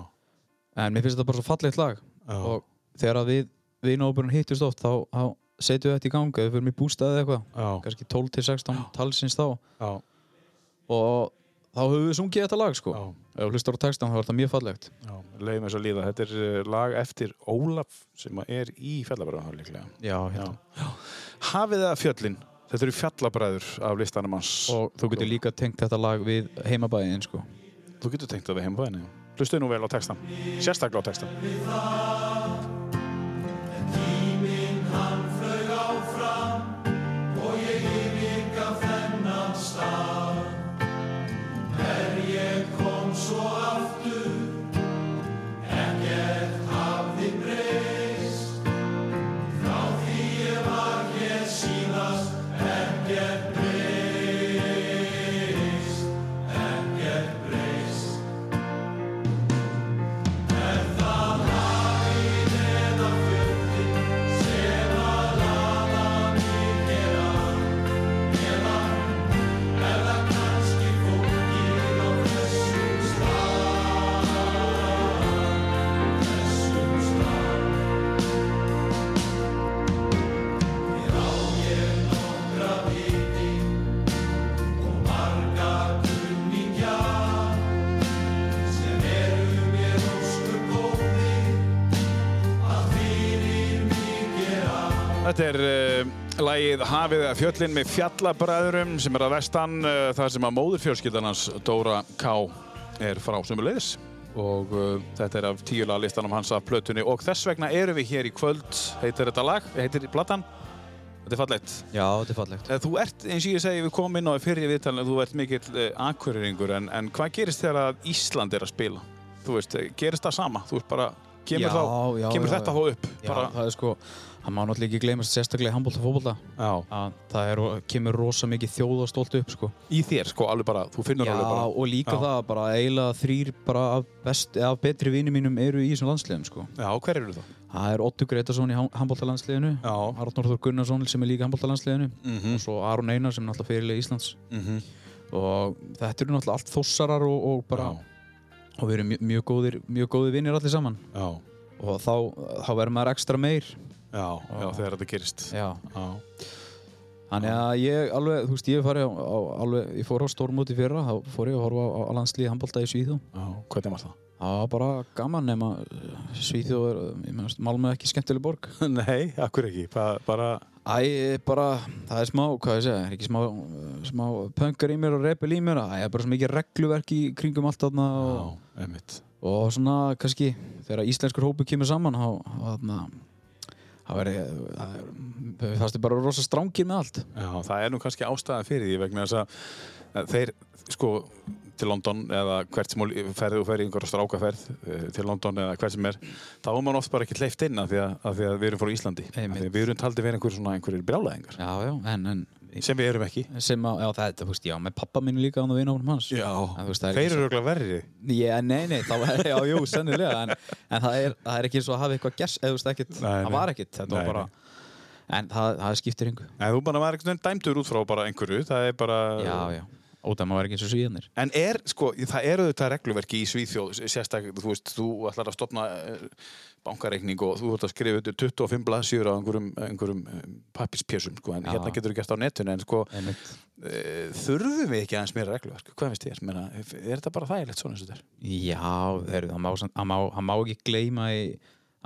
Speaker 3: en mér finnst þetta bara svo fallegt lag
Speaker 1: Já.
Speaker 3: og þegar að við vinahópurinn hittust oft þá, þá setjum við þetta í gang eða við fyrir mig bústaði eða eitthvað
Speaker 1: Já.
Speaker 3: kannski 12 til 16 talsins þá
Speaker 1: Já.
Speaker 3: og þá höfum við sungið þetta lag sko
Speaker 1: Já.
Speaker 3: ef þú hlustar á textan þá er þetta mjög fallegt
Speaker 1: Já, leiðum þess að líða. Þetta er eh, lag eftir Ólaf sem að er í fjallabræðan líklega.
Speaker 3: já,
Speaker 1: Já. Hafið það fjöllin. Þetta eru fjallabræður af listanum hans.
Speaker 3: og þú getur líka tengt þetta lag við heimabæðin sko
Speaker 1: Þú getur tengt það við heimabæðinu. Hlustu nú vel á textan. Sérstaklega á textan. Þetta er uh, lagið Hafið að fjöllin með fjallabræðurum sem er að vestan uh, þar sem að móður fjölskyldanans Dóra K. er frá sömuleiðis og uh, þetta er af tíula listanum hans af plötunni og þess vegna erum við hér í kvöld heitir þetta lag, heitir platan Þetta er fallegt.
Speaker 3: já, þetta er fallegt
Speaker 1: Eh, Þú ert, eins og ég segi, við komum inn á í fyrri viðtalinu, þú ert mikill uh, akkuriringur, en, en hvað gerist þegar að Ísland er að spila? Þú veist, eh, gerist það sama? Þú veist bara, kemur,
Speaker 3: Já,
Speaker 1: þá,
Speaker 3: já,
Speaker 1: kemur
Speaker 3: já,
Speaker 1: þetta
Speaker 3: já.
Speaker 1: þá upp?
Speaker 3: já,
Speaker 1: bara,
Speaker 3: það er sko það má náttúrulega ekki gleymast sérstaklega í handbólta og fótbólta
Speaker 1: já.
Speaker 3: að það er, kemur rosa mikið þjóðastólt upp sko
Speaker 1: Í þér, sko, alveg bara, þú finnur
Speaker 3: Já,
Speaker 1: alveg bara.
Speaker 3: og líka
Speaker 1: Já.
Speaker 3: það að bara eiginlega þrýr bara af, best, af betri vinum mínum eru í þessum landsliðum sko.
Speaker 1: Já, hver eru það?
Speaker 3: Það er Otto Gretarsson í handbóltalandsliðinu,
Speaker 1: Já.
Speaker 3: Arnór Þór Gunnarsson sem er líka í handbóltalandsliðinu og svo Aron Einar sem er náttúrulega fyrirlega Íslands
Speaker 1: Mhm.
Speaker 3: og þetta eru náttúrulega allt þossarar og, og bara og við erum mjög, mjög góðir, mjög góðir vinnir allir saman
Speaker 1: Já,
Speaker 3: og þá, þá verður maður ekstra meir
Speaker 1: já, já, þegar þetta gerist.
Speaker 3: Já.
Speaker 1: Já,
Speaker 3: Þannig að ég alveg, þú veist, ég hef farið á, á alveg, ég fór á stórmóti í fyrra, þá fór ég að horfa á, á landslíði handbólta í Svíþjóð
Speaker 1: já, hvernig var það?
Speaker 3: Það var bara gaman nema uh, Svíþjóð er, uh, ég meðast, Malmö er ekki skemmtileg borg.
Speaker 1: Nei, akkur ekki, bara, bara,
Speaker 3: Æ, bara, það er smá, hvað ég segja, er ekki smá, uh, smá pöngar í mér og repel í mér, æ, það er bara svo mikið regluverk í kringum allt þarna
Speaker 1: já,
Speaker 3: og,
Speaker 1: einmitt.
Speaker 3: og svona, kannski, þegar íslenskur hópu kemur saman, þá, þá þarna, það verður, það er, við fannst bara rosa strángir með allt.
Speaker 1: Já, það er nú kannski ástæðan fyrir því vegna þess að að þeir, sko, til London eða hvert sem þú ferði og ferði einhverja strákaferð eh, til London eða hvert sem er, þá er mann oft bara ekki hleyft inn af því að, af því að við erum frá Íslandi. Af
Speaker 3: Einmitt.
Speaker 1: því að Við erum taldið verið einhverjir svona einhverjir brjálæðingar
Speaker 3: Já, já, en, en,
Speaker 1: sem við erum ekki.
Speaker 3: sem að, já, það er, þú veist, já, með pappa mínu líka, þannig að vinna hans. En þú veist, það er
Speaker 1: þeir
Speaker 3: ekki
Speaker 1: eru örugglega verri.
Speaker 3: Já, nei, nei, það var, já, jú, sennilega en, en það, er, það er ekki eins og að hafa eitthvað gess eða þú veist ekkert,
Speaker 1: Nei,
Speaker 3: það
Speaker 1: nei.
Speaker 3: var ekkert þetta
Speaker 1: Nei,
Speaker 3: var bara, en það, það skiptir yngu
Speaker 1: Nei, þú bara var einhvern veginn dæmdur út frá bara einhverju, það er bara...
Speaker 3: Já, já, ótaf maður var ekki eins og svíðanir
Speaker 1: En er, sko, það eru þetta regluverki í Svíþjóð, sérstaklega, þú veist, þú ætlar að stopna eh, bankareikning og þú ert að skrifa undir 25 blaðsjur á einhverjum, einhverjum pappispjessum, sko, en
Speaker 3: Já.
Speaker 1: hérna getur þú gert á netinu, en sko,
Speaker 3: Einmitt.
Speaker 1: e, þurfum við ekki aðeins meira regluverk, hvað finnst þér? Meina, er þetta bara þægilegt svona eins og þetta er?
Speaker 3: Já, þeir, það, má, samt- það, má, það má ekki gleyma í,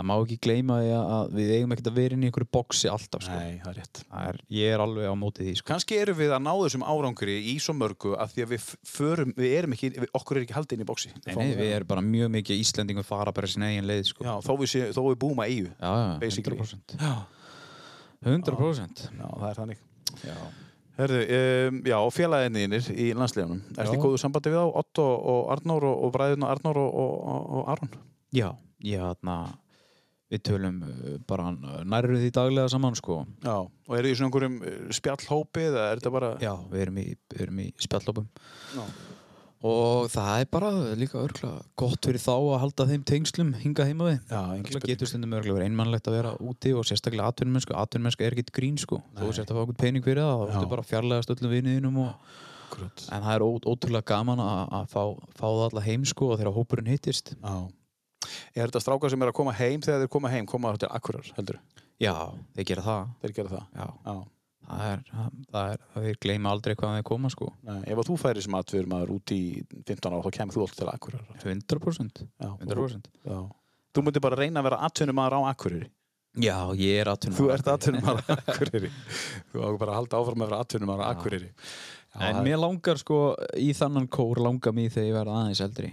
Speaker 3: það má ekki gleyma í að, að við eigum ekkert að vera inn í einhverju boksi alltaf, sko
Speaker 1: Nei, það er rétt.
Speaker 3: Það er, Ég er alveg á móti því, sko
Speaker 1: Kanski erum við að ná þessum árangri í svo mörgu að því að við f- förum, við erum ekki, við, okkur er ekki haldið inn í bóksi.
Speaker 3: Nei, nei, við erum bara mjög mikið Íslendingum fara bara sinna eigin leið, sko
Speaker 1: Já, þó við, sé, þó við búum að EU.
Speaker 3: já, já
Speaker 1: Basically.
Speaker 3: 100% 100%
Speaker 1: Já, það er þannig. Herðu, um, já, félaginnir í landslegunum. Ertu í
Speaker 3: Já.
Speaker 1: góðu sambandi við þá, Otto og Arnór og, og bræðina Arnór og, og, og, og Aron?
Speaker 3: Já, ég þarna við tölum uh, bara uh, nærru því daglega saman sko
Speaker 1: Já. Og eru í svona einhverjum eh, spjallhópi eða er þetta bara...
Speaker 3: Já, við erum í, við erum í spjallopum
Speaker 1: Já.
Speaker 3: og það er bara líka örgla gott fyrir þá að halda þeim tengslum hinga heima við
Speaker 1: Já, engin
Speaker 3: Örgla
Speaker 1: spurning.
Speaker 3: getur stundum örgla verið einmannlegt að vera úti og sérstaklega atvinnumennsku, atvinnumennsku er ekkit grín sko þú sért að fá okkur pening fyrir það, þá ertu bara að fjarlægast öllum viniðinum og
Speaker 1: Akkurat.
Speaker 3: en það er ó, ótrúlega gaman að, að fá, fá það alla heim sko og þegar hópurinn hittist
Speaker 1: Já. Er þetta strákar sem er að koma heim þegar þeir koma heim, koma þetta akkurar, heldur?
Speaker 3: Já, þeir gera það.
Speaker 1: þeir gera það
Speaker 3: Já,
Speaker 1: Já.
Speaker 3: það er, það er, það er gleyma aldrei hvaðan þeir koma sko.
Speaker 1: Nei, ef að þú færi sem atvinnur maður út í 15 ára þá kemur þú alltaf til Akureyri
Speaker 3: 100%.
Speaker 1: Já,
Speaker 3: 100%.
Speaker 1: Já. Þú myndir bara reyna að vera atvinnum maður á Akureyri
Speaker 3: Já, ég er aðtunum.
Speaker 1: Þú ert atvinnum maður á Akureyri Þú águr bara að halda áfram að vera atvinnum maður á Akureyri Já,
Speaker 3: En
Speaker 1: það-
Speaker 3: mér langar sko í þannan kór langar mér þegar ég verða aðeins eldri.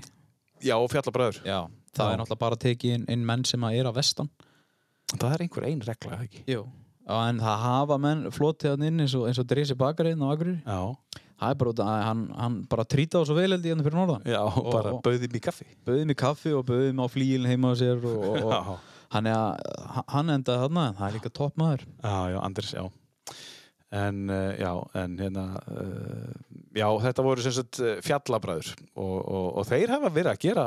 Speaker 1: Já, og fjallabræður
Speaker 3: Já, það er náttúrulega bara að tekið inn, inn menn sem að er að vestan.
Speaker 1: Það er einhver ein regla, er það ekki?
Speaker 3: Jú. En það hafa menn flotið hann inn eins og, eins og Drisi Bakarinn á Akureyri.
Speaker 1: Já,
Speaker 3: Það er bara út að hann, hann bara trýta á svo vel held ég hann fyrir norðan.
Speaker 1: já og, bara
Speaker 3: og-
Speaker 1: bauðið mér kaffi
Speaker 3: Böðið mér kaffi og böðið mér á flílinn heima á sér og, og, og
Speaker 1: Já.
Speaker 3: hann, er, að- hann endaði þarna en það er líka topp maður.
Speaker 1: Já, já, Anders, já En, uh, já, en hérna uh, Já, þetta voru sem sagt eh, fjallabræður og, og, og þeir hafa verið að gera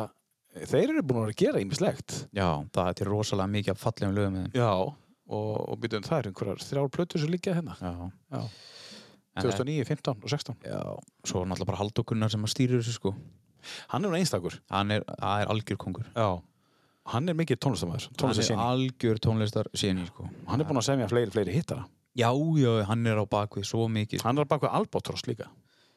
Speaker 1: Þeir eru búin að vera að gera ýmislegt
Speaker 3: Já, það er til rosalega mikið af fallegum lögum með þeim.
Speaker 1: Já Og, og byrjuðum það er einhverjar þrjár plötur sem líka hérna
Speaker 3: Já.
Speaker 1: Já.
Speaker 3: En það-
Speaker 1: 2009, 15 og 16
Speaker 3: Já, svo er náttúrulega bara haldokunnar sem að stýrir þessu sko.
Speaker 1: Hann er nú einstakur
Speaker 3: Hann er, það er algjör kongur.
Speaker 1: Já Hann er mikið tónlistamæður
Speaker 3: Hann er
Speaker 1: Tónlistasýning hann,
Speaker 3: algjör tónlistar síni sko.
Speaker 1: hann er búin að semja fleiri, fleiri hittara
Speaker 3: Já, já, hann er á bakvið svo mikið.
Speaker 1: Hann er að baka Albatross líka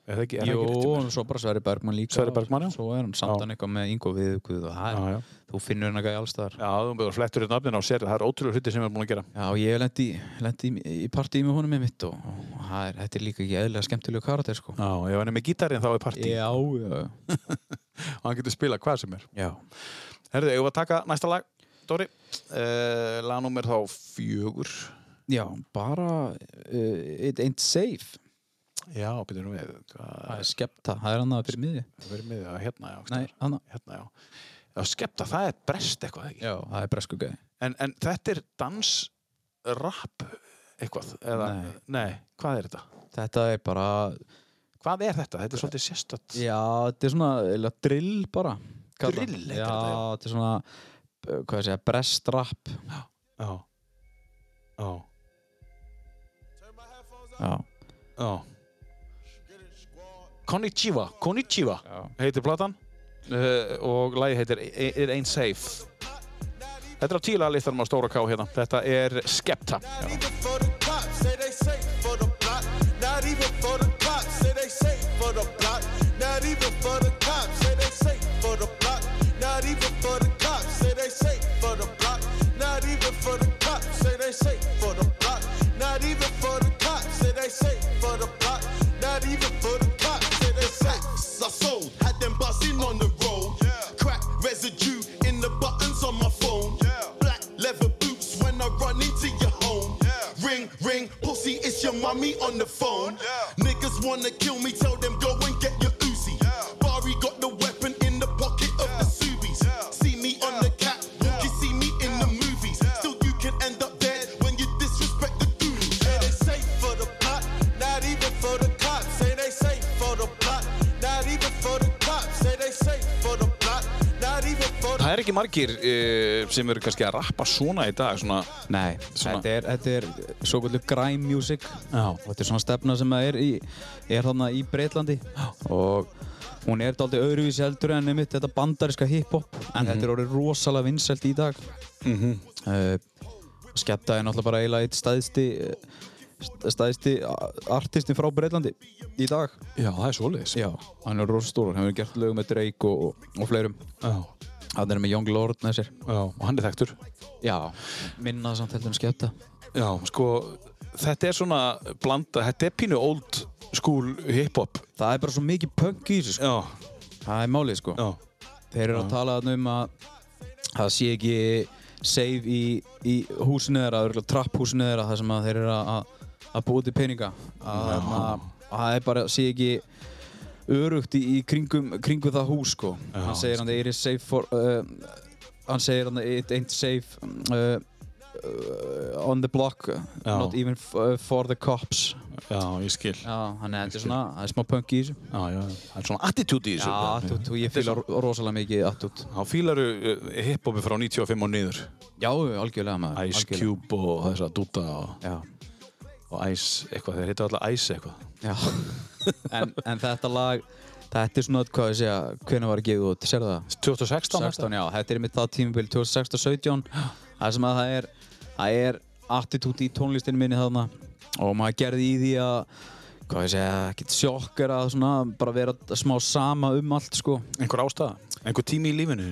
Speaker 1: Er það ekki, er það
Speaker 3: Jó,
Speaker 1: ekki rétt hjá mér?
Speaker 3: og svo bara Sverri Bergman líka.
Speaker 1: Sverrir Bergmann, já.
Speaker 3: Svo er hann samt
Speaker 1: Já.
Speaker 3: hann eitthvað með Ingo Viðugvið og það er,
Speaker 1: Já, já.
Speaker 3: þú finnur hann eitthvað í allstaðar.
Speaker 1: Já, þú byrður flettur hérna öfnin á sér Það er ótrúlega hluti sem hann er búin að gera
Speaker 3: Já, ég lendi, lendi í, í partíi með honum með mitt og, og það er, þetta er líka ekki eðlilega skemmtilegu karakter sko.
Speaker 1: Já, ef hann er með gítarinn þá er partí
Speaker 3: Já, já,
Speaker 1: og hann getur spilað hvað sem er
Speaker 3: já.
Speaker 1: Herðu, eigum við að taka næsta lag, Dóri uh, Lagnúmer þá fjögur
Speaker 3: Já, bara uh, it ain't safe.
Speaker 1: Já, byrjum við Hvað
Speaker 3: Það er skepta, það er hann að fyrir miði.
Speaker 1: verður með það hérna, já, einhvers
Speaker 3: Nei,
Speaker 1: staðar.
Speaker 3: hann
Speaker 1: hérna, já. já skepta, það er brest eitthvað ekki
Speaker 3: Já, það er bresku gæði.
Speaker 1: en, en þetta er dans, rap eitthvað eða,
Speaker 3: Nei.
Speaker 1: hvað er þetta?
Speaker 3: Þetta er bara,
Speaker 1: Hvað er þetta? Þetta er svolítið sérstött
Speaker 3: já, þetta er svona eða, drill bara. kallað.
Speaker 1: Drill heitir
Speaker 3: Já,
Speaker 1: þetta, já.
Speaker 3: þetta er svona, uh, hvað ég segja, brestrapp.
Speaker 1: Já, já,
Speaker 3: Já.
Speaker 1: já Konnichiwa, Konnichiwa heitir platan uh, og lagi heitir It Ain't Safe Þetta er á tíla listanum á Stóra K hérna Þetta er Skepta
Speaker 8: Not even for the cops, say they safe for the block. Not even for the cops, say they safe for the block. Not even for the cops, say they safe for the block. Not even for the cops, say they safe for the block. Not even for the cops, say they safe for the block. Not even for the cops, say they safe for the block. Not even for the cops, say they safe. I sold, had them buzzing on the road. Crack residue in the buttons on my phone. Black leather boots when I run into your home. Ring, ring, pussy, it's your mommy on the phone. Niggas wanna kill me, tell them go and get your Uzi. Barry got the weapon in the pocket of the Subies. See me on the cat, you can see me in the movies. Still, you can end up dead when you disrespect the goonies. Say they safe for the plot, not even for the cops. Say they safe for the plot, not even for the cops. Say they safe for the plot, not even for the
Speaker 1: Það er ekki margir uh, sem eru kannski að rappa svona í dag svona.
Speaker 3: Nei,
Speaker 1: Svona-
Speaker 3: þetta er, þetta er svo kvöldu grime music
Speaker 1: Já.
Speaker 3: og þetta er svona stefna sem að er í, er þarna í Breitlandi og hún er daldið öðruvísi heldur en einmitt þetta bandariska hiphop en
Speaker 1: Mhm.
Speaker 3: þetta er orðið rosalega vinsælt í dag mm -hmm. Skepta er náttúrulega bara eiginlega eitt eh, stæðsti stæðsti artistin frá Breitlandi í dag
Speaker 1: Já, það er svoleiðis
Speaker 3: Já, hann er rosastúr, hann hefur gert lögum með Drake og, og, og fleirum
Speaker 1: Já.
Speaker 3: hann er með Young Lord með sér
Speaker 1: Já, og hann er þekktur
Speaker 3: Já, minna samt heldur en skepta
Speaker 1: Já, sko, þetta er svona blanda, þetta er pínu old school hip-hop
Speaker 3: Það er bara svo mikið punk í þessu sko.
Speaker 1: Já,
Speaker 3: Það er málið sko.
Speaker 1: já,
Speaker 3: Þeir eru að tala þarna um að það sé ekki save í, í húsinu þeirra, örugglega trapp húsinu þeirra þar sem að þeir eru að, að, að búa til peninga. Að þarna- að Það er bara sé ekki örugt í, í kringum, kringum það hús sko. hann segir hann it is safe for uh, hann segir hann it ain't safe uh, uh, on the block not even f- uh, for the cops
Speaker 1: já, ég skil Já,
Speaker 3: Já, hann er þetta er svona, það er smá punk í þessu
Speaker 1: já, það er svona attitude í þessu
Speaker 3: Já, attút, og ég fýla rosalega mikið attút.
Speaker 1: Þá fílaru uh, hip-hopi frá 95 og niður
Speaker 3: Já, algjörlega maður.
Speaker 1: Ice
Speaker 3: algjörlega.
Speaker 1: Cube og þess að Duda og,
Speaker 3: Já.
Speaker 1: og Ice eitthvað, þeir hittu alltaf Ice eitthvað
Speaker 3: Já. en, en þetta lag, þetta er svona, hvað ég segja, hvernig var að gefa út, sérðu það?
Speaker 1: 2016
Speaker 3: 16, já, þetta er mitt það tímabil 2016-17, það sem að það er, það er attitút í tónlistinni minni þarna og maður gerði í því að hvað ég segja, ekkert sjokkera svona, bara vera smá sama um allt sko
Speaker 1: Einhver ástæða? Einhver tími í lífinu?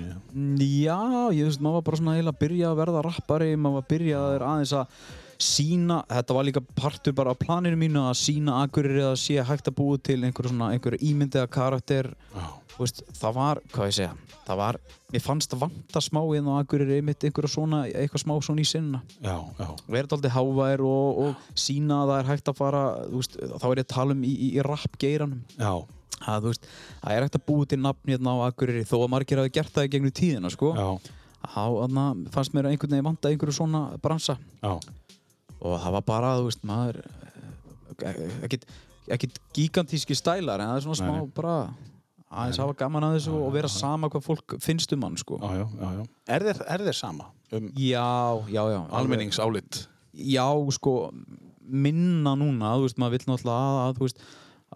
Speaker 3: Já, ég veist, maður var bara svona eiginlega að byrja að verða rappari, maður var að byrja að aðeins að sína, þetta var líka partur bara af planinu mínu að sína akkurir eða sé hægt að búa til einhver svona, einhver ímyndiða karakter Þú veist, það var, hvað ég segja, það var mér fannst að vanta smá inn á akkurir einmitt einhverja svona, eitthvað smá svona í sinnuna
Speaker 1: Já, já.
Speaker 3: verða aldrei hávær og, og sína að það er hægt að fara, þú veist, þá er ég að tala um í, í, í rappgeiranum
Speaker 1: Já.
Speaker 3: að þú veist, það er hægt að búi til nafn hérna á Akureyri þó að margir hafi gert það í gegnum tíðina sko
Speaker 1: Já.
Speaker 3: þá þarna fannst mér einhvern veginn vanda einhverju svona bransa
Speaker 1: Já.
Speaker 3: og það var bara, þú veist, maður eh, ekkit, ekkit gigantíski stælar en það er svona smá bara aðeins hafa gaman að þessu og vera sama hvað fólk finnst um hann sko
Speaker 1: Já, já, já, já. Er þér, er þér sama um
Speaker 3: já, já, já alveg.
Speaker 1: almenningsálit?
Speaker 3: já, sko, minna núna þú veist, maður vill náttúrulega að, að þú veist,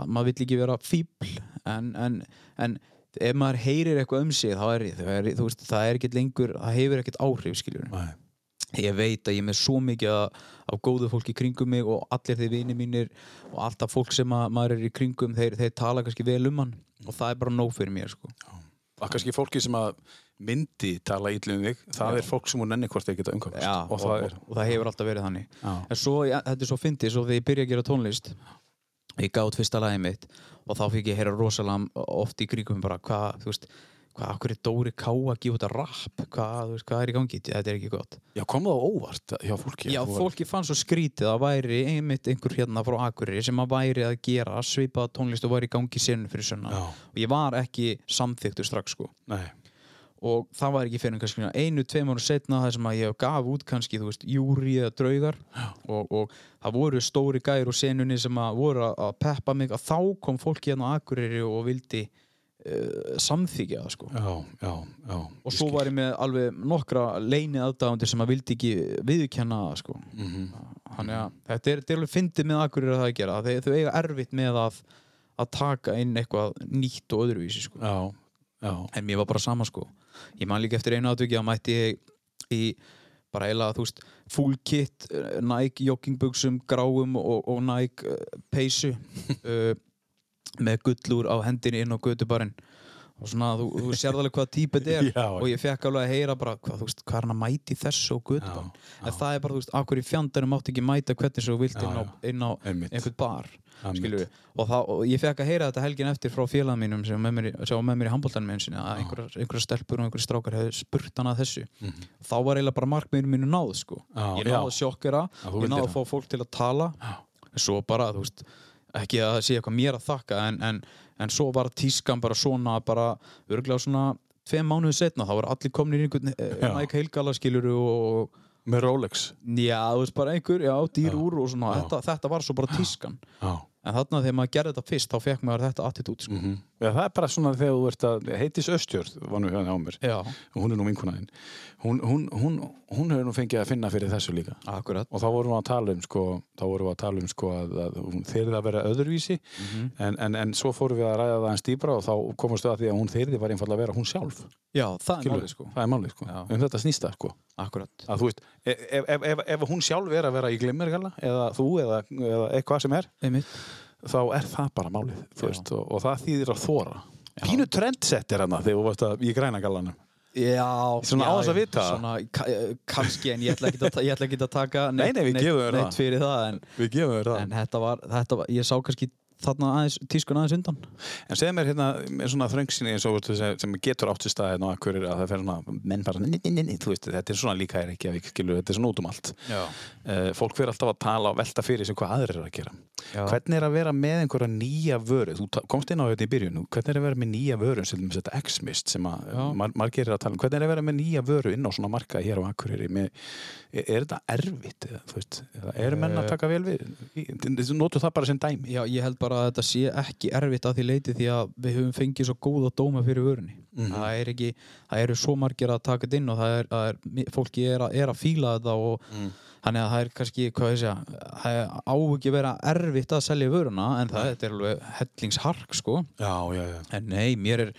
Speaker 3: að maður vill ekki vera fíbl en, en, en ef maður heyrir eitthvað um sig, þá er, þá er þú veist, það er ekkert lengur, það hefur ekkert áhrif skiljur,
Speaker 1: Nei.
Speaker 3: ég veit að ég er með svo mikið af, af góðu fólki í kringum mig og allir þeir vini mínir og alltaf fólk sem að, maður er í kringum þeir, þeir tala kannski vel um hann og það er bara nóg fyrir mér, sko
Speaker 1: að kannski fólki sem að myndi tala ítlu um þig, það er fólk sem hún nenni hvort þeir geta umkvæmst
Speaker 3: Já,
Speaker 1: og það er
Speaker 3: og það hefur alltaf verið þannig en svo, ja, þetta er svo fyndið, svo þegar ég byrja að gera tónlist ég gátt fyrsta lagið mitt og þá fikk ég heyra rosalega oft í kringum bara hvað, þú veist hvað, okkur er Dóri Ká að gefa út að rap hvað, þú veist, hvað er í gangi, þetta er ekki gott
Speaker 1: Já, kom það á óvart hjá fólki
Speaker 3: já,
Speaker 1: Þú var-
Speaker 3: fólki fann svo skrítið að væri einmitt einhver hérna frá Akureyri sem að væri að gera svipaða tónlist og væri í gangi sinn fyrir sunna
Speaker 1: Já.
Speaker 3: og ég var ekki samþyktur strax sko
Speaker 1: Nei,
Speaker 3: og það var ekki fyrir kannski einu, tveim ára setna það sem að ég gaf út kannski, þú veist, júri eða draugar og, og það voru stóri gæri og senunni sem að voru að- að peppa mig að þá kom fólk hérna á Akureyri og vildi uh, samþykja það sko
Speaker 1: já, já, já
Speaker 3: og svo var ég með alveg nokkra leini aðdáðandi sem að vildi ekki viðurkenna það sko
Speaker 1: Mhm.
Speaker 3: þannig að þetta er, þetta er alveg fyndið með Akureyri að það að gera þeir, þau eiga erfitt með að, að taka inn eitthvað nýtt og öðruvísi sko
Speaker 1: Já, já,
Speaker 3: en mér var bara sama sko ég man líka eftir einu aðtöki að mætti ég í bara eiginlega, þú veist, full kit eh, Nike joggingbuksum, gráum og, og Nike uh, peysu uh, með gullur á hendinni inn á gödubarinn og svona, þú, þú sér alveg hvað típa þetta er
Speaker 1: Já.
Speaker 3: og ég fekk alveg að heyra bara, hvað, þú veist, hvað er hann að mæti þessu á gödubarinn en það er bara, þú veist, akkur í fjandarum mátt ekki mæta hvernig svo þú vilt inn á, inn á
Speaker 1: Einmitt.
Speaker 3: einhvern bar
Speaker 1: Einmitt.
Speaker 3: skilur við og, það, og ég fekk að heyra þetta helgin eftir frá félag mínum sem var með mér, sem var með mér í handbóltanum einu sinni að einhverjar einhverja stelpur og einhverjar strákar hefðu spurt hann að þessu þá var eiginlega bara markmiðinu mínu náð sko.
Speaker 1: Mhm. Já,
Speaker 3: ég náði að sjokkera,
Speaker 1: þú
Speaker 3: ég
Speaker 1: vildir
Speaker 3: náði að
Speaker 1: það.
Speaker 3: fá fólk til að tala En svo bara, þú veist ekki að það sé eitthvað mér að þakka en, en, en svo var tískan bara svona bara örglega svona tveim mánuðu setna þá var allir komnir í einhvern eh, Nike heilgala skilur og,
Speaker 1: með Rolex
Speaker 3: Já, þú veist bara einhver, já, dýr úr og svona, þetta, þetta var svo bara tískan
Speaker 1: Já
Speaker 3: en þarna þegar maður gerði þetta fyrst þá fekk maður þetta attitút sko.
Speaker 1: Já, það er bara svona þegar þú ert að heitis Östjörð var nú hérna á mér
Speaker 3: Já,
Speaker 1: hún er nú vinkunaðinn hún, hún, hún, hún hefur nú fengið að finna fyrir þessu líka
Speaker 3: akkurat
Speaker 1: og þá vorum við að tala um sko, þá vorum við að tala um sko að, að hún þyrði að vera öðruvísi
Speaker 3: Mhm.
Speaker 1: en, en, en svo fórum við að ræða það eins dýbra og þá komumst við að því að hún þyrði var einfallega að vera hún sjálf
Speaker 3: Já, það er
Speaker 1: skilurðu?
Speaker 3: málið sko,
Speaker 1: það er málið sko,
Speaker 3: Já.
Speaker 1: um þetta snýsta sko
Speaker 3: akkurat
Speaker 1: að þú veist, ef, ef, ef, ef hún sjálf er að vera í glimmergalla eða þú eða, eða eitthvað sem er
Speaker 3: Einmitt.
Speaker 1: þá er það bara málið þú veist, og, og það þýðir að þóra Pínu trendset er hana þegar þú varst að í grænagallanum
Speaker 3: Já,
Speaker 1: Svona
Speaker 3: já,
Speaker 1: á þess að vita það.
Speaker 3: svona, ka eh, Kannski, en ég ætla ekki að, ta- ég ætla ekki að taka
Speaker 1: Nei, nei, við gefum þér
Speaker 3: neitt
Speaker 1: það.
Speaker 3: fyrir það en,
Speaker 1: Við gefum þér
Speaker 3: en þetta, var, þetta var, ég sá kannski þarna aðeins, tískun aðeins undan
Speaker 1: En segð mér hérna, með svona þröngsinni eins og þú veist, sem sem getur átt í staðin og akkur að það fer svona, menn bara nin, nin, nin, þú veist, þetta er svona líka er ekki að við skilur, þetta er svona út um allt. Uh, fólk fer alltaf að tala og velta fyrir sem hvað aðrir er að gera.
Speaker 3: Já.
Speaker 1: Hvernig er að vera með einhverja nýja vöru? Þú ta- komst inn á þetta í byrjun, hvernig er að vera með nýja vöru sem þetta X-mist sem að mar margir er að tala um? Hvernig er að vera með nýja vöru inn á svona marka hér á Akureyri? Með, er, er þetta erfitt? Eða, þú veist, eða, er menn að taka vel við? Nótu það bara sem dæmi?
Speaker 3: Já, ég held bara að þetta sé ekki erfitt að því leiti því að við höfum fengið svo góða dóma fyrir vörunni. Það er ekki, það eru svo margir að taka þetta inn og það er, það er mi- fólki er að, er að fíla þetta og þannig að það er kannski, hvað ég segja, það er á ekki að vera erfitt að selja vöruna en það þetta er alveg hellingshark, sko.
Speaker 1: Já, já, já.
Speaker 3: En nei, mér er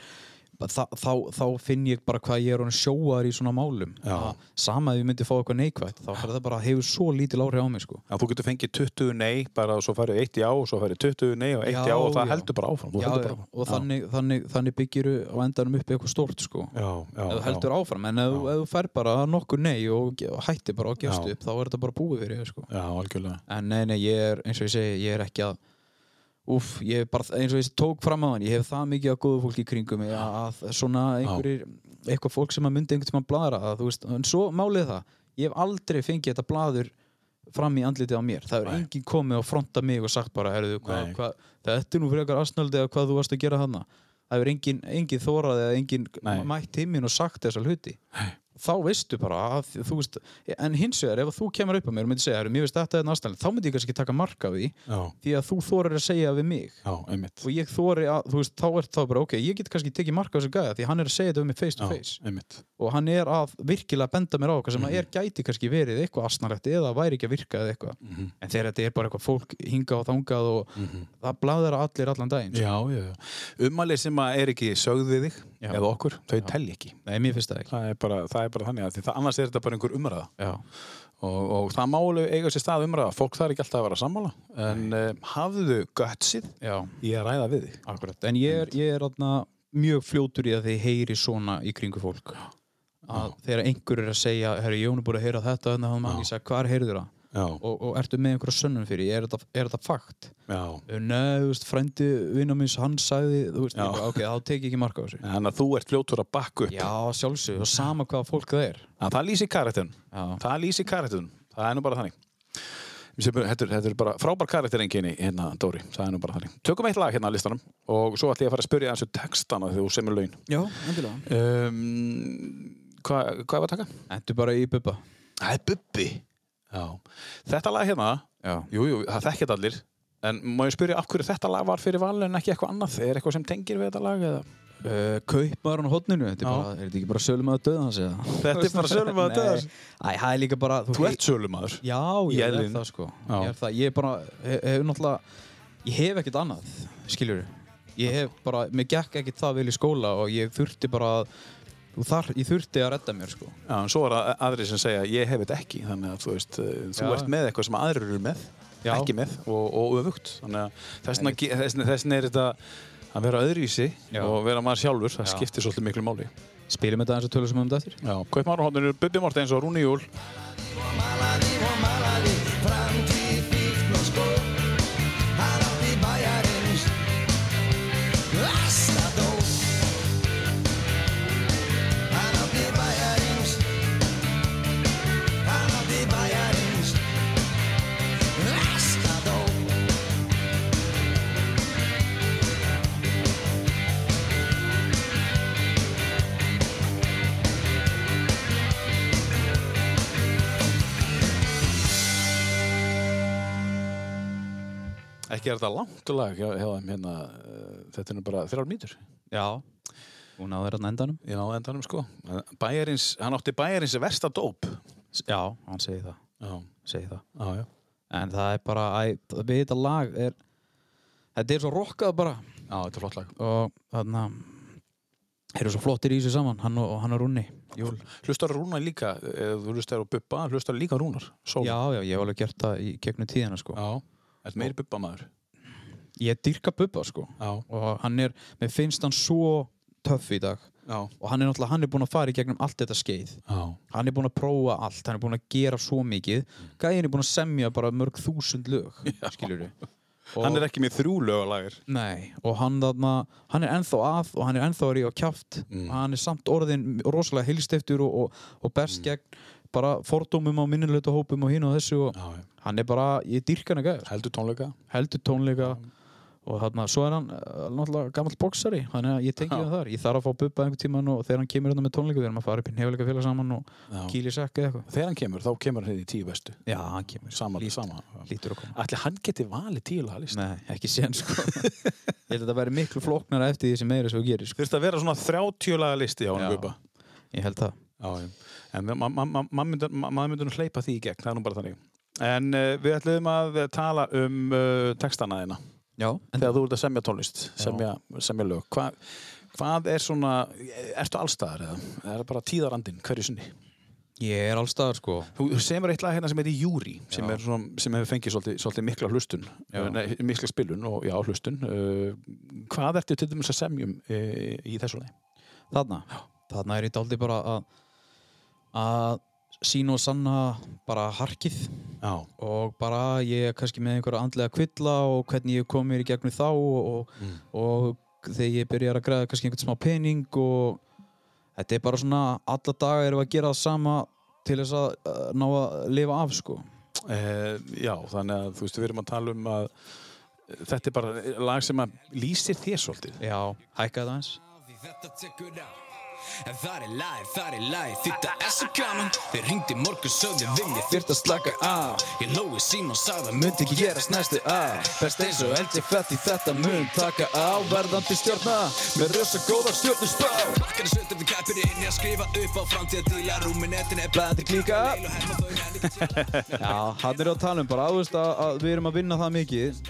Speaker 3: þá, þá, þá finn ég bara hvað ég er orðinn sjóaður í svona málum
Speaker 1: Já.
Speaker 3: Að sama ef ég myndi fá eitthvað neikvætt þá fyrir það bara hefur svo lítil áhrif á mig sko.
Speaker 1: En þú getur fengið 20 nei, bara og svo færið eitt já og svo færið 20 nei og eitt já,
Speaker 3: Já,
Speaker 1: og það
Speaker 3: já.
Speaker 1: heldur bara áfram. þú
Speaker 3: já,
Speaker 1: heldur
Speaker 3: já,
Speaker 1: bara áfram.
Speaker 3: og þannig, þannig, þannig byggiru á endanum upp eitthvað stórt sko.
Speaker 1: Já, já,
Speaker 3: ef þú heldur áfram, en ef, þú- ef þú fær bara nokkur nei og, ge- og hættir bara að gefst
Speaker 1: Já.
Speaker 3: upp þá er þetta bara búið fyrir þér sko.
Speaker 1: Já, algjörlega.
Speaker 3: en nei, nei, ég er, eins og ég segi, ég er ekki að Úf, ég er bara, eins og ég tók fram á hann ég hef það mikið að góðu fólki í kringum mig að, að svona einhverjir eitthvað fólk sem að myndi einhvern tímann bladra að, þú veist, en svo málið það, ég hef aldrei fengið þetta bladur fram í andlitið á mér það er enginn komið og fronta mig og sagt bara herðu, hva,
Speaker 1: Nei.
Speaker 3: hva, þetta er nú frekar asnöldi eða hvað þú varst að gera hana það er enginn engin þórað eða enginn
Speaker 1: Nei.
Speaker 3: mætt heiminn og sagt þessa hluti þá veistu bara að þú veist en hins vegar ef þú kemur upp á mér og myndir segja "Herru, mér veist þetta er náttúrulega þá myndi ég kannski taka marka því
Speaker 1: Já,
Speaker 3: því að þú þorir að segja við mig
Speaker 1: já, einmitt.
Speaker 3: og ég þori að þú veist þá er það bara ok ég get kannski tekið marka á þessu gæða því hann er að segja þetta við mig face to
Speaker 1: Já,
Speaker 3: face
Speaker 1: einmitt.
Speaker 3: og hann er að virkilega benda mér á eitthvað sem
Speaker 1: Mhm.
Speaker 3: mm er gæti kannski verið eitthvað asnalegt eða væri ekki að virka eða eitthvað
Speaker 1: Mhm.
Speaker 3: en þegar þetta er bara eitthvað fólk hinga og þangað og það blæðir að allir allan daginn sko.
Speaker 1: Já, já, já. Ummæli sem að er ekki sögð við þig
Speaker 3: Já.
Speaker 1: eða okkur, þau telli ekki.
Speaker 3: nei, mér finnst það ekki
Speaker 1: Það er bara, það er bara þannig að því það, annars er þetta bara einhver umræða.
Speaker 3: já,
Speaker 1: og, og það málu eiga sér stað umræða fólk þarf ekki alltaf að vera sammála en um, hafðu götsið
Speaker 3: já,
Speaker 1: í að ræða við þig
Speaker 3: akkurat en ég er, ég er atna, mjög fljótur í að þið heyri svona í kringu fólk að þegar einhver er að segja herri, Jón er búin að heyra þetta þannig að hann mann ég sagði, hvar heyrður það
Speaker 1: já,
Speaker 3: og, og ertu með einhverja sönnum fyrir, því? er þetta, er þetta fakt "Eh,
Speaker 1: já.
Speaker 3: Nei, þú veist, frændi vinnamins, hann sagði, þú veist,
Speaker 1: Já.
Speaker 3: ég bara, ok, þá tek ég ekki marka á þessu.
Speaker 1: þannig að þú ert fljótur að bakka upp
Speaker 3: Já, sjálfsög, og sama hvaða fólk það er.
Speaker 1: að það lýsir karakterin
Speaker 3: Já.
Speaker 1: það lýsir karakterin, það er nú bara þannig Ég sé bara- Þetta er, þetta er bara frábær karakter einkenni hérna Dóri, það er nú bara þannig Tökum eitt lag hérna að listanum og svo ætlum ég að fara að spyrja þessu textana þegar þú semur laun
Speaker 3: Já, endilega.
Speaker 1: um, Hvað hva var að taka?
Speaker 3: Endur bara í bubba.
Speaker 1: Það er Bubbi Já. Þetta lag hérna
Speaker 3: Já.
Speaker 1: Jú, jú, það þekkja þetta allir En má ég spyrja af hverju þetta lag var fyrir val en ekki eitthvað annað? Er eitthvað sem tengir við þetta lag? Eða?
Speaker 3: Uh, Kaupmaður á hodninu, þetta er, bara, er þetta ekki bara sölum að döða hans eða?
Speaker 1: Þetta er bara sölumaður dauða hans.
Speaker 3: Nei. Æ, það er líka bara,
Speaker 1: Þú ert sölumadur
Speaker 3: Já,
Speaker 1: Í
Speaker 3: ég er
Speaker 1: eðlinu.
Speaker 3: það sko.
Speaker 1: Já.
Speaker 3: Ég er það, ég er bara, he- hefur náttúrulega, ég hef ekkert annað, skiljur. Ég hef bara, mér gekk ekkert það vel í skóla og ég þurfti bara, að- og þar, ég þurfti að redda mér sko.
Speaker 1: Já, en svo er að- aðrir sem segja ég hef þetta ekki þannig að þú veist, eh, þú
Speaker 3: Já.
Speaker 1: ert með eitthvað sem aðrir eru með
Speaker 3: Já.
Speaker 1: ekki með og, og öfugt þannig að þessna, þessna, þessna er þetta að vera öðruvísi
Speaker 3: Já.
Speaker 1: og vera maður sjálfur það
Speaker 3: Já.
Speaker 1: skiptir svolítið miklu máli
Speaker 3: Spilum þetta eins og tölum sem um þetta eftir.
Speaker 1: Já, Kaupmárahóndinu, Bubbi Mortens og Rúni Júl Ekki er þetta langt lag hjá, hjá, þeim, hérna, eh, þetta er nú bara þrjár mýtur
Speaker 3: Já Hún náður hann endanum
Speaker 1: Já, endanum sko. Bæjarins, hann átti bæjarins versta dóp.
Speaker 3: S- Já, hann segi það,
Speaker 1: Já,
Speaker 3: segi það.
Speaker 1: já, já.
Speaker 3: En það er bara, æ, það- við þetta lag er Þetta er svo rokkað bara
Speaker 1: Já, þetta er flott lag.
Speaker 3: Og þarna Eru svo flottir í þessu saman, hann og, og hann og Rúni Júl
Speaker 1: Hlustar Rúnar líka, ef þú hlustar á Bubba, hlustar líka á Rúnar. Sól.
Speaker 3: Já, já, ég hef alveg gert það í gegnum tíðina sko
Speaker 1: Já. Þetta meiri Bubba maður.
Speaker 3: Ég dyrka Bubba sko
Speaker 1: Já.
Speaker 3: Og hann er, mér finnst hann svo töff í dag
Speaker 1: Já.
Speaker 3: Og hann er náttúrulega, hann er búinn að fara í gegnum allt þetta skeið
Speaker 1: Já.
Speaker 3: Hann er búinn að prófa allt, hann er búinn að gera svo mikið Gæin er búinn að semja bara mörg þúsund lög Skiljur
Speaker 1: Hann er ekki með þrjú lögalager.
Speaker 3: Nei, og hann þarna, hann er ennþá að og hann er ennþá að ríða á kjátt
Speaker 1: Mm.
Speaker 3: hann er samt orðin rosalega heilstiftur og, og, og
Speaker 1: Mm.
Speaker 3: best gegn bara fordómum á minnilegta hópum og hinn og þessu og
Speaker 1: Já, já.
Speaker 3: hann er bara, ég dýrk hann að gæða
Speaker 1: Heldur tónleika.
Speaker 3: heldur tónleika og þarna, svo er hann uh, náttúrulega gammal boksari þannig að ég tengi hann þar, ég þarf að fá bubba einhvern tíman og þegar hann kemur hérna með tónleika við erum að fara upp í nefnilega félag saman og
Speaker 1: Já.
Speaker 3: kýli sekk eða eitthvað
Speaker 1: Þegar hann kemur, þá kemur hann í tíu bestu.
Speaker 3: Já, hann kemur,
Speaker 1: Sama,
Speaker 3: Lít-
Speaker 1: sama.
Speaker 3: lítur að koma
Speaker 1: Ætli hann geti valið tíu lagalist.
Speaker 3: Nei, ekki sén sko Ég held að þetta væri miklu flóknara eftir því sem meira svo gerir sko.
Speaker 1: Þurfti að vera svona 30 lagalisti á hann
Speaker 3: Já.
Speaker 1: Bubba.
Speaker 3: Ég held það
Speaker 1: Já, já. En maður ma ma ma myndi, ma maður myndi nú hleypa því í gegn, það er nú bara þannig. En uh, við ætlum að tala um uh, textana þína.
Speaker 3: Já, en
Speaker 1: Þegar þú ert að semja tónlist, semja, semja lög. Hva, Hvað er svona, ertu allstaðar eða? Eða Er það bara tíðarandinn hverju sinni?
Speaker 3: Ég er allstaðar sko
Speaker 1: Þú þú semur eitt lag hérna sem heitir Júri sem, er svona, sem hefur fengið svolítið, svolítið mikla hlustun eh,
Speaker 3: Já.
Speaker 1: nei, mikla spilun og já, hlustun uh, Hvað ertu til dæmis að semjum uh, í þessu lagi?
Speaker 3: Þarna, þarna er ég daldi bara að að sína og sanna bara harkið
Speaker 1: Já,
Speaker 3: og bara ég er kannski með einhverja andlega kvilla og hvernig ég kom mér í gegnum þá og, og, og þegar ég byrjar að græða kannski einhvern smá pening og þetta er bara svona alla daga erum við að gera það sama til þess að uh, ná að lifa af sko
Speaker 1: uh, já þannig að þú veist, við erum að tala um að Þetta er bara lag sem að lýsir þér svolítið.
Speaker 3: Já, hækka það eins
Speaker 2: Því þetta tekur á En það er live, það er live, þetta er svo gaman Þeir ringdi morgun sögðu við mér þyrft að slaka á Ég lói síma og sagði að myndi ekki gerast næstu á Best eins og eldi fett í þetta mun taka á Verðandi stjórna með rösa góða stjórnusbá Bakkar er sötum við kæpirinn, ég skrifa upp á framtíða díla Rúmin etin er blæðir klíka
Speaker 3: Já, hann er að tala um bara, þú veist að, að við erum að vinna það mikið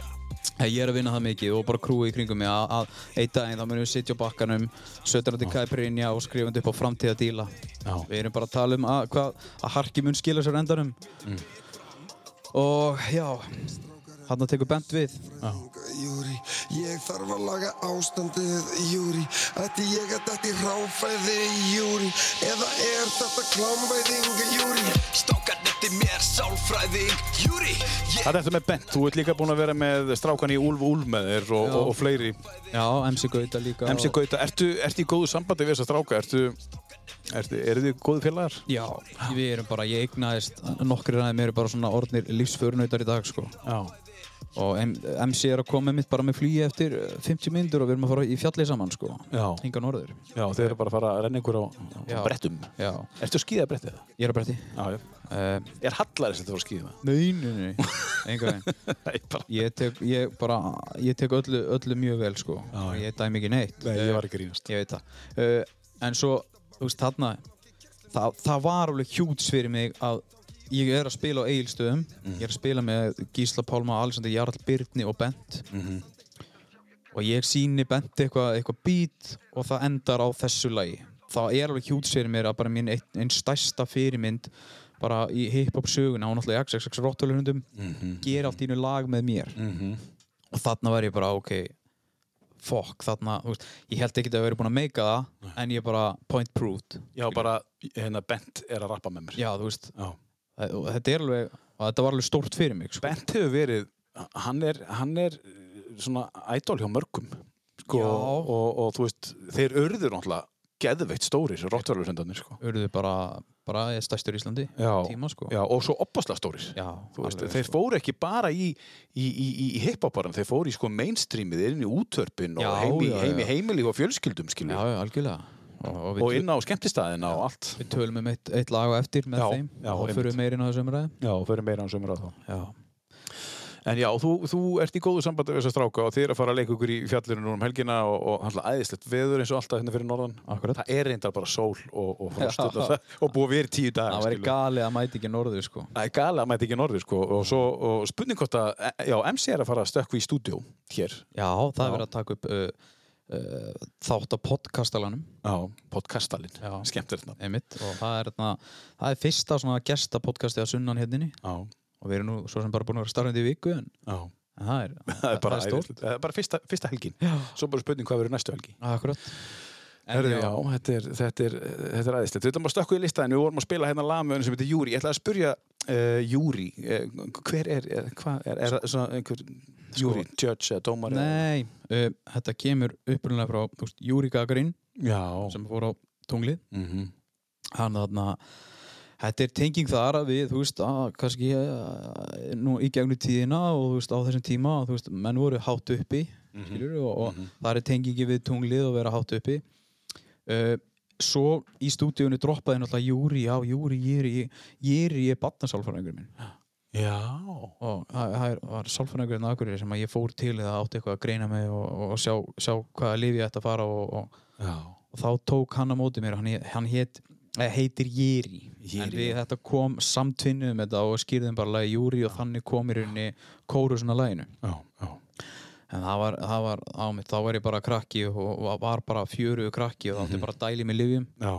Speaker 3: Eh, Ég er að vinna það mikið og bara krúi í kringum mig að, að einn daginn þá munum við sitja á bakkanum sötrandi kæpirinja og skrifandi upp á framtíða díla
Speaker 1: Já.
Speaker 3: Við erum bara að tala um að, hvað, að harki mun skila sér á endanum Og já, hann tekur bent við
Speaker 8: Júri, ég þarf að laga ástandið Júri, ætti ég að dætti ráfæði Júri, eða er þetta klámvæðing Júri
Speaker 2: Stokkar netti mér, sálfræðing, júri Ég
Speaker 1: Það er þetta með Bent, þú ert líka búin að vera með strákan í Úlf Úlf með þér og, og, og fleiri.
Speaker 3: Já, MC Gauta líka
Speaker 1: MC Gauta, ertu, ertu í góðu sambandi við þessa stráka? Ertu, ertu, eru þið góðu félagar?
Speaker 3: Já, við erum bara, ég eignaðist nokkri ræðum eru bara svona orðnir lífsförunautar í dag sko
Speaker 1: Já.
Speaker 3: og M- MC er að koma mitt bara með flugi eftir eh, 50 myndur og við erum að fara í fjallið saman sko
Speaker 1: Já.
Speaker 3: hinga norður
Speaker 1: Já, þið eru bara að fara að renna ykkur á, á
Speaker 3: Já.
Speaker 1: brettum.
Speaker 3: já,
Speaker 1: Ertu að skýða brettið?
Speaker 3: ég er að bretti
Speaker 1: Já, já.
Speaker 3: uh,
Speaker 1: Er hallarið sem þú fór að skýða?
Speaker 3: nei, nei, nei, enga veginn
Speaker 1: Nei, bara.
Speaker 3: ég tek, ég bara, ég tek öllu, öllu mjög vel sko já, ég dæmi ekki neitt Eh,
Speaker 1: Nei, ég var ekki grínast.
Speaker 3: ég veit það uh, en svo, þú veist, þarna það, það var alveg hjúts fyrir mig að ég er að spila á Egilstöðum ég er að spila með Gísla Pálma Alexander Jarl Birni og Bent og ég síni Bent eitthvað eitthva beat og það endar á þessu lagi það er alveg hjúts fyrir mér að bara mín einn ein stærsta fyrirmynd bara í hip-hop söguna, hún alltaf í XXX Rottulundum,
Speaker 1: Mhm.
Speaker 3: gera allt í einu lag með mér og þarna var ég bara, ok, fokk þarna, þú veist, ég held ekki að vera búin að meika það, en ég bara point proved,
Speaker 1: Já, bara, hérna, Bent er að rappa með mér.
Speaker 3: já þú veist
Speaker 1: Já.
Speaker 3: og þetta er alveg, og þetta var alveg stórt fyrir mig sko.
Speaker 1: Bent hefur verið, hann er, hann er eh, svona ædol hjá mörgum. Sko,
Speaker 3: Já.
Speaker 1: og, og, þú veist, þeir örður náttúrulega geðveitt stórir, rottverðursendarnir, sko.
Speaker 3: urðu bara, bara ég stæstur í Íslandi tíma sko
Speaker 1: Já, og svo oppasla stórir.
Speaker 3: Já,
Speaker 1: Þú veist,
Speaker 3: alveg,
Speaker 1: þeir
Speaker 3: sko.
Speaker 1: fóru ekki bara í, í, í, í, í hiphoparan, þeir fóru í sko mainstreamið, inn í útörpin og
Speaker 3: Já,
Speaker 1: heimi,
Speaker 3: já,
Speaker 1: heimi,
Speaker 3: já.
Speaker 1: heimili og fjölskyldum
Speaker 3: já,
Speaker 1: skilur,
Speaker 3: já, algjörlega og, og
Speaker 1: og
Speaker 3: við,
Speaker 1: inn á skemmtistæðina og allt
Speaker 3: við tölum um eitt, eitt lag á eftir með
Speaker 1: Já,
Speaker 3: þeim
Speaker 1: já,
Speaker 3: og
Speaker 1: einmitt.
Speaker 3: fyrir við meirinn á þessu umræði
Speaker 1: Já, og fyrir meira án sömur á þá
Speaker 3: já.
Speaker 1: En já, þú, þú ert í góðu sambandi við þessa stráka og þið er að fara að leika ykkur í fjallinu núna um helgina og, og handla æðislegt veður eins og alltaf hérna fyrir norðan
Speaker 3: Akkurat.
Speaker 1: Það er reyndar bara sól og, og, frost
Speaker 3: Já.
Speaker 1: og, það- og búið að vera í tíu dag
Speaker 3: það væri gali að mæti ekki norður sko
Speaker 1: Það er gala að mæta ekki norður sko og, svo, og spurning hvort að, e, já, MC er að fara að stökkvi í stúdíó hér
Speaker 3: já, það er verið að taka upp uh, uh, þátt á podcastalanum
Speaker 1: á podcastalinn,
Speaker 3: Já.
Speaker 1: skemmtir þetta
Speaker 3: einmitt, og það er, þarna- það er fyrsta svona gestapodcastið að sunnan hérna hérninni
Speaker 1: Já,
Speaker 3: og við erum nú svo sem bara búin að vera starfandi í viku en
Speaker 1: já
Speaker 3: en það er,
Speaker 1: Það er bara,
Speaker 3: það
Speaker 1: æðislegt. það er bara fyrsta, fyrsta helgin Svo bara spurning hvað verður næstu helgi
Speaker 3: Akkurat
Speaker 1: Herðu, já, þetta er, þetta er, þetta er aðeinslegt Við ætlum að stökku í listaðinu, við vorum að spila hérna lagmöðun sem heitir Júri Ég ætla að spurja uh, Júri uh, Hver er, er, hvað er, er það svona einhver Júri, judge eða dómar
Speaker 3: Nei, uh, þetta kemur upprunalega frá þú veist, Júri Gagarin
Speaker 1: Já,
Speaker 3: sem fór á tunglið
Speaker 1: mm
Speaker 3: hann þarna Þetta er tenging þar að við, þú veist, að kannski eh, nú í gegnum tíðina og þú veist, á þessum tíma, þú veist, menn voru hátt uppi, mm og, og það er tengingi við tunglið að vera hátt uppi. Uh, svo í stúdíunni droppaði náttúrulega Júri, já, Júri, Júri, Júri er batnarsálfræðingur minn.
Speaker 1: já
Speaker 3: og það það er, var sálfræðingurinn aðgurir sem að ég fór til eða átti eitthvað að greina mig og, og sjá, sjá hvaða lifi ég ætti að fara og, og,
Speaker 1: Já,
Speaker 3: og þá tók hann á móti mér hann, hann hét, eh, heitir Jiri en
Speaker 1: Jiri,
Speaker 3: við þetta kom samtvinnuðum þetta og skýrðum bara lagi Júri og þannig kom í rauninni kóru svona laginu
Speaker 1: já, já
Speaker 3: en það var, það var á mig, þá var ég bara krakki og, og var bara fjörugu krakki og þá átti bara að dæli með livjum
Speaker 1: Já,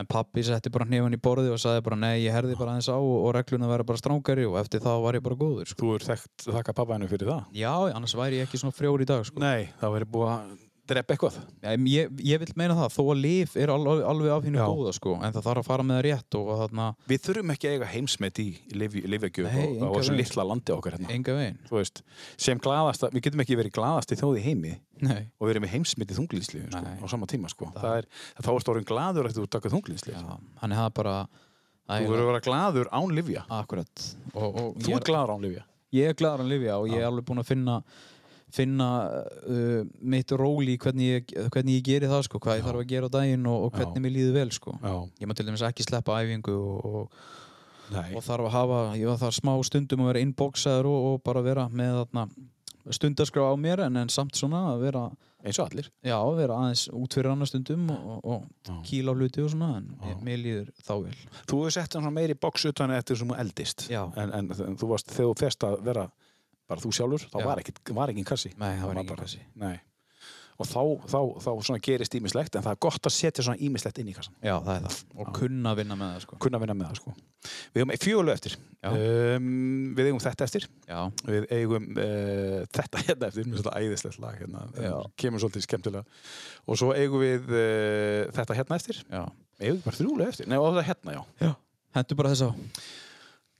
Speaker 3: en pappi setti bara hnefann í borði og sagði bara nei, ég herði bara aðeins á og, og regluna verði bara strángari og eftir þá var ég bara góður sko.
Speaker 1: þú er þekkt þakka pappa hennu fyrir það.
Speaker 3: já, annars væri ég ekki svona frjór í dag sko.
Speaker 1: Nei, það verður búið að drepa eitthvað.
Speaker 3: Em, ég, ég vil meina það, þó að líf er alveg, alveg af hinu
Speaker 1: Já.
Speaker 3: góða sko, en það þarf að fara með það rétt og þarna,
Speaker 1: Við þurfum ekki að eiga heimsmet í lifjagjöf
Speaker 3: Nei,
Speaker 1: á, á
Speaker 3: engan
Speaker 1: þessu
Speaker 3: veginn.
Speaker 1: litla landi okkar hérna.
Speaker 3: enga veginn
Speaker 1: Þú veist, sem glaðasta, við getum ekki verið glaðasti þjóð í heimi
Speaker 3: nei,
Speaker 1: og verið með heimsmyndi þunglýnsli sko,
Speaker 3: Nei.
Speaker 1: á sama tíma sko. Það er, þá er stórum glaður að þú taka þunglýnsli.
Speaker 3: já, hann er það bara
Speaker 1: Þú
Speaker 3: ægilega-
Speaker 1: verður að vera glaður án lifja.
Speaker 3: akkurat og, og
Speaker 1: Þú
Speaker 3: ég,
Speaker 1: er glaður án lifja.
Speaker 3: ég er gladur að lifja og ég er alveg búinn að finna finna uh, mitt róli í hvernig ég, hvernig ég geri það sko, hvað ég þarf að gera á daginn og, og hvernig mér líður vel sko.
Speaker 1: Já.
Speaker 3: ég má til dæmis ekki sleppa æfingu og, og
Speaker 1: Nei.
Speaker 3: og þarf að hafa, ég var þar smá stundum að vera inboxaður og, og bara vera með þarna, stundaskrá á mér en, en samt svona að vera
Speaker 1: Eins og allir.
Speaker 3: já, að vera aðeins út fyrir annar stundum og, og, og kýla á hluti og svona en mér, mér líður þá vel
Speaker 1: Þú hefur sett hann svona meiri boks utan eftir sem þú eldist.
Speaker 3: Já.
Speaker 1: En, en, en þú varst, þegar þú fest að vera bara þú sjálfur, þá
Speaker 3: Já.
Speaker 1: var, ekkit, var engin kassi.
Speaker 3: Nei, það var enginn
Speaker 1: bara-
Speaker 3: kassi.
Speaker 1: Nei. Og þá, þá, þá, svona gerist ímislegt, en það er gott að setja svona ímislegt inn í kassan.
Speaker 3: já, það er það, og kunna að vinna með það sko.
Speaker 1: Kunna vinna með það, sko. Við eigum fjögulega eftir.
Speaker 3: Já.
Speaker 1: Um, við eigum þetta eftir.
Speaker 3: já,
Speaker 1: Við eigum uh, þetta hérna eftir, mér finnst þetta æðislegt lag hérna.
Speaker 3: Já.
Speaker 1: Kemur svolítið skemmtilega. Og svo eigum við uh, þetta hérna eftir.
Speaker 3: já,
Speaker 1: Eigum við bara þrjúlega eftir. Nei, og þetta hérna, já.
Speaker 3: já. hendur bara þess á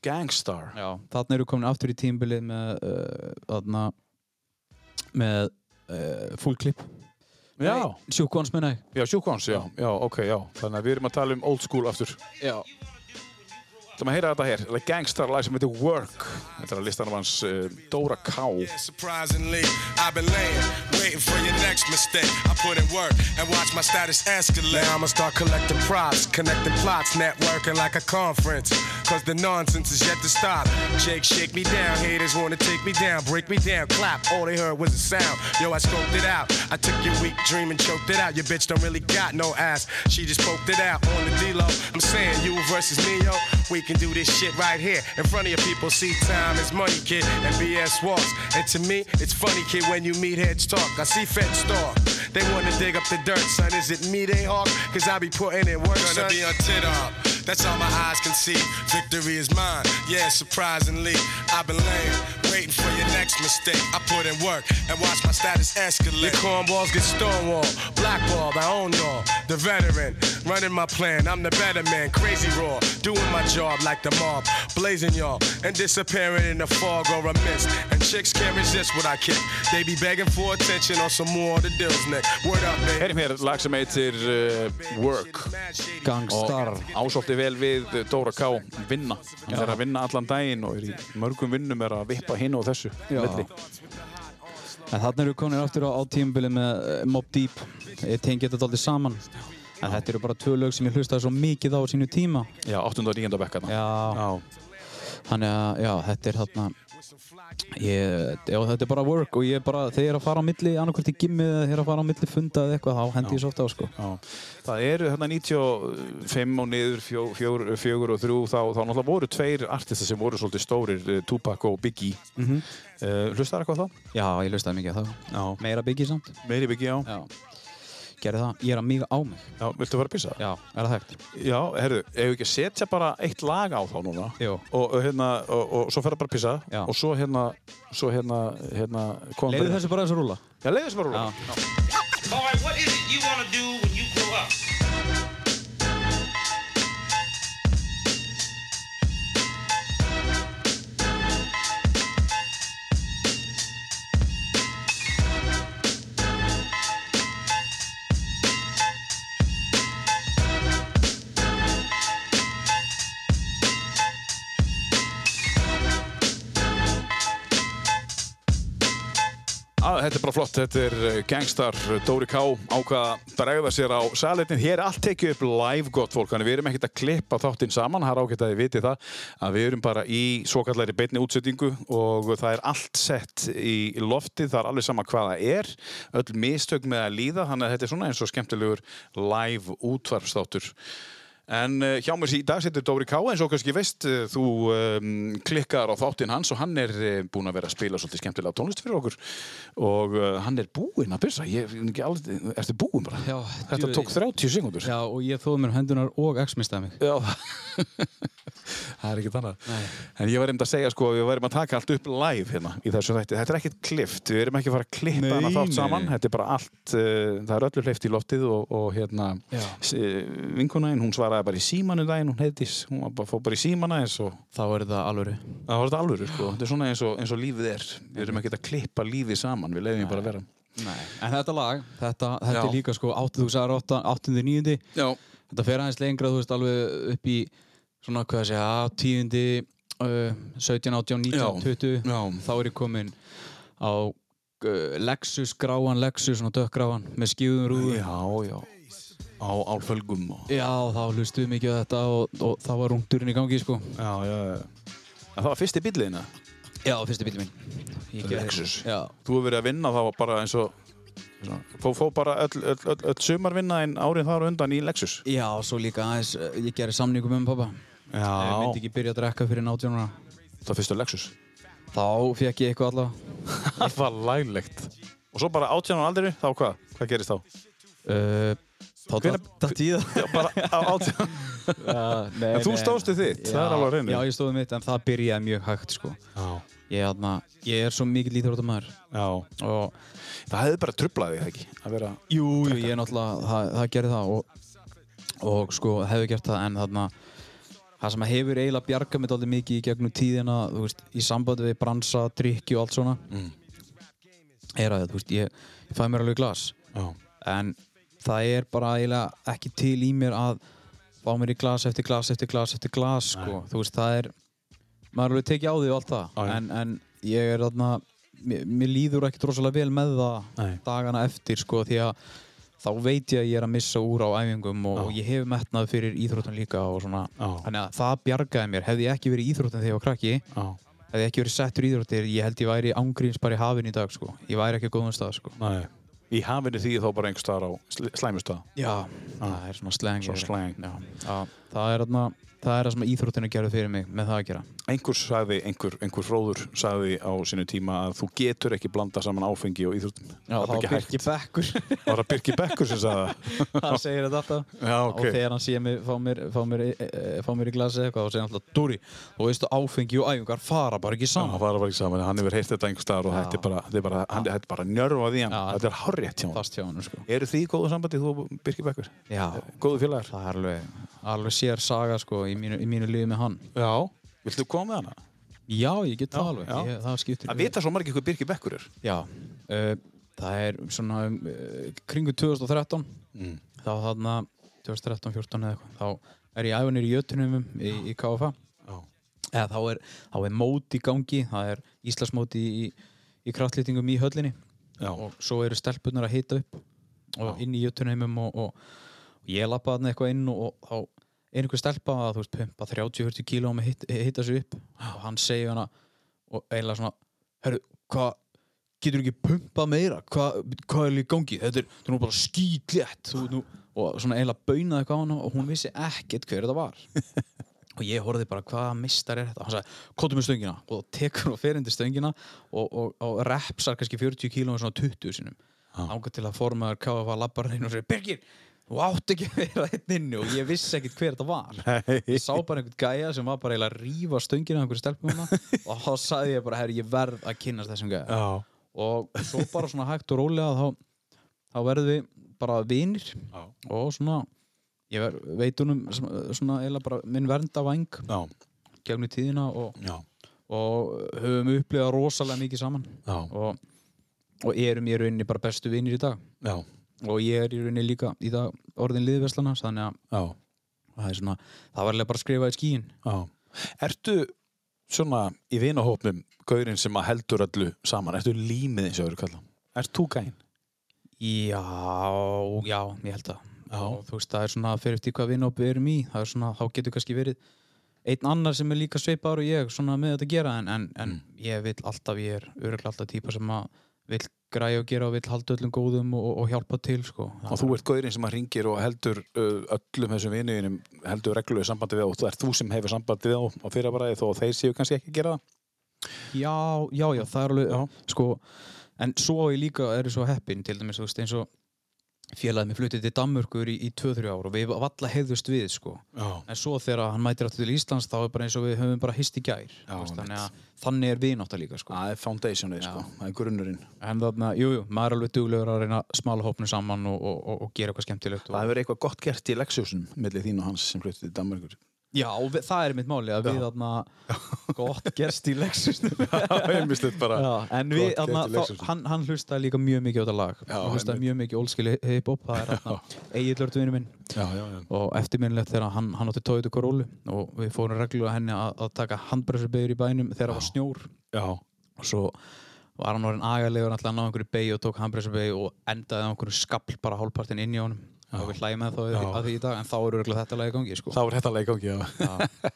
Speaker 1: Gangstar.
Speaker 3: já. þarna eru komin aftur í tímbilið með uh, þarna með uh, full clip
Speaker 1: Já.
Speaker 3: sjúkvans minna ég
Speaker 1: Já, sjúkváns, já, já, ok, já Þannig að við erum að tala um old school aftur Það
Speaker 3: já,
Speaker 1: er að heyra þetta hér, like gangstar lag sem heitir Work Þetta er að listanum hans uh, Dóra K
Speaker 8: Yeah, surprisingly, I've been laying, waiting for your next mistake. I put in work and watch my status escalate. Now I'ma start collecting props, connecting plots, networking like a conference. Cause the nonsense is yet to stop. Jake, shake me down, haters wanna take me down, break me down, clap. All they heard was a sound. Yo, I scoped it out. I took your weak dream and choked it out. Your bitch don't really got no ass. She just poked it out on the D-Lo. I'm saying you versus me, yo. We can do this shit right here in front of your people. See, time is money, kid, and BS walks. And to me, it's funny, kid, when you meet heads talk. I see feds talk. They wanna dig up the dirt, son. Is it me they hawk? Cause I be putting in work, gonna son. be on tit up. That's all my eyes can see. Victory is mine. Yeah, surprisingly, I've been laying, waiting for your next mistake. I put in work and watch my status Your escalate. cornballs get stonewalled, blackballed. I own y'all. The veteran, running my plan. I'm the better man, crazy raw, doing my job like the mob, blazing y'all and disappearing in the fog or a mist. And chicks can't resist what I kick. They be begging for attention on some more of the deals, Nick. Word up, baby.
Speaker 1: Heyrim hér lag sem heitir uh, Work
Speaker 3: gangstar
Speaker 1: Ásótti vel við Dóra K vinna Hann er að vinna allan daginn og er í mörgum vinnum er að vippa hinn og þessu milli.
Speaker 3: En þarna eru konir aftur á, á tímabili með uh, Mobb Deep. Ég tengi þetta aldrei saman. En þetta eru bara tvö lög sem ég hlustaði svo mikið á á sínu tíma.
Speaker 1: Já, 8. og 9. bekk hérna
Speaker 3: Já,
Speaker 1: Já,
Speaker 3: þannig að já, þetta er þarna... Ég, já, þetta er bara work og ég er bara, þegar ég er að fara á milli, annarkvæmt í gimmið eða þegar ég er að fara á milli funda eða eitthvað, þá hendi ég svo ofta á, sko.
Speaker 1: já. Það eru hérna 95 og niður, 4, 4 og 3 þá, þá náttúrulega voru tveir artistar sem voru svolítið stórir, eh, Tupac og Biggie mm
Speaker 3: Mhm.
Speaker 1: -hmm. Hlustar eitthvað á þá?
Speaker 3: Já, ég hlustaði mikið á það.
Speaker 1: Já.
Speaker 3: Meira byggið samt.
Speaker 1: Meiri Biggie, já.
Speaker 3: Já. Gerði það. Ég er að míga á mig.
Speaker 1: já Viltu fara að pissa?
Speaker 3: Já, er það hægt?
Speaker 1: Já, herru, ef við ekki að setja bara eitt lag á þá núna
Speaker 3: Jú.
Speaker 1: og, og hérna, og, og svo ferða bara að pissa
Speaker 3: Já.
Speaker 1: og svo hérna, svo hérna, hérna komum
Speaker 3: Leiðu
Speaker 1: við-
Speaker 3: þessu bara þessu rúla.
Speaker 1: Já, leiðu þessu bara rúla
Speaker 7: Alright, what is it you want to do when you grow up?
Speaker 1: Á, Þetta er bara flott, þetta er eh, Gangstar eh, Dóri K ákvaða bregða sér á salitin. Hér er allt tekið upp live gott fólk, þannig við erum ekkert að klippa þáttinn saman, það er ágætt að þið viti það, að við erum bara í svokallari beinni útsettingu og það er allt sett í loftið, það er alveg sama hvað það er, öll mistök með að líða, þannig að þetta er svona eins og skemmtilegur live útvarfstáttur. En uh, hjá mér í dag setur Dóri Ká eins og kannski veist, uh, þú um, klikkar á þáttinn hans og hann er uh, búinn að vera að spila svolítið skemmtilega tónlist fyrir okkur og uh, hann er búinn að byrja, ég er ekki alveg, ertu búinn bara?
Speaker 3: Já,
Speaker 1: Þetta
Speaker 3: djöfull.
Speaker 1: tók 30 sekundur.
Speaker 3: Já, og ég þóði mér um hendunar og x-mistaði mig.
Speaker 1: Já, það er ekkert annað. En ég var einmitt að segja sko að við værim að taka allt upp live hérna í þessu þætti. Þetta er ekkert klift, við erum ekki að fara að klippa
Speaker 3: Nei,
Speaker 1: hana þátt
Speaker 3: nei,
Speaker 1: saman.
Speaker 3: nei.
Speaker 1: Þetta er bara allt, uh, það er öllu hleyft í loftið og, og hérna
Speaker 3: Já.
Speaker 1: s- eh, vinkona einn, hún svaraði bara í símanu daginn, hún heitis, hún var bara fór bara í símana eins og
Speaker 3: Þá er það alvöru.
Speaker 1: það var þetta alvöru sko. Þetta er svona eins og, eins og lífið er. Við erum ekkert að klippa lífið saman, við leiðum því bara að vera.
Speaker 3: Nei. En þetta lag, þetta, þetta
Speaker 1: Já.
Speaker 3: er líka sko 8008, 89.
Speaker 1: Já,
Speaker 3: Þetta fer aðeins lengra, þú veist, alveg upp í svona, hvað að segja, á 10. Uh, 17, 18, 19, 20.
Speaker 1: já.
Speaker 3: Þá er ég kominn á uh, Lexus, gráan Lexus, svona dökkgráan, með skíðum rúðum.
Speaker 1: Já, já. Á álfölgum og...
Speaker 3: Já, þá hlustuðum mikið á þetta og, og þá var rungturinn í gangi, sko.
Speaker 1: Já, já, já. En það var fyrsti bíllina.
Speaker 3: Já, fyrsti bílið minn. Ég gerði-
Speaker 1: Lexus.
Speaker 3: Já,
Speaker 1: þú hefur verið að vinna þá bara eins og fó, fó bara öll, öll, öll, öll sumarvinna en árið þar á undan í Lexus
Speaker 3: já, svo líka aðeins, uh, ég gerði samningum með pappa. Ég myndi
Speaker 1: já,
Speaker 3: ekki byrja að drekka fyrir nátjónuna.
Speaker 1: það fyrstu Lexus
Speaker 3: Þá fekk ég eitthvað allavega.
Speaker 1: það var læglegt og svo bara átján á aldri, þá hvað? hvað gerist þá?
Speaker 3: Uh, þá
Speaker 1: Hvenær-
Speaker 3: datt ég í það.
Speaker 1: Eh, Já, bara á átján
Speaker 3: nei,
Speaker 1: En þú stóðst við þitt, það er alveg á hreinu.
Speaker 3: Já, ég stóði mitt, en það byrjaði mjög hægt, sko.
Speaker 1: já,
Speaker 3: Ég, atna, ég er svo mikill íþróttamæður.
Speaker 1: já.
Speaker 3: Og,
Speaker 1: það hefði bara trublaði það ekki að vera
Speaker 3: jú, jú, ég er náttúrulega, það, það gerði það og, og sko, hefði gert það, en þarna, það sem hefur eiginlega bjargað mér alltaf mikið í gegnum tíðina, þú veist, í sambandi við bransa, drikki og allt svona,
Speaker 1: Mm.
Speaker 3: er að, þú veist, ég, ég fæ mér alveg glas.
Speaker 1: já,
Speaker 3: en það er bara eiginlega ekki til í mér að fá mér í glas eftir glas eftir glas eftir glas sko. þú veist það er maður er alveg tekið á því og allt það en, en ég er þarna mér, mér líður ekki drosalega vel með það
Speaker 1: Nei.
Speaker 3: dagana eftir sko því að þá veit ég að ég er að missa úr á æfingum og, og ég hef metnað fyrir íþróttan líka og svona
Speaker 1: Já.
Speaker 3: þannig að það bjargaði mér hefði ég ekki verið íþróttan þegar ég var krakki
Speaker 1: já,
Speaker 3: hefði ég ekki verið settur í íþróttir ég held ég væri ángríns bara í hafin í dag sko ég væri ekki á góðum stað sko
Speaker 1: næ í hafinu því þá bara einhver staðar á slæmustað
Speaker 3: Já, það er svona slang
Speaker 1: Svo
Speaker 3: yfir það.
Speaker 1: slang.
Speaker 3: Já, já. Það, er, þarna- það er það sem íþróttinu gerði fyrir mig með það að gera
Speaker 1: einhver sagði, einhver, einhver fróður sagði á sinu tíma að þú getur ekki blanda saman áfengi og íþróttum það er ekki hægt,
Speaker 3: Bekkur
Speaker 1: það var að Birki Bekkur sem sagði það
Speaker 3: hann segir þetta alltaf
Speaker 1: Já, ok.
Speaker 3: og þegar hann sé mig fá mér, fá mér, e, e, fá mér í glasi eða eitthvað og segir hann alltaf Dóri, þú veist að áfengi og æfingar fara bara ekki
Speaker 1: Já, það
Speaker 3: saman
Speaker 1: var bara ekki saman, hann hefur heyrt þetta einhver staðar og þetta er bara, þetta er bara, hann, þetta er bara njörfað í hann,
Speaker 3: Já.
Speaker 1: þetta er hárrétt hjá hann.
Speaker 3: fast hjá hann sko.
Speaker 1: Eru þið í góðu sambandi, þú og Birkir Bekkur?
Speaker 3: Já,
Speaker 1: Góðu félagar?
Speaker 3: það er alveg, alveg sér saga sko, í mínu, í mínu liði með hann
Speaker 1: Já. Viltu koma með hana?
Speaker 3: Já, ég get það alveg,
Speaker 1: já.
Speaker 3: Ég, það skiptir
Speaker 1: Það vita svo margir hvað Birkir Bekkur er.
Speaker 3: Já, uh, það er svona uh, kringu 2013
Speaker 1: Mm.
Speaker 3: þá þarna 2013-14 eða eitthvað þá er ég æfanir í Jötunumum í, í KFA
Speaker 1: Já.
Speaker 3: eða þá er, þá er mót í gangi það er Íslandsmót í, í, í kraftlýtingum í höllinni
Speaker 1: Já.
Speaker 3: og svo eru stelpunar að hita upp og inn í Jötunumum og, og, og ég lappa þarna eitthvað inn og, og þá er einhver stelpa að þú veist pumpa 30-40 kíló með hita, hita sig upp og hann segir hana og eiginlega svona herru, hvað getur ekki pumpað meira hvað hva er í gangi, þetta er, þetta er nú bara skýtlétt þú, nú, og svona eiginlega baunaði eitthvað á hana og hún vissi ekkert hver þetta var og ég horfði bara hvaða mistar er þetta og hann sagði, kóttu með stöngina og þá tekur hún og fer undir stöngina og, og, og repsar kannski 40 kílóum svona 20 sinum ánga til að formaður KFA labbar hreinu og segir, Birgir, þú átt ekki að vera einn inni og ég vissi ekkert hver þetta var ég sá bara einhvern gæja sem var bara eiginlega að rífa stöngina af einhverju stelpumuna og þá sagði ég bara, herri, ég verð að kynnast þessum gæja
Speaker 1: Já.
Speaker 3: og svo bara svona hægt og rólega þá, þá verðum við bara vinir
Speaker 1: Já.
Speaker 3: og svona ég ver, veit honum svona svona eiginlega bara minn verndavæng
Speaker 1: Já.
Speaker 3: gegnum tíðina og,
Speaker 1: Já.
Speaker 3: og höfum upplifað rosalega mikið saman
Speaker 1: Já.
Speaker 3: og, og erum í rauninni bara bestu vinir í dag
Speaker 1: Já.
Speaker 3: og ég er í rauninni líka í dag orðin liðveslana þannig að
Speaker 1: Já.
Speaker 3: það er svona það var alveg bara að skrifa í skíin
Speaker 1: Já. Ertu svona í vinahópnum gaurinn sem að heldur öllu saman? Ertu límið eins og eru kallað? Ert þú gæinn?
Speaker 3: já, já, ég held að
Speaker 1: Já.
Speaker 3: og þú veist, það er svona að fyrir eftir hvað vinnhóp við erum um í það er svona, þá getur kannski verið einn annar sem er líka sveipaður og ég svona með þetta að gera en, en, en ég vil alltaf, ég er öruglega alltaf típa sem að vill græja og gera og vill halda öllum góðum og, og hjálpa til sko.
Speaker 1: Og þú ert gaurinn sem að ringir og heldur uh, öllum þessum vinuðinum heldur reglulegu sambandi við þá og það er þú sem hefur sambandi við þá á fyrirbæði þó að þeir séu kannski ekki að gera það.
Speaker 3: Já, já, já, það er alveg, sko, en svo ég líka er svo heppin, til dæmis, þú veist, eins og félagið mér flutið til Danmörkur í, í 2-3 ár og við valla hefðust við, sko.
Speaker 1: Já.
Speaker 3: En svo þegar hann mætir aftur til Íslands, þá er bara eins og við höfum bara hist í gær. Já, veist, þannig að þannig er vinátt líka, sko.
Speaker 1: Það er foundationið, sko. Það er grunnurinn.
Speaker 3: En þarna, jú, jú, maður er alveg duglegur að reyna að smala hópnu saman og, og, og, og gera eitthvað skemmtilegt.
Speaker 1: Það
Speaker 3: Og,
Speaker 1: hefur eitthvað gott gert í leksjósum millir þín og hans sem fluttir til Danmarkur.
Speaker 3: já, og við, það er mitt máli að við, þarna, gott gerst í leksustinu.
Speaker 1: Það er mislið bara.
Speaker 3: Já, en við,
Speaker 1: Gott
Speaker 3: þarna,
Speaker 1: gert í
Speaker 3: þá,
Speaker 1: Lexus.
Speaker 3: hann, hann hlustaði líka mjög mikið á þetta lag hann hlustaði mjög mikið oldskili hip-hop það er hann, eigillörðvinu minn
Speaker 1: Já, já, já.
Speaker 3: og eftirminnilegt þegar hann, hann átti tóið til Corolla og við fórum reglulega henni að, að taka handbremsurbeigur í bænum þegar það var snjór
Speaker 1: Já.
Speaker 3: og svo var hann orðin agalegur alltaf að ná einhverju beig og tók handbremsurbeigur og endaði á einhverju skabl bara hálfpartinn inn í honum og við hlægjum að, þá- að því í dag en þá eru reglulega þetta lag í gangi sko.
Speaker 1: Það var þetta leik gangi, já.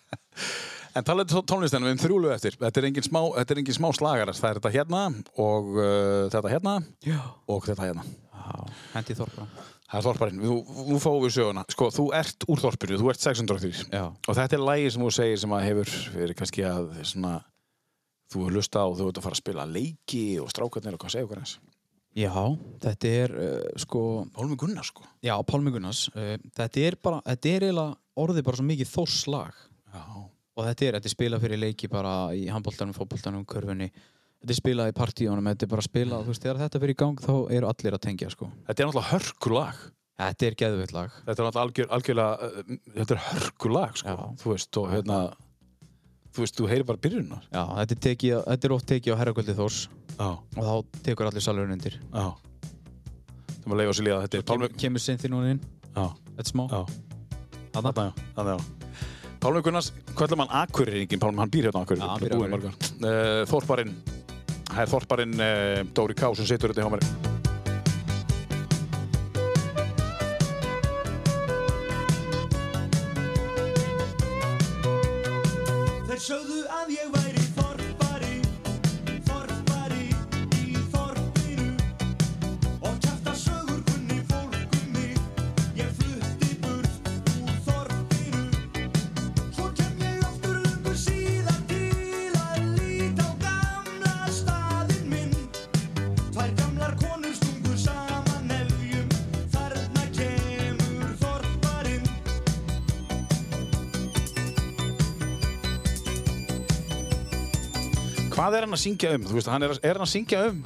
Speaker 1: en talaðu tónlistina, við erum þrjúlu eftir. Þetta er engin smá, þetta er engin smá slagarast. Það er þetta hérna og uh, þetta hérna
Speaker 3: Já.
Speaker 1: og þetta hérna.
Speaker 3: hendi þorpa
Speaker 1: Það er þorparinn, nú, nú fáum við söguna Sko, þú ert úr þorpinu, þú ert 603
Speaker 3: Já.
Speaker 1: Og þetta er lægi sem þú segir sem að hefur verið kannski að svona, þú hefur lusta á, þú ert að fara að spila leiki og strákarnir og hvað segja okkur eins
Speaker 3: Já, þetta er uh, sko
Speaker 1: Pálmi Gunnar, sko
Speaker 3: Já, Pálmi Gunnars, uh, þetta er bara, þetta er eiginlega orðið bara svo mikið þosslag
Speaker 1: Já,
Speaker 3: og þetta er, þetta er spilað fyrir leiki bara í handbóltanum, fótbóltanum, körfunni, þetta er spilað í partíunum, þetta er bara spilað, þú veist, þegar þetta fyrir í gang þá eru allir að tengja, sko.
Speaker 1: Þetta er náttúrulega hörkulag
Speaker 3: Þetta er geðveitt lag.
Speaker 1: Þetta er náttúrulega algjör, algjörlega uh, m- Þetta er hörkulag, sko
Speaker 3: Já.
Speaker 1: Þú veist, og hérna Þú veist, þú heyrir bara byrjunar
Speaker 3: Já, þetta er, teki, þetta er oft tekið á herrakvöldi þórs
Speaker 1: Já,
Speaker 3: og þá tekur allir salurinn undir.
Speaker 1: já Það maður leiða sér líða að þetta er Pálmi
Speaker 3: Kem, kemur sinn þín núna inn,
Speaker 1: Já,
Speaker 3: þetta smá.
Speaker 1: já
Speaker 3: Þarna.
Speaker 1: Þarna, já, þarna, já. Pálmi Gunnars, hvað ætlum hann Akureyringin? Pálmi, hann býr hérna á Akureyri.
Speaker 3: Já, hann býr á
Speaker 1: Búinn
Speaker 3: Akureyri.
Speaker 1: í mörg ár. Eh, Þorparinn, það er Þorparinn eh, Dóri Ká sem situr hérna hjá mér.
Speaker 7: Þeir sögðu að ég væri forfari, forfari í forfinu Og kæftar sögur kunni fólk um mig, ég flutti burt úr þorfinu Svo kem ég aftur lungu síðan til að líta á gamla staðinn minn Tvær gamlar konur stungu saman nefjum, þarna kemur forfarinn
Speaker 1: Hvað er hann að syngja um? Þú veist, hann er, að- er hann að syngja um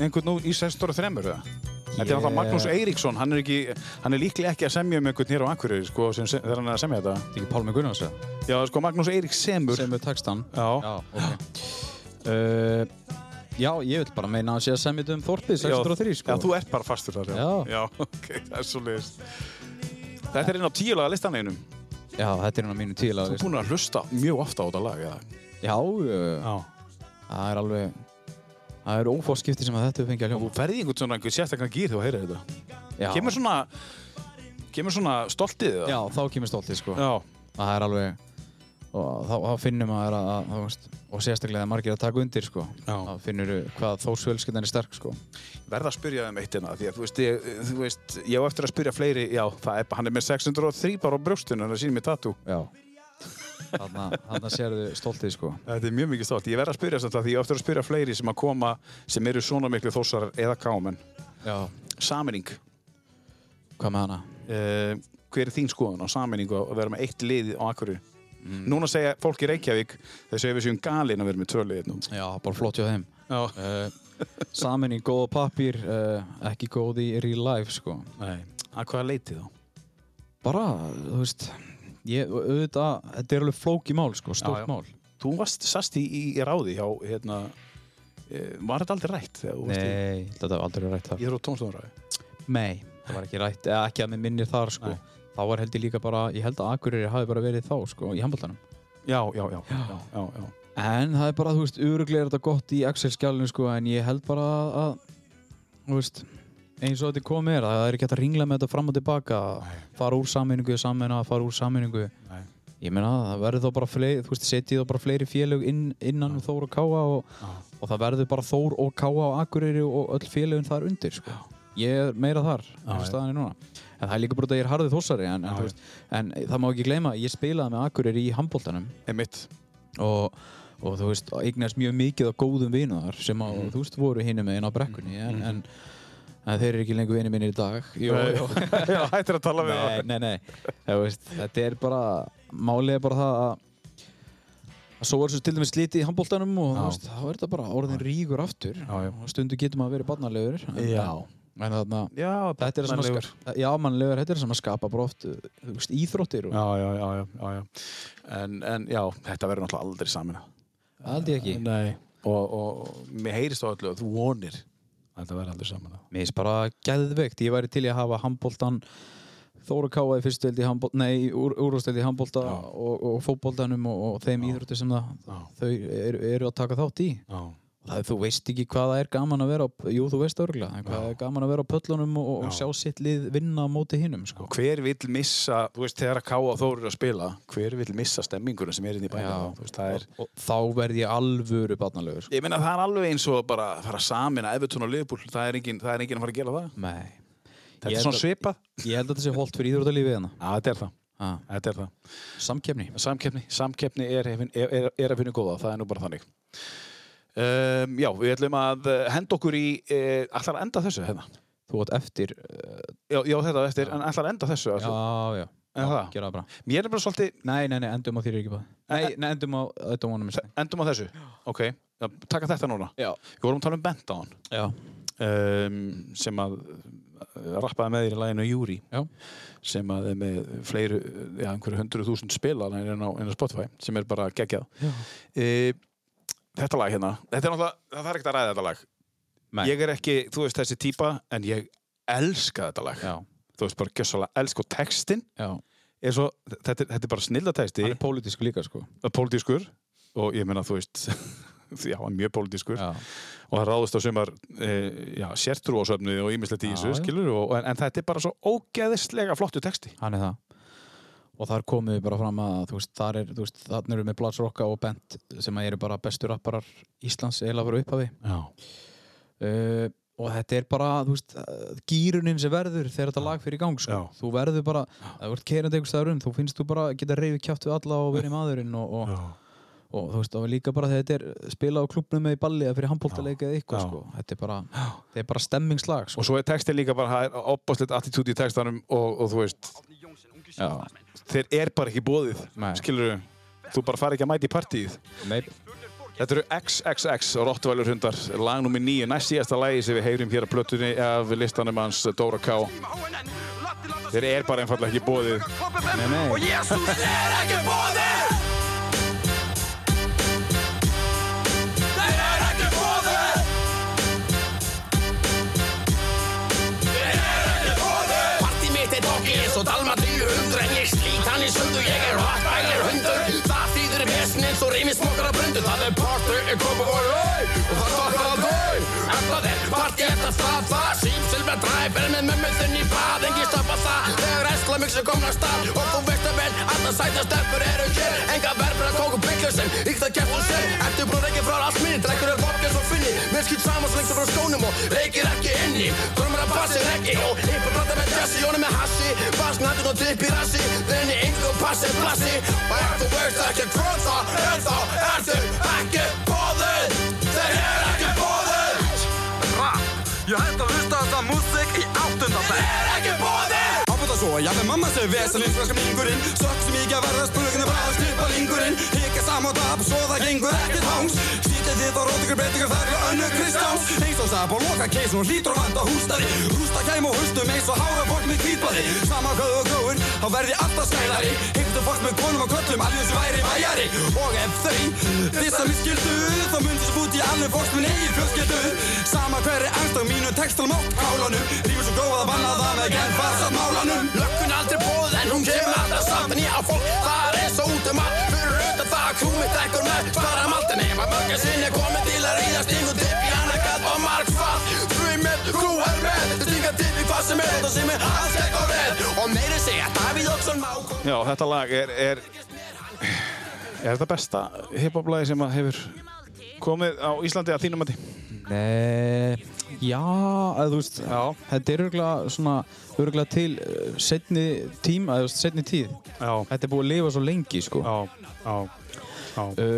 Speaker 1: einhvern nú í 603, eða? Þetta er náttúrulega Magnús Eiríksson, hann er, ekki, hann er líklega ekki að semja um einhvern hér á Akureyri, sko, sem, sem, þegar hann er að semja þetta.
Speaker 3: Þetta er ekki Pálmi Gunnars, eða?
Speaker 1: Já, sko, Magnús Eiríks semur.
Speaker 3: sem er textan.
Speaker 1: Já.
Speaker 3: Já, ok. Uh, já, ég vil bara meina að sé að semja þetta um Þorpið 603, sko.
Speaker 1: Já, þú ert bara fastur þar, já.
Speaker 3: Já.
Speaker 1: ok, það er svo leiðist. Þetta er inn á tíulega listanleginum.
Speaker 3: Já, þetta er hann á mínu tíla
Speaker 1: Þú er búin að hlusta mjög ofta á þetta lag, eða?
Speaker 3: Já, uh,
Speaker 1: Já.
Speaker 3: það er alveg Það eru ófórskipti sem að þetta hefur fengið að
Speaker 1: Þú
Speaker 3: hljóma
Speaker 1: ferði einhvern svona einhver sérstaklega gýr þegar þú heyrir þetta.
Speaker 3: já.
Speaker 1: Kemur svona, kemur svona stoltið það?
Speaker 3: já, þá kemur stoltið sko
Speaker 1: Já.
Speaker 3: Það er alveg og þá, þá finnum maður að, að, að veist, og sérstaklega að margir að taka undir sko
Speaker 1: Já.
Speaker 3: þá finnur hvað þórsfjölskyndan er sterk sko
Speaker 1: Verða að spyrja um eitt hérna, því að þú veist, ég, þú veist, ég á eftir að spyrja fleiri, já, það er, hann er með 603 bara á brjóstinu, hann er sínum í tattoo.
Speaker 3: Já Þarna, þarna sérðu stoltið sko
Speaker 1: Þetta er mjög mikið stolt. Ég verða að spyrja samt að því ég á eftir að spyrja fleiri sem að koma, sem eru svona miklu þósarar eða kámen.
Speaker 3: Já
Speaker 1: Saminning.
Speaker 3: Hvað með hana?
Speaker 1: Uh, hver er þín skoðun á saminningu að vera með eitt lið á Akureyri? Núna segja fólk í Reykjavík, þeir segja við séum galin að vera með tvö hérna. liðið núna.
Speaker 3: Já, bara flott hjá þeim
Speaker 1: Já.
Speaker 3: uh, Samin í góða pappír uh, ekki góð í real life sko
Speaker 1: Nei. Að hvaða leiti þá?
Speaker 3: bara, þú veist ég, auðvitað, þetta er alveg flóki mál sko, stórt
Speaker 1: já.
Speaker 3: mál
Speaker 1: Þú varst sast í, í, í ráði hjá, hérna, e, var þetta aldrei rætt? þegar þú varst í-
Speaker 3: Nei, þetta var aldrei rætt þar
Speaker 1: Ég er á tónstofunræði.
Speaker 3: Nei, það var ekki rætt, eða ekki að mér minnir þar sko þá var held ég líka bara, ég held að Akureyri hafi bara verið þá sko, í handbóltanum
Speaker 1: Já, já, já, já, já, já.
Speaker 3: en það er bara, þú veist, öruglega er þetta gott í Excel-skjálinu sko, en ég held bara að þú veist eins og þetta komið er, það er ekki hægt að ringla með þetta fram og tilbaka, fara úr sammenningu sammenna, fara úr sammenningu
Speaker 1: Nei.
Speaker 3: ég meina það verður þá bara fleiri, þú veist, setjið þá bara fleiri félög inn, innan um Þór og Káa og, og það verður bara Þór og Káa og Akureyri og öll félögin þar undir, sko. Ég er meira þar, þar staðan er núna. En það er líka bara út að ég er harðið þósari, en, en, þú veist, en það má ekki gleyma, að ég spilaði með Akureyri í handbóltanum.
Speaker 1: Einmitt.
Speaker 3: Og, og þú veist, eignast mjög mikið af góðum vinu þar sem að, þú veist, voru hinum með inn á brekkunni, en, en, en þeir eru ekki lengur vinir minni í dag. Jó,
Speaker 1: Nei.
Speaker 3: jó.
Speaker 1: Já, hættir að tala við
Speaker 3: Nei,
Speaker 1: þá.
Speaker 3: nei, nei, þú veist, þetta er bara, málið er bara það að að svo er svo til dæmis slitið í handbóltanum og þú veist, þá er þetta bara orðin ríkur aftur já, já. og stundu getur maður að vera barnalegur en,
Speaker 1: Já.
Speaker 3: en þarna,
Speaker 1: já,
Speaker 3: þetta er það sem að
Speaker 1: barnalegur.
Speaker 3: skapa já, mannlegur, þetta er það sem að skapa bara oft þú veist, íþróttir og
Speaker 1: Já, já, já, já, já, já. En, en já, þetta verður náttúrulega aldrei samin
Speaker 3: aldrei ekki
Speaker 1: Nei Og, og mér heyrist á öllu að þú vonir að þetta verður aldrei saman
Speaker 3: Mér finnst bara geðveikt, ég væri til í að hafa handbóltan Þóra Káa í fyrstu deild í handbólta, nei, úr, úrústeldi í handbólta og, og fótbóltanum og, og þeim íþróttir sem það, þau eru, eru að taka þátt í.
Speaker 1: Já.
Speaker 3: Það, þú veist ekki hvað það er gaman að vera, á- jú þú veist örgulega, hvað það er gaman að vera á pöllunum og, og sjá sitt lið vinna á móti hinnum, sko.
Speaker 1: Hver vill missa, þú veist, þegar að Káa og Þór eru að spila Hver vill missa stemminguna sem er inn í bænum
Speaker 3: Já.
Speaker 1: þá? Þú veist, það er
Speaker 3: Og þá verð ég alvöru barnalegur, sko.
Speaker 1: Ég meina það er alveg eins og bara að fara samin að Evertún og Liverpool, það er enginn það er enginn að fara að gera það.
Speaker 3: Nei.
Speaker 1: Þetta er
Speaker 3: Ég held
Speaker 1: svona
Speaker 3: að-
Speaker 1: svipað.
Speaker 3: Ég held að þetta sé holdt fyrir íþróttalífið hérna.
Speaker 1: Já, þetta er það.
Speaker 3: Ah,
Speaker 1: Þetta er það.
Speaker 3: samkefni.
Speaker 1: Samkeppni, samkeppni er, hefin- er, er, er að finna góða, það er nú bara þannig. Um, já, við ætlum að eh, henda okkur í, uh, ætlar að enda þessu hérna?
Speaker 3: Þú átt eftir, uh,
Speaker 1: Já, já þetta á eftir, en ætlar að enda þessu?
Speaker 3: já,
Speaker 1: ætlar-
Speaker 3: já,
Speaker 1: En það?
Speaker 3: gera það bara.
Speaker 1: Mér er bara svolítið,
Speaker 3: Nei, nei, nei, endum á þýri ekki báði.
Speaker 1: Eh,
Speaker 3: Nei, nei, endum á dómanum minni.
Speaker 1: endum á þessu. Ok, já, taka þetta núna.
Speaker 3: Já.
Speaker 1: Við vorum að tala um Bendown.
Speaker 3: Já.
Speaker 1: um, sem að uh, rappaði með þér í læginu Júri
Speaker 3: Já.
Speaker 1: sem að er með fleiri eh, já, einhverju hundruð þúsund spilar en á, inn á Spotify sem er bara geggjað e, Þetta lag hérna þetta er náttúrulega, það þarf ekkert að ræða þetta lag
Speaker 3: Nei.
Speaker 1: Ég er ekki, þú veist þessi típa en ég elska þetta lag
Speaker 3: Já,
Speaker 1: þú veist bara gjössalega elska og textin
Speaker 3: já.
Speaker 1: er svo, þetta, er- þetta er bara snildatexti
Speaker 3: Hann er pólitísk líka, sko.
Speaker 1: pólitískur og ég meina þú veist já, hann er mjög pólitískur
Speaker 3: Já.
Speaker 1: og það ráðist á sumar e, já, sértrú á söfnu og ímislegt í
Speaker 3: Já,
Speaker 1: þessu
Speaker 3: já.
Speaker 1: skilur, og, en, en þetta er bara svo ógeðislega flottu texti
Speaker 3: Hann er það. Og þar komum við bara fram að, þú veist, þar er, þú veist, þarna eru með Blats Rocka og Bent sem að eru bara bestu rapparar Íslands eiginlega frá upphafi.
Speaker 1: já.
Speaker 3: Uh, og þetta er bara, þú veist, gýrunin sem verður þegar þetta lag fyrir í gang, sko.
Speaker 1: Já.
Speaker 3: Þú verður bara, ef þú ert keirandi einhvers staðar um, þú finnst þú bara geta reyfið kjátt við alla og verið maðurinn og, og, og þú veist, og líka bara þegar þetta er spila á klubnum með í balli eða fyrir handbóltaleika eða eitthvað,
Speaker 1: Já.
Speaker 3: sko. Þetta er bara, þetta er bara stemmingslag, sko.
Speaker 1: og svo er textin líka bara, það er opbáslegt attitúd í textanum og, og þú veist
Speaker 3: Já.
Speaker 1: þeir er bara ekki bóðið
Speaker 3: Nei.
Speaker 1: skilur, þú bara fari ekki að mæta í partíið
Speaker 3: Nei,
Speaker 1: Þetta eru XXX Rottweiler hundar, lag nummer 9, næst síðasta lagi sem við heyrum hér á plötunni af listanum hans Dóra K. Þeir er bara einfallega ekki bóðið.
Speaker 3: nei, nei.
Speaker 2: Parti mitt er doggi eins og Dalma 300 En ég slít hann í sundu, ég er rottweiler hundur Það þýður vesn eins og reymi smokkar að brundu Það er party, er kopa og lög Og það stokkar að dög Alltaf er parti eftir stað það Sýp, silver, dræf, er með mömmu þinn í bað Engi stoppa það, þegar æsla mixu komna af stað Og þú veist það vel, alltaf sæta stelpur eru hér Enga verður að tóku bygglössin Íkta kæft og sér, ertu brúð ekki frá allt minni Drekkur er vodka svo finni, mér skýt saman svo lengst frá skónum Og reykir ekki inni, drömmar að passi reggi Og einhver brata með jassi, jónum með hassi Bass, nattun og dipp í rassi Þenni einhver og passi plassi Og ef þú veist ekki hvað það er Þá ertu ekki bóðið Þeir eru ekki bóðið
Speaker 9: Rap Ég hætti að hlusta á þessa músík í áttundabæk
Speaker 2: Þeir eru ekki bóðið
Speaker 9: Ábúta svo að jafnveg mamma segir vesalinn flaska mingurinn Sökk sem ég að verða spurgin að bræða stripa lingurinn Hikka saman og tap svo það gengur ekkert hans Sýtið þið þá rót ykkur breyt ykkur þar við önnu Kristjáns Eins og sap og loka keisun og hlýtur og vanda hústaði Hústa kæm og hustum eins og hára fólk með kvítblaði Saman hvað og gróin þá verði alltaf skælari Hikta fólk með konum og köllum allir sem væri væjari Og ef þau dissa mér skildu Þá myndi svo út í allir fólks minn eigin fjölskyldu Sama hverri angst á mínu textalum og kálanum Rífur svo góða vanna það með genn farsað málanum
Speaker 2: Lökkun aldrei bóð en hún kemur alltaf samt Nýja fólk, það er eins og út um allt Fyrir auðvitað það að krúmið drekkur með Svara malt en ef að mörgja sinni komið til að ríða Stingu tipp í annarkað og markfall Því með, þú er með Stinga tipp í hvað sem er Það sem er alls ekki á vel Og meiri segja Davíð Óksson má koma
Speaker 1: Já, þetta lag er, er Er þetta besta hiphop-lagi sem að hefur komið á Íslandi að þínum mati?
Speaker 3: Nei, já, að þú veist, já. þetta er örgulega svona, örgulega til uh, setni tíma, eða þú veist, setni tíð. Já. Þetta er búið að lifa svo lengi, sko. Já, já, já.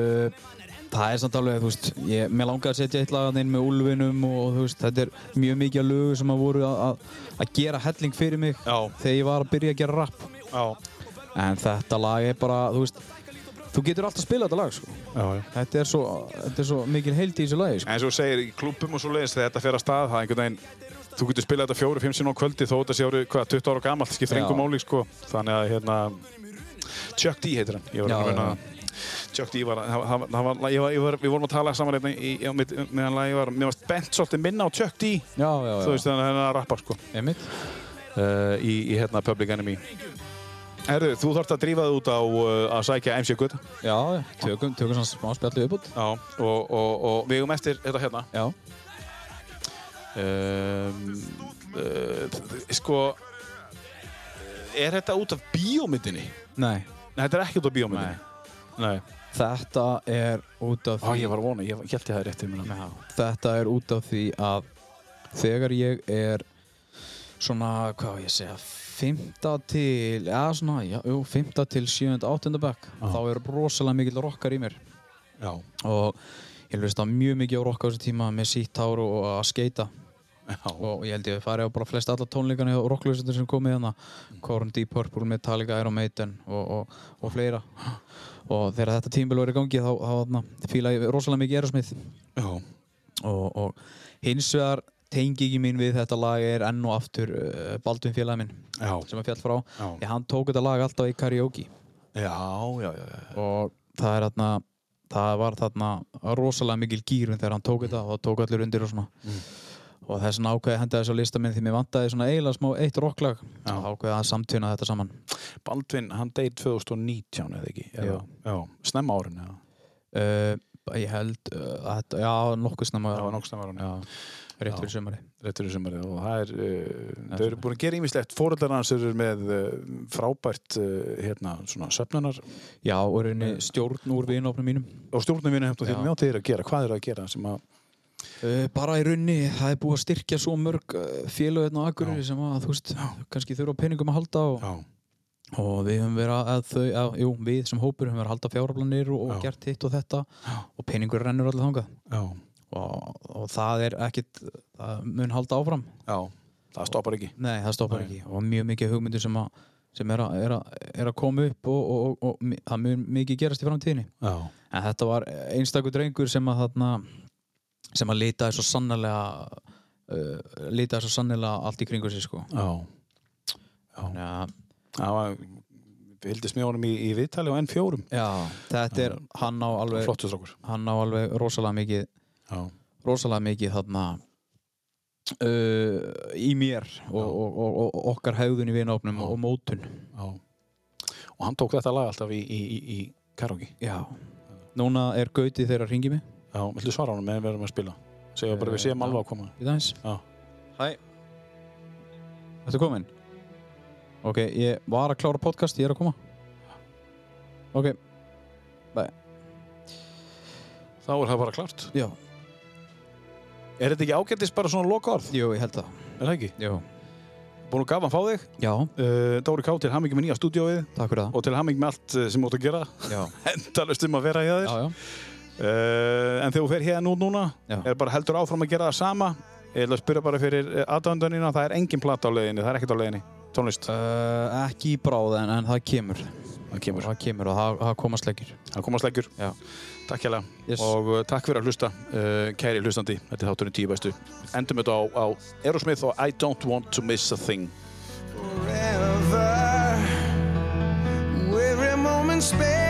Speaker 3: það er samt alveg, þú veist, ég, mér langar að setja eitt lagan inn með Ulfinum og, þú veist, þetta er mjög mikið af lögu sem að voru að- að að gera helling fyrir mig já. þegar ég var að byrja að gera rap. Já. En þetta lag er bara, þú veist, þú getur alltaf að spila þetta lag, sko. Já, já. Þetta er svo, þetta er svo mikil heild í þessu lagi, sko.
Speaker 1: En eins og þú segir í klubum og svo leiðis þegar þetta fer að stað, það er einhvern veginn, þú getur spilað þetta fjóru, fimm sinna á kvöldi þó þetta sé árið, hvað, 20 ára gamalt, skiptir
Speaker 3: Já.
Speaker 1: engum máli, sko. Þannig að, hérna, Chuck D heitir hann, ég var
Speaker 3: Já,
Speaker 1: að muna
Speaker 3: já.
Speaker 1: það. Chuck D var, það það- það var, ég var, ég var, við vorum að tala saman hérna í, í, með, meðan lagi var, mér varst bent svolítið minna á Chuck D,
Speaker 3: já, já,
Speaker 1: þú veist þannig að hann er að rappa, sko.
Speaker 3: Einmitt.
Speaker 1: Uh, í, í, hérna, Public Enemy. Herðu, þú þort að drífa þig út á uh, að sækja MC Gutta.
Speaker 3: Já, tökum, tökum svona smá spjallu uppbútt.
Speaker 1: Já, og, og, og við eigum eftir þetta hérna.
Speaker 3: Já.
Speaker 1: Um, uh, sko, er þetta út af bíómyndinni?
Speaker 3: Nei.
Speaker 1: Nei, þetta er ekki út af bíómyndinni. Nei.
Speaker 3: Þetta er út af
Speaker 1: Á,
Speaker 3: því...
Speaker 1: ég var að vona, ég held ég það rétt í mér. Já.
Speaker 3: Þetta er út af því að þegar ég er svona, hvað á ég að segja, fymta til, já svona, já, jú, fymta til sjöfund, áttunda bekk, þá er rosalega mikill rockar í mér.
Speaker 1: Já.
Speaker 3: Og ég hlust á mjög mikið á rocka á þessu tíma með sítt hár og, og að skeita. Já. Og ég held ég fari á bara flest alla tónleikana og rocklausendur sem komið hérna, Korn, Deep Purple, Metallica, Iron Maiden og, og, og fleira. Og þegar þetta tímbil var í gangi þá, þá þarna, fíla ég rosalega mikið Aerosmith og, og hins vegar tengingi mín við þetta lag er enn og aftur uh, Baldvin félagi minn já. sem að fjall frá já. ég hann tók þetta lag alltaf í karaoke já, já, já, já. og það er þarna það var þarna rosalega mikil gýrun þegar hann tók þetta og það tók allir undir og svona og þess vegna ákveði henda þessu lista minn því mér vantaði svona eiginlega smá eitt rocklag já. og ákveði að samtuna þetta saman
Speaker 1: Baldvin, hann deyð 2019 eða ekki? Eða- Já. Snemma árin eða?
Speaker 3: Uh, ég held uh, að þetta, já, nokkuð snemma
Speaker 1: Já, nokkuð snemma árin.
Speaker 3: Já, rétt fyrir sumari
Speaker 1: Rétt fyrir sumari og það er, uh, þau eru búin að gera ýmislegt. Fóreldar hans eru með uh, frábært, uh, hérna, svona söfnunar.
Speaker 3: Já, og reyni stjórn úr vinofnum mínum.
Speaker 1: Og stjórnum mínum hefnum þínum, já, þeir eru að gera. Hvað eru að gera sem að...
Speaker 3: Uh, bara í raunni, það er búið að styrkja svo mörg félög hérna á Akureyri sem að þú veist, kannski þurfa á peningum að halda og, og við höfum verið að þau, að, jú, við sem hópur höfum verið að halda fjárablanir og, og gert hitt og þetta og peningur rennur allir þangað
Speaker 1: Já.
Speaker 3: og, og það er ekkit, það mun halda áfram
Speaker 1: Já, það stoppar ekki
Speaker 3: Nei, það stoppar ekki og mjög mikið hugmyndir sem, að, sem er, að, er, að, er að koma upp og, og, og, og mi- það mun mikið gerast í framtíðinni
Speaker 1: Já.
Speaker 3: en þetta var einstakur drengur sem að þarna sem að litaði svo sannlega uh, litaði svo sannlega allt í kringu sig sko
Speaker 1: Já.
Speaker 3: Já.
Speaker 1: Það var, við hildist með honum í, í viðtali á N4.
Speaker 3: Já, þetta er, hann á alveg
Speaker 1: Flottur strákur.
Speaker 3: hann á alveg rosalega mikið
Speaker 1: Já.
Speaker 3: rosalega mikið þarna uh, í mér og, og, og, og okkar hegðun í vinofnum og mótun
Speaker 1: Já. Og hann tók þetta lag alltaf í, í, í, í karaoke.
Speaker 3: Já. Núna er gautið þeirra hringi mig
Speaker 1: Já, Eh, villu svara honum meðan við erum að spila? Segja bara við séum alveg að koma.
Speaker 3: Í dagins
Speaker 1: Já.
Speaker 3: Hæ Ertu kominn? Ok, ég var að klára podcast, ég er að koma Ok Bye
Speaker 1: Þá er það bara klart.
Speaker 3: Já
Speaker 1: Er þetta ekki ágættis bara svona loka orð?
Speaker 3: Jú, ég held það.
Speaker 1: Er það ekki?
Speaker 3: Jú.
Speaker 1: Búin að gafa að fá þig?
Speaker 3: Já.
Speaker 1: Uh, Dóri Ká til hamingi með nýja stúdióið.
Speaker 3: Takk fyrir það.
Speaker 1: Og til hamingi með allt eh, sem þú átt að gera.
Speaker 3: Já.
Speaker 1: Endalust um að vera hjá þér.
Speaker 3: Já, já.
Speaker 1: Uh, en þegar þú fer hérna út núna,
Speaker 3: Já.
Speaker 1: er bara heldur áfram að gera það sama. Ég ætla að spyrja bara fyrir aðdöndunina, það er engin plata á leiðinni, það er ekkert á leiðinni, tónlist.
Speaker 3: Uh, ekki í bráð en, en það kemur
Speaker 1: Það kemur
Speaker 3: Og það kemur og það, það koma sleggjur
Speaker 1: Það koma sleggjur
Speaker 3: Já
Speaker 1: Takk hérlega og uh, takk fyrir að hlusta uh, kæri hlustandi, þetta er þátturinn tíu bestu endum þetta á, á Aerosmith og I don't want to miss a thing
Speaker 10: forever. Every moment spent.